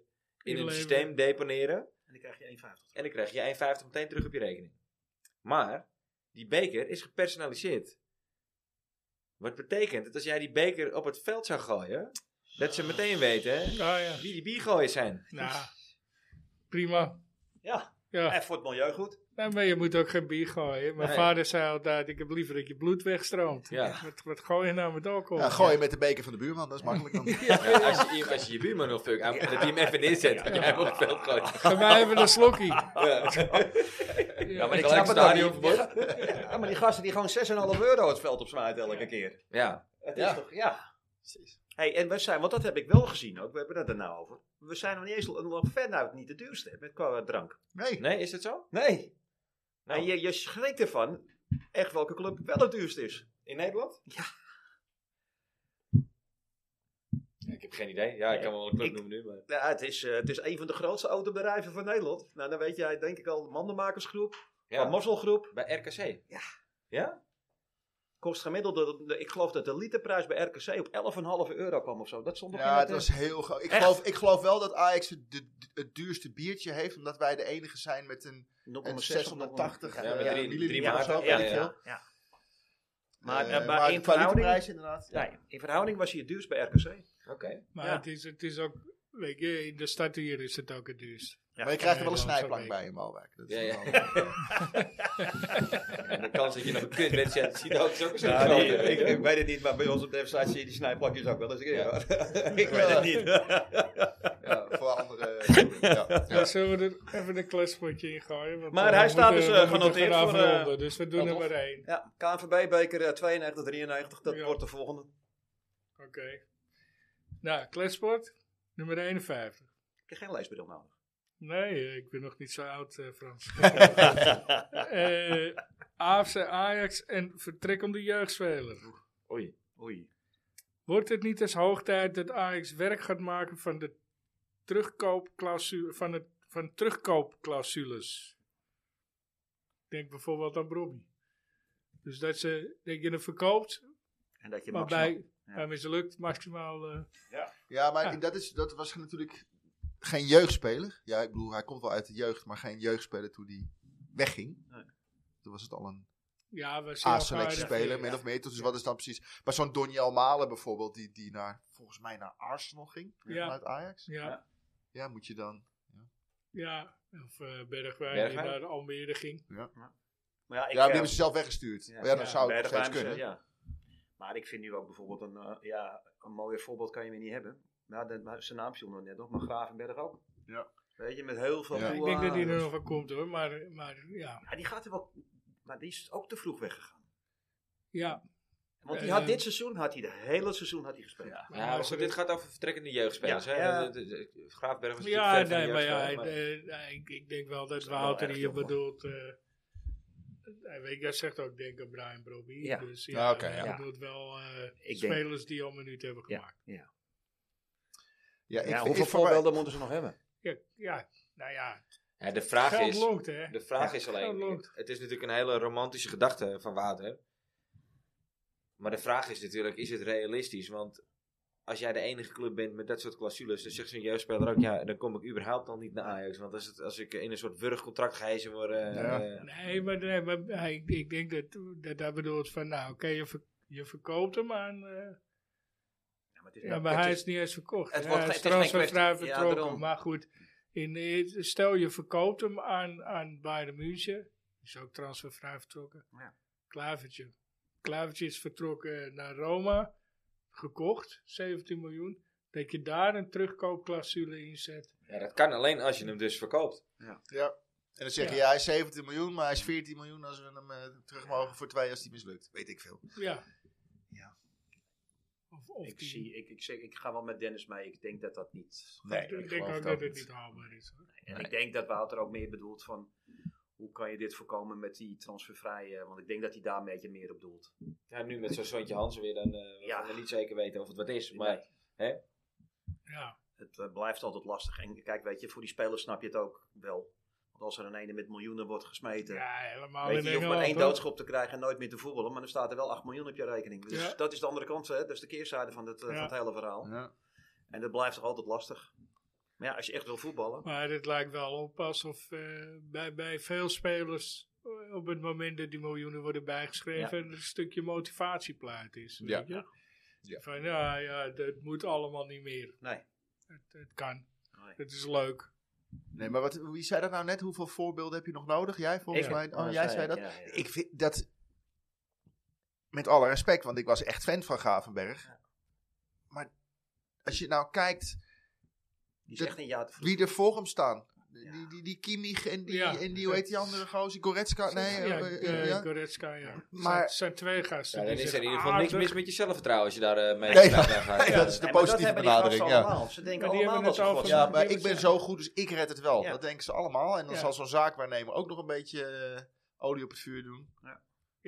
A: een
B: Inleveren.
A: systeem deponeren.
C: En dan krijg je 1,50.
A: En dan krijg je 1,50 meteen terug op je rekening. Maar die beker is gepersonaliseerd. Wat betekent dat als jij die beker op het veld zou gooien, dat ze meteen weten
B: Nou ja.
A: wie die biergooiers zijn.
B: Nou, prima.
C: Ja.
B: Ja.
C: En voor het milieu goed.
B: Nee, maar je moet ook geen bier gooien. Mijn
A: Nee.
B: vader zei altijd, ik heb liever dat je bloed wegstroomt.
A: Ja.
B: Wat, wat gooi je nou met alcohol?
H: Ja, gooi je met de beker van de buurman, dat is makkelijk dan.
A: Ja, als, je, als je je buurman wil fucken, dat hij hem even inzet. Dat jij hem op het veld gooit.
B: Ga mij even een slokkie.
A: Ja, ja maar ik
C: snap
A: snap
C: het
A: het
C: ook
A: stadion
C: niet.
A: verboden.
C: Ja, maar die gasten die gewoon 6,5 euro het veld op smijten elke keer.
A: Ja,
C: Het
H: Ja.
C: is toch, ja. Hey, en we zijn, want dat heb ik wel gezien ook, we hebben het er nou over. We zijn nog niet eens nog veruit niet de duurste hè, met qua drank.
H: Nee,
A: nee, is dat zo?
C: Nee.
A: Nou.
C: En je, je schrikt ervan echt welke club wel het duurst is.
A: In Nederland?
C: Ja.
A: Ja, Ik heb geen idee. Ja, ik kan wel een club
C: Ik-
A: noemen nu, maar...
C: Ja, het, is, eh, het is een van de grootste autobedrijven van Nederland. Nou, dan weet jij denk ik al, de Mandenmakersgroep,
A: Ja,
C: ja. Mosselgroep.
A: bij RKC.
C: Ja.
A: Ja?
C: Kost gemiddeld, de- de- ik geloof dat de literprijs bij RKC op 11,5 euro kwam of zo. Dat stond nog in
H: Ja,
C: het,
H: het was
C: eh,
H: heel groot. Ik
C: Echt?
H: geloof, ik geloof wel dat Ajax het, de- het duurste biertje heeft, omdat wij de enige zijn met een,
C: 0,6
H: een
C: of
H: 680
C: 0,1.
A: Ja,
H: eh,
A: met drie-
H: milliliter
A: drie
H: of zo,
A: maten.
H: weet
A: Ja,
H: ik
A: ja.
H: veel.
C: Ja. Maar,
H: Eh,
C: eh, maar in
H: de kwaliteitsprijs
C: verhouding-
H: inderdaad. Ja.
C: Nee, in verhouding was hij het duurst bij RKC.
A: Oké.
B: Maar
C: Ja.
B: het, is, het is ook, weet je, in de stad hier is het ook het duurst.
H: Maar je krijgt er wel een
B: Nee, dat is
H: snijplank
B: oké.
H: bij in Malwijk. Dat is
A: Ja, ja.
H: wel-
A: En de kans dat je nog een kutwedstrijd ziet ook is ook een stuk
C: Ja, die-
A: groter.
C: ik, ik weet het niet, maar bij ons op de website zie je die snijplakjes ook wel eens. een keer, hoor. ik weet het niet.
H: Ja, voor andere... Ja.
B: Ja. zullen we er even een klaspotje in gooien? Want,
C: Maar
B: eh, we
C: hij staat
B: moeten-
C: dus, eh,
B: we moeten
C: genoteerd
B: gaan
C: voor, eh,
B: afronden, Dus we doen er
C: Adolf.
B: maar één.
C: ja, KNVB-beker eh, 92, 93, dat
B: Ja.
C: wordt de volgende.
B: Oké. Nou, kletsport, nummer 51.
C: Ik heb geen leesbril nodig.
B: Nee, eh, ik ben nog niet zo oud, eh, Frans. Eh, AFC Ajax en vertrekkende jeugdspeler.
A: Oei.
C: Oei.
B: Wordt het niet eens hoog tijd dat Ajax werk gaat maken van de terugkoopclausule, van het, van terugkoopclausules? Denk bijvoorbeeld aan Bobby. Dus dat ze, dat je hem verkoopt,
C: En dat je
B: maar
C: maximaal-
B: bij, bij mislukt maximaal. eh,
H: Ja, maar
B: Ja.
H: Dat, is, dat was natuurlijk geen jeugdspeler. Ja, ik bedoel, hij komt wel uit de jeugd, maar geen jeugdspeler toen hij wegging.
C: Nee.
H: Toen was het al een
B: ja, we zijn eh,
H: A-selectie
B: al
H: speler,
B: geaardigd.
H: min of meer. Dus wat is dan precies... Maar zo'n Donjel Malen bijvoorbeeld, die, die naar, volgens mij naar Arsenal ging,
B: Ja.
H: vanuit Ajax.
B: Ja,
H: Ja, moet je dan...
B: ja. Of eh, Bergwijn, die
A: Bergwijn?
B: naar Almere ging.
C: Maar ja, ik,
H: ja, maar die
C: eh,
H: hebben ze zelf weggestuurd.
C: ja.
H: Maar ja, dan
B: Ja,
H: zou het
C: bij
H: nog
C: de
H: steeds
C: Rijnse,
H: kunnen.
C: Ja. Maar ik vind nu ook bijvoorbeeld een, eh, ja, een mooier voorbeeld kan je meer niet hebben. Maar, de, maar zijn naam stond er net nog, maar Gravenberg ook.
D: Ja.
C: Weet je, met heel veel...
G: Ja.
B: Ik denk dat die er
C: hoeahs.
B: nog van komt hoor, maar, maar ja.
C: Ja, die gaat er wel... Maar die is ook te vroeg weggegaan.
B: Ja,
C: Want die
B: Eh,
C: had dit seizoen, had hij de hele seizoen had hij gespeeld.
A: Ja,
B: maar
A: maar
B: als
A: goed,
B: er-
A: dit gaat over vertrekkende jeugdspelers.
C: Ja.
A: hè?
C: Ja.
A: De- de- de- Graafberg was
B: ja
A: natuurlijk ver
B: nee,
A: van
B: maar
A: de
B: ja,
A: jeugdspeler,
B: eh, nee, ik, ik denk wel dat
C: is wel
B: Wouter
C: erg
B: hier
C: jong, hoor.
B: bedoelt. eh, eh, weet je, jij zegt ook, denk aan Brian Brobby.
C: Ja.
B: Dus
D: Ah,
B: ja,
D: oké,
B: hij
C: ja.
B: bedoelt wel eh,
C: denk-
B: spelers die al minuten hebben
C: Ja.
B: gemaakt.
D: Ja, ik,
C: Ja,
D: ik,
C: hoeveel
D: voor mij-
C: voorbeelden moeten ze nog hebben?
B: Ja, ja nou ja,
A: maar- Ja, de vraag
B: geld
A: is...
B: longt, hè.
A: De vraag is alleen,
B: Geld
A: het,
B: longt.
A: het is natuurlijk een hele romantische gedachte van Wouter. Maar de vraag is natuurlijk, is het realistisch? Want als jij de enige club bent met dat soort clausules, dan zegt zo'n jeugdspeler ook, ja, dan kom ik überhaupt al niet naar Ajax. Want als, het, als ik in een soort wurgcontract gehezen word, eh,
D: Ja.
A: eh,
B: Nee, maar, nee, maar hij- ik, ik denk dat, dat hij bedoelt van, nou oké, je, ver- je verkoopt hem aan... eh,
C: Ja, maar het is-
B: Ja, maar
C: het
B: hij
C: is-
B: is niet eens verkocht.
C: het
B: hè.
C: wordt
B: hij
C: geen-
B: is
C: het is geen
B: transfervrij
C: kwestie- ja,
B: vertrokken.
C: daarom.
B: maar goed, in, in- stel je verkoopt hem aan, aan Bayern München. Is ook transfervrij vertrokken.
C: Ja.
B: Klavertje. Klavertje is vertrokken naar Roma. Gekocht, 17 miljoen. Dat je daar een terugkoopclausule in zet.
A: ja, dat kan alleen als je hem dus verkoopt.
D: Ja. En dan zeg je,
B: Ja.
D: ja, hij is 17 miljoen, maar hij is 14 miljoen als we hem eh, terug mogen voor twee als die mislukt. Weet ik veel.
B: Ja.
C: Ja.
B: Of, of
C: Ik,
B: die-
C: zie, ik, ik, zeg, ik ga wel met Dennis mee. Ik denk dat dat niet.
D: Nee,
B: ik denk ook dat het niet haalbaar is. hoor.
C: En ik denk dat Wouter ook meer bedoelt van. Hoe kan je dit voorkomen met die transfervrije? Want ik denk dat hij daar een beetje meer op doelt.
A: Ja, nu met zo'n Sontje Hansen weer, dan eh
C: Ja.
A: ja. we niet zeker weten of het wat is. Maar
B: Ja.
C: Het eh, blijft altijd lastig. En kijk, weet je, voor die spelers snap je het ook wel. Want als er een ene met miljoenen wordt gesmeten.
B: ja, helemaal
C: weet je,
B: in
C: je hoeft maar
B: Engeland.
C: één
B: hoor.
C: doodschop te krijgen en nooit meer te voetballen. Maar dan staat er wel 8 miljoen op je rekening. Dus
B: Ja.
C: dat is de andere kant, hè? Dat is de keerzijde van, het, eh,
B: Ja.
C: van het hele verhaal.
D: Ja.
C: En dat blijft toch altijd lastig. Maar ja, als je echt wil voetballen.
B: Maar het lijkt wel op alsof eh, bij, bij veel spelers eh, op het moment dat die miljoenen worden bijgeschreven, er een stukje motivatieplaat is.
D: Ja.
B: Weet je?
D: Ja.
B: Van ja, ja, dat moet allemaal niet meer.
C: Nee.
B: Het, het kan.
C: Nee.
B: Het is leuk.
D: Nee, maar wat, wie zei dat nou net? Hoeveel voorbeelden heb je nog nodig? Jij volgens
B: Ik.
D: mij? Oh,
C: Ja,
D: jij zei
C: ik,
D: dat?
C: ja, ja.
D: Ik vind dat... Met alle respect, want ik was echt fan van Gravenberg. Maar als je nou kijkt
C: Die
D: dat-
C: zegt een jaar te vroeg.
D: wie er voor hem staan.
C: Ja.
D: Die, die, die Kimmich en die,
B: Ja.
D: en die, hoe heet die andere gozer? Goretzka? Nee, eh,
B: ja,
D: eh,
B: eh,
D: ja.
B: Goretzka, ja. Maar,
D: Maar-
B: zijn, zijn twee gasten.
A: ja, dan
B: die
A: is er in
B: zeggen,
A: ieder geval niks
B: "Ah,
A: mis met je zelfvertrouwen als je daar eh mee
D: Nee,
A: nee, gaat.
D: nee,
A: Ja.
D: dat is de
C: Nee, maar
D: positieve
C: dat hebben die gasten
D: benadering. Ja.
C: allemaal. Ze denken
B: Maar die
C: allemaal
B: hebben
C: dat
B: het
C: ze
B: over-
C: God
D: Ja,
C: zijn.
D: maar ik ben zo goed, dus ik red het wel.
C: Ja.
D: Dat denken ze allemaal. En dan
B: Ja.
D: zal zo'n zaakwaarnemer ook nog een beetje eh, olie op het vuur doen.
B: ja,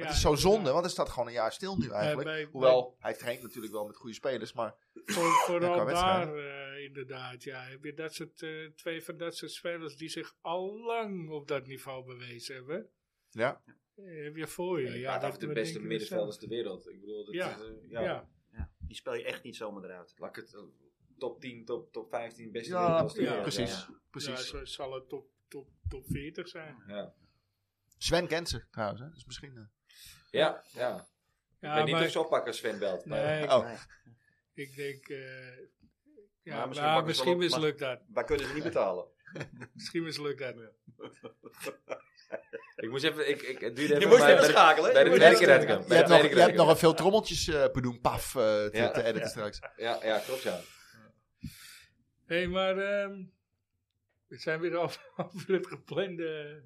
D: het is zo zonde,
B: ja. Eh,
D: want er staat gewoon een jaar stil nu eigenlijk.
B: bij-
D: Hoewel, hij traint natuurlijk wel met goede spelers, maar...
B: Voor,
D: Ja,
B: vooral
D: qua
B: daar eh, inderdaad, ja. Heb je dat soort, eh, twee van dat soort spelers die zich al lang op dat niveau bewezen hebben.
D: Ja.
B: Eh, Heb je voor je.
A: Ja,
B: Ja,
A: je praat over
B: dat-
A: de
B: wat
A: beste
B: denk je
A: middenvelders ter wereld. Ik bedoel, dat,
B: Ja.
A: is, eh,
B: zelf? Ja,
C: Ja, die speel je echt niet zomaar eruit.
A: Laat ik het eh, top 10, top, top 15 beste
D: Ja,
A: middenvelders ter
B: ja,
A: wereld.
D: precies.
B: ja,
D: precies.
B: zo zal het top, top, top 40 zijn.
A: Ja,
D: Sven kent ze trouwens, hè? dus misschien... eh,
A: ja. ja.
B: Ja,
A: ik weet niet
B: maar
A: of ze oppakken als Sven belt. Maar,
B: Nee.
D: oh,
C: Nee.
B: ik denk... eh, ja,
C: Maar
A: Nou,
B: maar
C: misschien
B: misschien,
C: pakken ze wel
B: mislukt
C: op, maar-
B: dat.
C: Waar kunnen ze niet betalen?
B: Misschien mislukt dat.
A: Ik moest even, ik, ik, het duurde even.
C: moest
A: maar
C: even
A: bij de-
C: schakelen, hè?
A: Bij
C: Je
A: de
C: moest
A: werken
C: even
A: red ik hem.
D: je
A: Bij
D: hebt,
A: de
D: nog,
A: werken red
D: je hebt
A: ik hem.
D: nog een veel trommeltjes eh bedoen, paf, eh, te,
A: Ja.
D: te editen straks.
A: Ja, ja, klopt ja.
B: Hé, hey, maar ehm, we zijn weer over, over het geplande.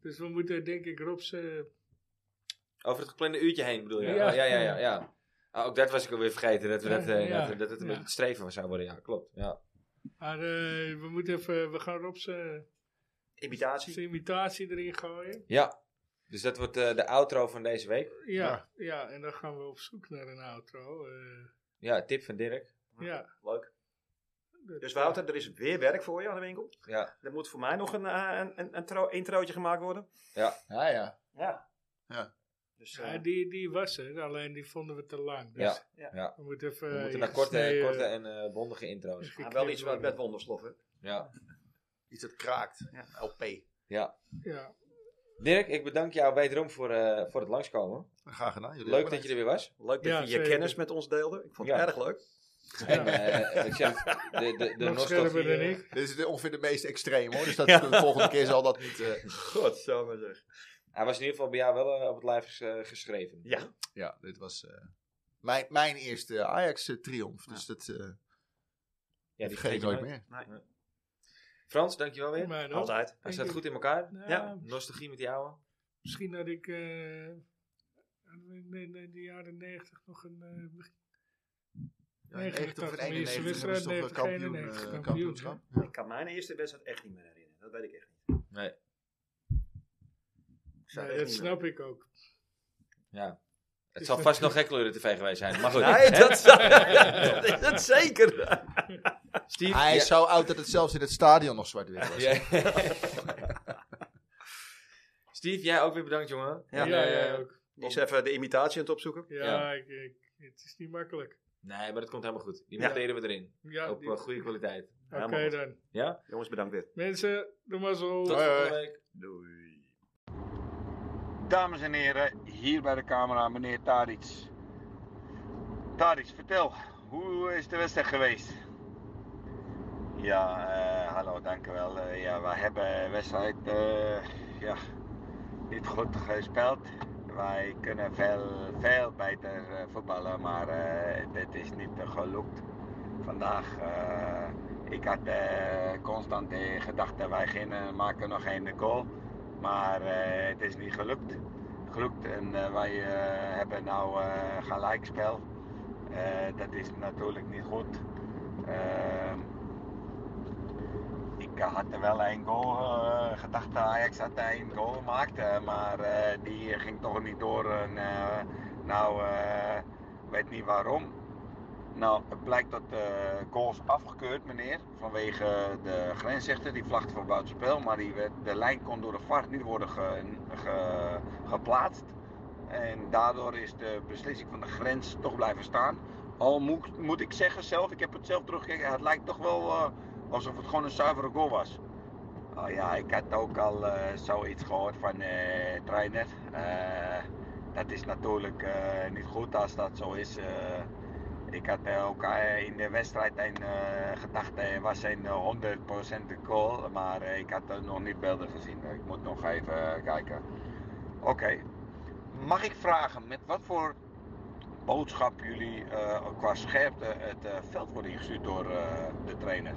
B: Dus we moeten denk ik Rob's... eh,
A: Over het geplande uurtje heen bedoel je? Oh,
B: Ja.
A: Ja, ja, ja. ja, ja. Ah, ook dat was ik alweer vergeten, dat, we dat, eh,
B: Ja.
A: dat, dat het een
B: Ja.
A: beetje streven zou worden. Ja, klopt. Ja.
B: maar eh, we moeten even... We gaan Rob's... eh,
C: Imitatie.
B: Zijn imitatie erin gooien.
A: ja. Dus dat wordt eh, de outro van deze week.
B: Ja,
D: Ja.
B: ja. en dan gaan we op zoek naar een outro. eh,
A: Ja, tip van Dirk.
B: ja.
C: Leuk.
B: Dat-
C: Dus Wouter, er is weer werk voor je aan de winkel.
A: Ja,
C: Er moet voor mij nog een, eh, een, een, een tro- introotje gemaakt worden.
A: ja.
D: Ja, ja.
C: Ja.
D: Ja.
C: Dus, eh,
B: Ja, die, die was er, alleen die vonden we te lang. Dus
A: Ja,
C: ja.
A: ja.
B: We moeten even...
A: We moeten
B: eh,
A: naar korte,
B: gesneden-
A: korte en eh, bondige intro's.
C: maar Ah, wel iets wat met wonderslof, hè?
A: Ja.
D: Iets dat kraakt. LP.
A: ja.
B: Ja,
A: Dirk, ik bedank jou wederom voor, eh, voor het langskomen.
D: Graag gedaan. jullie
A: Leuk
D: ook
A: dat je er weer was.
C: Leuk dat
B: Ja,
C: je je
B: zeker.
C: kennis met ons deelde. Ik vond het
A: Ja.
C: erg leuk.
A: En, eh, ik zeg, de, de, de
B: nog scherper
A: nostalgie,
B: dan
A: eh,
B: ik.
D: Dit is de- ongeveer de meest extreem hoor. Dus dat, de volgende keer zal dat niet. eh,
C: God, zo maar zeg.
A: Hij was in ieder geval bij jou wel eh, op het lijf ges- eh, geschreven.
C: Ja.
D: ja, dit was. eh, Mijn, mijn eerste Ajax-triomf. Dus dat eh
A: Ja,
D: vergeet ik nooit meer.
A: Frans, dankjewel weer.
B: Maar nog,
C: Altijd.
A: Hij
B: Dank
A: staat
B: je.
A: goed in elkaar.
B: nou,
C: Ja.
A: Nostalgie met die ouwe.
B: Misschien dat ik eh, in, in- in de jaren 90 nog een... eh,
D: Ja, in 90 of in
B: 91
D: 91 hebben ze toch
B: wedstrijd,
D: een kampioen,
B: 91
D: eh,
B: kampioen,
D: kampioenschap.
C: Ik kan mijn eerste wedstrijd echt niet meer herinneren. Dat weet ik echt niet.
A: Nee.
C: Ik zou
B: nee,
C: het
B: dat
C: echt niet meer-
B: snap ik ook.
A: Ja. Het
B: Is
A: zal
B: dat-
A: vast nog geen kleuren tv geweest zijn. Maar goed.
C: Nee, dat, dat is het zeker.
A: Steve.
D: Hij
A: ja.
D: is zo oud dat het zelfs in het stadion nog zwart-wit was.
A: Ja. Steve, jij ook weer bedankt, jongen.
C: Ja.
A: En,
B: ja,
A: eh,
B: jij ook.
C: Die is even de imitatie aan het opzoeken.
B: Ja,
A: ja.
B: Ik, ik- het is niet makkelijk.
A: Nee, maar dat komt helemaal goed. Die
C: Ja.
A: monteren we erin.
B: Ja,
A: Op
B: die-
A: eh, goede kwaliteit.
B: Oké
C: Helemaal goed.
B: dan.
A: Ja?
C: Jongens, bedankt weer.
B: Mensen, doe maar zo.
A: Tot volgende week.
C: Doei.
I: Dames en heren, hier bij de camera meneer Tadic. Tadic, vertel, hoe is de wedstrijd geweest? Ja, eh, hallo, dankjewel. Eh, ja, wij hebben wedstrijd eh, ja, niet goed gespeeld. Wij kunnen veel, veel beter eh, voetballen, maar eh, dit is niet eh, gelukt. Vandaag, eh, ik had eh, constant de gedachte, wij gaan, eh, maken nog één goal. Maar eh, het is niet gelukt. gelukt en eh, wij eh, hebben nou eh gelijkspel. Eh, dat is natuurlijk niet goed. Ehm, ik had er wel één goal eh, gedacht, dat Ajax had één goal gemaakt, eh, maar eh, die ging toch niet door. En, eh, nou, eh, weet niet waarom. Nou, het blijkt dat de goal is afgekeurd, meneer. Vanwege de grensrechter. Die vlagde voor buitenspel. Maar die werd, de lijn kon door de VAR niet worden ge- ge- geplaatst. En daardoor is de beslissing van de grens toch blijven staan. Al moet, moet ik zeggen zelf, ik heb het zelf teruggekeken. Het lijkt toch wel eh, alsof het gewoon een zuivere goal was. Oh ja, ik had ook al eh, zoiets gehoord van de trainer. Eh, dat is natuurlijk eh, niet goed als dat zo is. eh. Ik had eh, ook eh, in de wedstrijd een eh, gedachte, er was een eh, 100% de goal, maar eh, ik had er nog niet beelden gezien. Ik moet nog even eh, kijken. Oké, mag ik vragen met wat voor boodschap jullie eh, qua scherpte het eh, veld worden ingestuurd door eh, de trainer?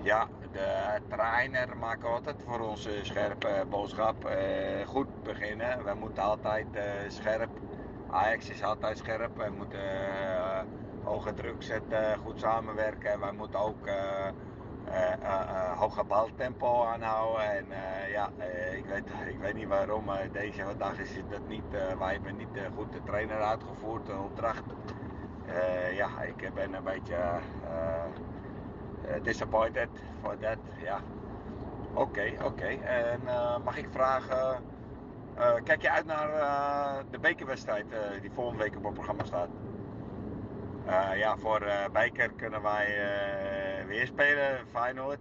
I: Ja, de trainer maakt altijd voor ons eh, scherpe boodschap. Eh, goed beginnen, we moeten altijd eh, scherp Ajax is altijd scherp. Wij moeten eh, hoge druk zetten, goed samenwerken. Wij moeten ook eh, eh, eh, eh, hoge baltempo aanhouden. En eh, ja, eh, ik, weet, ik weet niet waarom, maar deze dag is dat niet. eh, wij hebben niet eh, goed de trainer uitgevoerd, de opdracht. Eh, ja, ik ben een beetje eh, eh, disappointed voor dat. Ja. Oké, oké. En eh, mag ik vragen. Eh, kijk je uit naar eh, de bekerwedstrijd eh, die volgende week op het programma staat? Eh, ja, voor eh Beker kunnen wij eh, weer spelen, Feyenoord.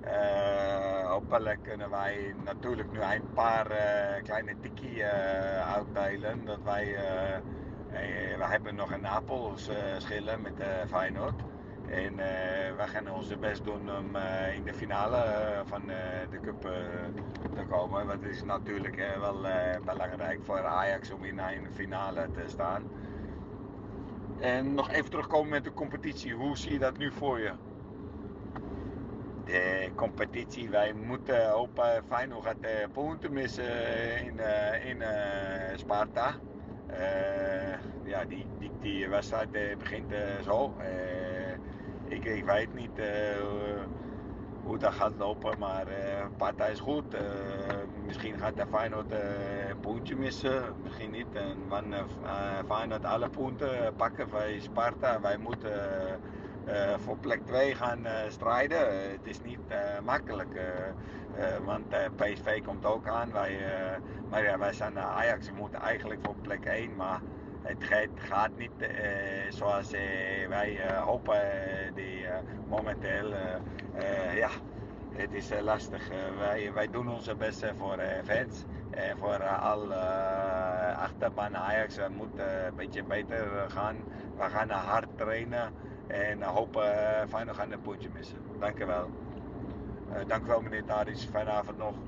I: Eh, hopelijk kunnen wij natuurlijk nu een paar eh, kleine tikkie eh, uitdelen. Dat wij, eh, eh, we hebben nog een Napels eh, schillen met eh, Feyenoord. En eh, wij gaan onze best doen om eh, in de finale eh, van eh, de cup eh, te komen. Want het is natuurlijk eh, wel eh, belangrijk voor Ajax om in een finale te staan. En nog even terugkomen met de competitie. Hoe zie je dat nu voor je? De competitie, wij moeten hopen. Feyenoord gaat eh, punten missen in, eh, in eh, Sparta. Eh, ja, die, die, die wedstrijd eh, begint eh, zo. Eh, ik, ik weet niet eh, hoe dat gaat lopen, maar eh partij is goed. Eh, misschien gaat de Feyenoord eh, een puntje missen, misschien niet. En wanneer eh, Feyenoord alle punten eh, pakken bij Sparta, wij moeten eh, eh, voor plek 2 gaan eh, strijden. Eh, het is niet eh, makkelijk, eh, eh, want eh, PSV komt ook aan. Wij, eh, maar ja, wij zijn de Ajax, we moeten eigenlijk voor plek 1, maar... Het gaat, gaat niet eh, zoals eh, wij eh, hopen eh, die, eh, momenteel. eh, eh, ja, het is eh, lastig. Eh, wij, wij doen onze best eh, voor eh, fans en voor eh, al eh, achterban Ajax. We moeten een beetje beter eh, gaan. We gaan eh, hard trainen en hopen Eh, uh, Feyenoord gaan een pootje missen. Dank u wel. Eh, dank u wel meneer Tadic. Fijne avond nog.